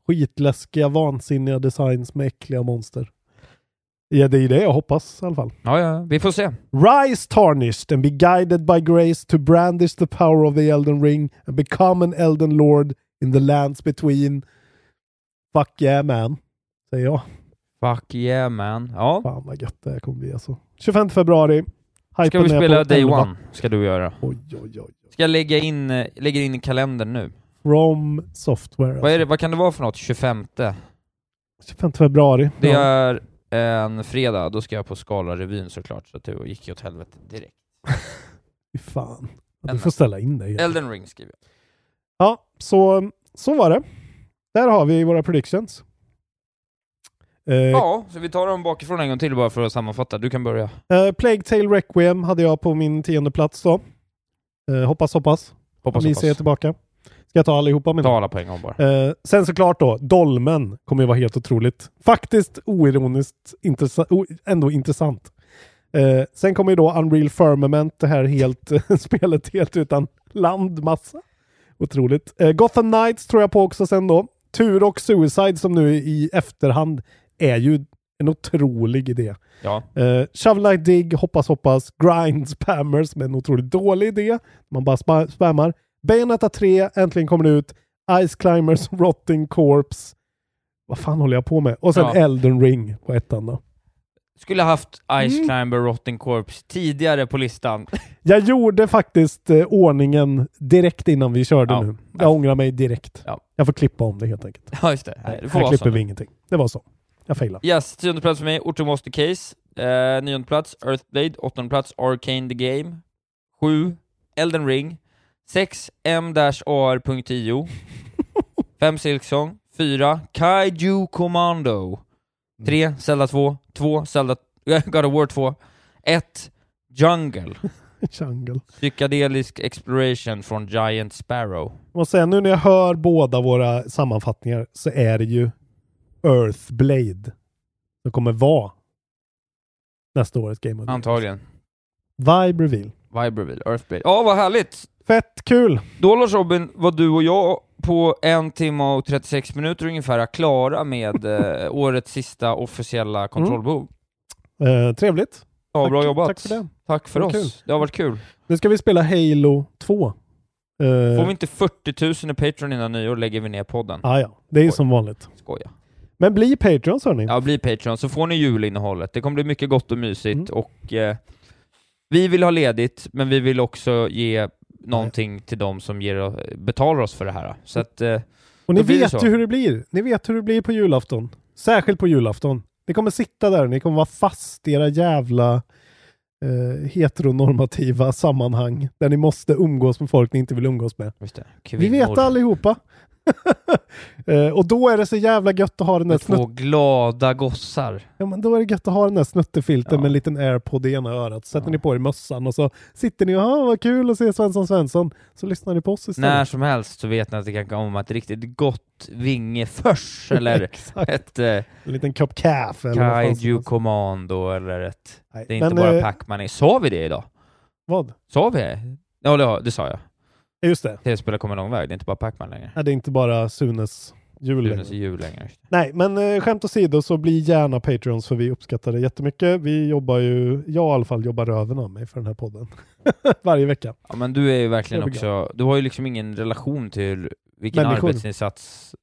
Speaker 2: skitläskiga, vansinniga designs med äckliga monster. Ja, det är ju det jag hoppas i alla fall.
Speaker 4: Ja, ja, vi får se.
Speaker 2: Rise tarnished and be guided by grace to brandish the power of the Elden Ring and become an Elden Lord in the lands between. Fuck yeah man, säger jag.
Speaker 4: Fuck yeah man. Ja.
Speaker 2: Fan vad gött det här kommer bli alltså. 25 februari.
Speaker 4: Ska
Speaker 2: Hypen
Speaker 4: vi
Speaker 2: är
Speaker 4: spela
Speaker 2: på
Speaker 4: Day
Speaker 2: 11.
Speaker 4: One? Ska du göra.
Speaker 2: Oj, oj, oj.
Speaker 4: Ska jag lägga in, eh, lägger in i kalendern nu.
Speaker 2: From Software.
Speaker 4: Vad, är det, vad kan det vara för något? 25? Det
Speaker 2: 25 februari. Ja.
Speaker 4: är en fredag, då ska jag på Scala-revyn såklart, så att det gick ju åt helvete direkt.
Speaker 2: Fy fan. Ja, Du
Speaker 4: Elden.
Speaker 2: får ställa in dig.
Speaker 4: Elden Ring skriver jag.
Speaker 2: Ja, så, så var det. Där har vi våra predictions. Eh,
Speaker 4: Ja, så vi tar dem bakifrån en gång till bara för att sammanfatta. Du kan börja.
Speaker 2: eh, Plague Tale Requiem hade jag på min tionde plats då. Eh, hoppas, hoppas.
Speaker 4: Hoppas,
Speaker 2: Ni
Speaker 4: hoppas.
Speaker 2: ser tillbaka. Ska jag ta allihopa mina?
Speaker 4: Ta alla på en gång bara.
Speaker 2: Eh, sen såklart då, Dolmen kommer ju vara helt otroligt. Faktiskt oironiskt intressa- o- ändå intressant. Eh, sen kommer ju då Unreal Firmament, det här helt, spelet helt utan landmassa. Otroligt. Eh, Gotham Knights tror jag på också sen då. Tur och Suicide som nu i efterhand är ju en otrolig idé.
Speaker 4: Ja.
Speaker 2: Eh, Shovelite Dig, Hoppas Hoppas, Grind Spammers som är en otroligt dålig idé. Man bara spa- spammar. Bayonetta 3, äntligen kommer det ut. Ice Climbers, Rotting Corpse. Vad fan håller jag på med? Och sen
Speaker 4: Ja.
Speaker 2: Elden Ring på ettan då.
Speaker 4: Skulle ha haft Ice
Speaker 2: Mm.
Speaker 4: Climber Rotten Corpse tidigare på listan.
Speaker 2: Jag gjorde faktiskt eh, ordningen direkt innan vi körde
Speaker 4: Ja.
Speaker 2: nu. Jag ångrar mig direkt. Jag får klippa om det helt enkelt.
Speaker 4: Ja, just det. Nej, det får
Speaker 2: Här
Speaker 4: vara
Speaker 2: klipper
Speaker 4: så.
Speaker 2: vi ingenting. Det var så. Jag failade.
Speaker 4: Yes, tionde plats för mig, Orto Monster Case. Eh, nionde plats, Earthblade. Åttonde plats, Arcane the Game. Sju, Elden Ring. Sex, M-AR.10. Fem, Silksong. Fyra, Kaiju Commando. Tre, Zelda 2. Två, Zelda... God of War 2. Ett, Jungle.
Speaker 2: Jungle.
Speaker 4: Psykedelisk Exploration från Giant Sparrow.
Speaker 2: Jag måste säga, nu när jag hör båda våra sammanfattningar så är det ju Earthblade som kommer vara nästa årets Game of the Year.
Speaker 4: Antagligen.
Speaker 2: Vibe Reveal.
Speaker 4: Vibreville, Earthblade. Ja, vad härligt!
Speaker 2: Fett kul!
Speaker 4: Då Lars Robin, var du och jag på en timme och 36 minuter ungefär klara med eh, årets sista officiella kontrollbehov.
Speaker 2: Eh, trevligt.
Speaker 4: Ja,
Speaker 2: Mm. Tack-
Speaker 4: bra jobbat.
Speaker 2: Tack för det.
Speaker 4: Tack för
Speaker 2: Det var
Speaker 4: oss.
Speaker 2: kul.
Speaker 4: Det har varit kul.
Speaker 2: Nu ska vi spela Halo 2. Eh,
Speaker 4: Får vi inte 40 000 i Patreon innan nyår lägger vi ner podden.
Speaker 2: ah, ja, det är ju som vanligt.
Speaker 4: Skoja.
Speaker 2: Men bli Patreons hörni.
Speaker 4: Ja, bli Patreon så får ni julinnehållet. Det kommer bli mycket gott och mysigt
Speaker 2: Mm.
Speaker 4: och eh, vi vill ha ledigt, men vi vill också ge någonting till de som ger, betalar oss för det här. Så
Speaker 2: Mm.
Speaker 4: att, eh,
Speaker 2: Och ni
Speaker 4: då blir det
Speaker 2: vet
Speaker 4: så.
Speaker 2: ju hur det blir. Ni vet hur det blir på julafton. Särskilt på julafton. Ni kommer sitta där och ni kommer vara fast i era jävla eh, heteronormativa sammanhang där ni måste umgås med folk ni inte vill umgås med.
Speaker 4: Just det.
Speaker 2: Vi vet
Speaker 4: Kvinnor.
Speaker 2: allihopa. eh, och då är det så jävla gött att ha den där
Speaker 4: Två
Speaker 2: snutt...
Speaker 4: glada gossar.
Speaker 2: ja, men då är det gött att ha den där snuttefilten med en liten airpod i ena örat. Sätter ni på er mössan och så sitter ni och "Ah, vad kul att se Svensson Svensson. Så lyssnar ni på oss istället.
Speaker 4: När som helst så vet ni att det kan komma ett riktigt gott vingeförs eller
Speaker 2: Exakt.
Speaker 4: ett eh,
Speaker 2: En liten kopp kaffe. eller vad fan som
Speaker 4: Kaiju
Speaker 2: helst.
Speaker 4: Commando eller ett...
Speaker 2: Nej,
Speaker 4: Det är inte
Speaker 2: men,
Speaker 4: bara
Speaker 2: eh,
Speaker 4: Pac-Man i. Sa vi det idag?
Speaker 2: Vad?
Speaker 4: Sa vi det? Ja, det, har- det sa jag.
Speaker 2: Just det.
Speaker 4: Tv-spelare kommer en lång väg, det är inte bara Pac-Man längre.
Speaker 2: Nej, det är inte bara Sunes jul längre.
Speaker 4: Julen är jul längre.
Speaker 2: Nej, men eh, skämt åsido så bli gärna Patreons för vi uppskattar det jättemycket. Vi jobbar ju, jag i alla fall jobbar röven av mig för den här podden. Varje vecka.
Speaker 4: Ja, men du är ju verkligen
Speaker 2: Jag blir
Speaker 4: också... Du har ju liksom ingen relation till vilken
Speaker 2: Människor.
Speaker 4: arbetsinsats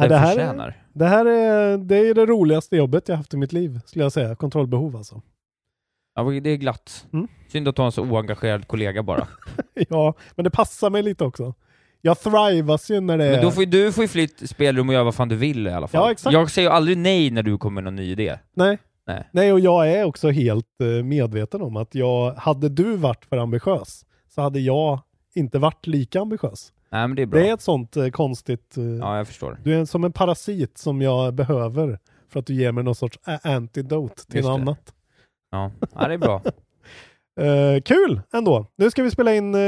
Speaker 4: det,
Speaker 2: Nej, det, här är,
Speaker 4: förtjänar.
Speaker 2: det här är det, är det roligaste jobbet jag haft i mitt liv, skulle jag säga. Kontrollbehov alltså.
Speaker 4: Ja, det är glatt.
Speaker 2: Mm.
Speaker 4: Synd att ha en så oengagerad kollega
Speaker 2: Eh.
Speaker 4: bara.
Speaker 2: ja, men det passar mig lite också. Jag thrivas ju när det
Speaker 4: Men då
Speaker 2: är...
Speaker 4: får ju, du får ju fritt spelrum och göra vad fan du vill i alla fall.
Speaker 2: Ja, exakt.
Speaker 4: Jag säger ju aldrig nej när du kommer med någon ny idé.
Speaker 2: Nej.
Speaker 4: Nej.
Speaker 2: Nej, och jag är också helt eh, medveten om att jag, hade du varit för ambitiös så hade jag inte varit lika ambitiös.
Speaker 4: Nej men det är bra.
Speaker 2: Det är ett sånt eh, konstigt... eh,
Speaker 4: Ja, jag förstår.
Speaker 2: Du är en- som en parasit som jag behöver för att du ger mig någon sorts ä- antidote till
Speaker 4: Just
Speaker 2: något
Speaker 4: det.
Speaker 2: annat.
Speaker 4: Ja, ja det är bra.
Speaker 2: Eh, kul ändå! Nu ska vi spela in... eh,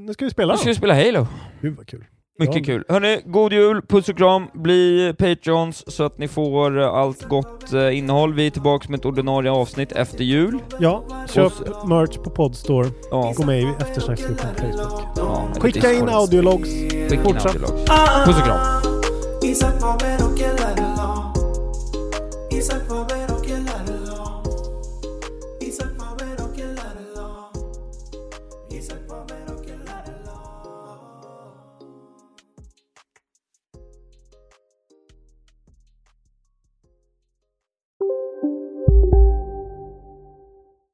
Speaker 2: nu ska vi spela.
Speaker 4: Nu ska vi spela Halo.
Speaker 2: Gud vad kul.
Speaker 4: Mycket
Speaker 2: Ja.
Speaker 4: kul. Hörni, god jul, puss och kram, bli Patreons så att ni får eh, allt gott eh, innehåll. Vi är tillbaka med ett ordinarie avsnitt efter jul.
Speaker 2: Ja,
Speaker 4: Och
Speaker 2: köp
Speaker 4: så-
Speaker 2: merch på Podstore.
Speaker 4: Ja.
Speaker 2: Gå med i eftersnacksgruppen på Facebook.
Speaker 4: Ja,
Speaker 2: Skicka in
Speaker 4: Discord.
Speaker 2: audiologs.
Speaker 4: Skicka in
Speaker 2: Fortsätt.
Speaker 4: audiologs. Puss och kram.
Speaker 5: Isaac va a ver o que la reloj. Isaac va a ver o que la reloj. Isaac va a ver o que la reloj. Isaac va a ver o que la reloj.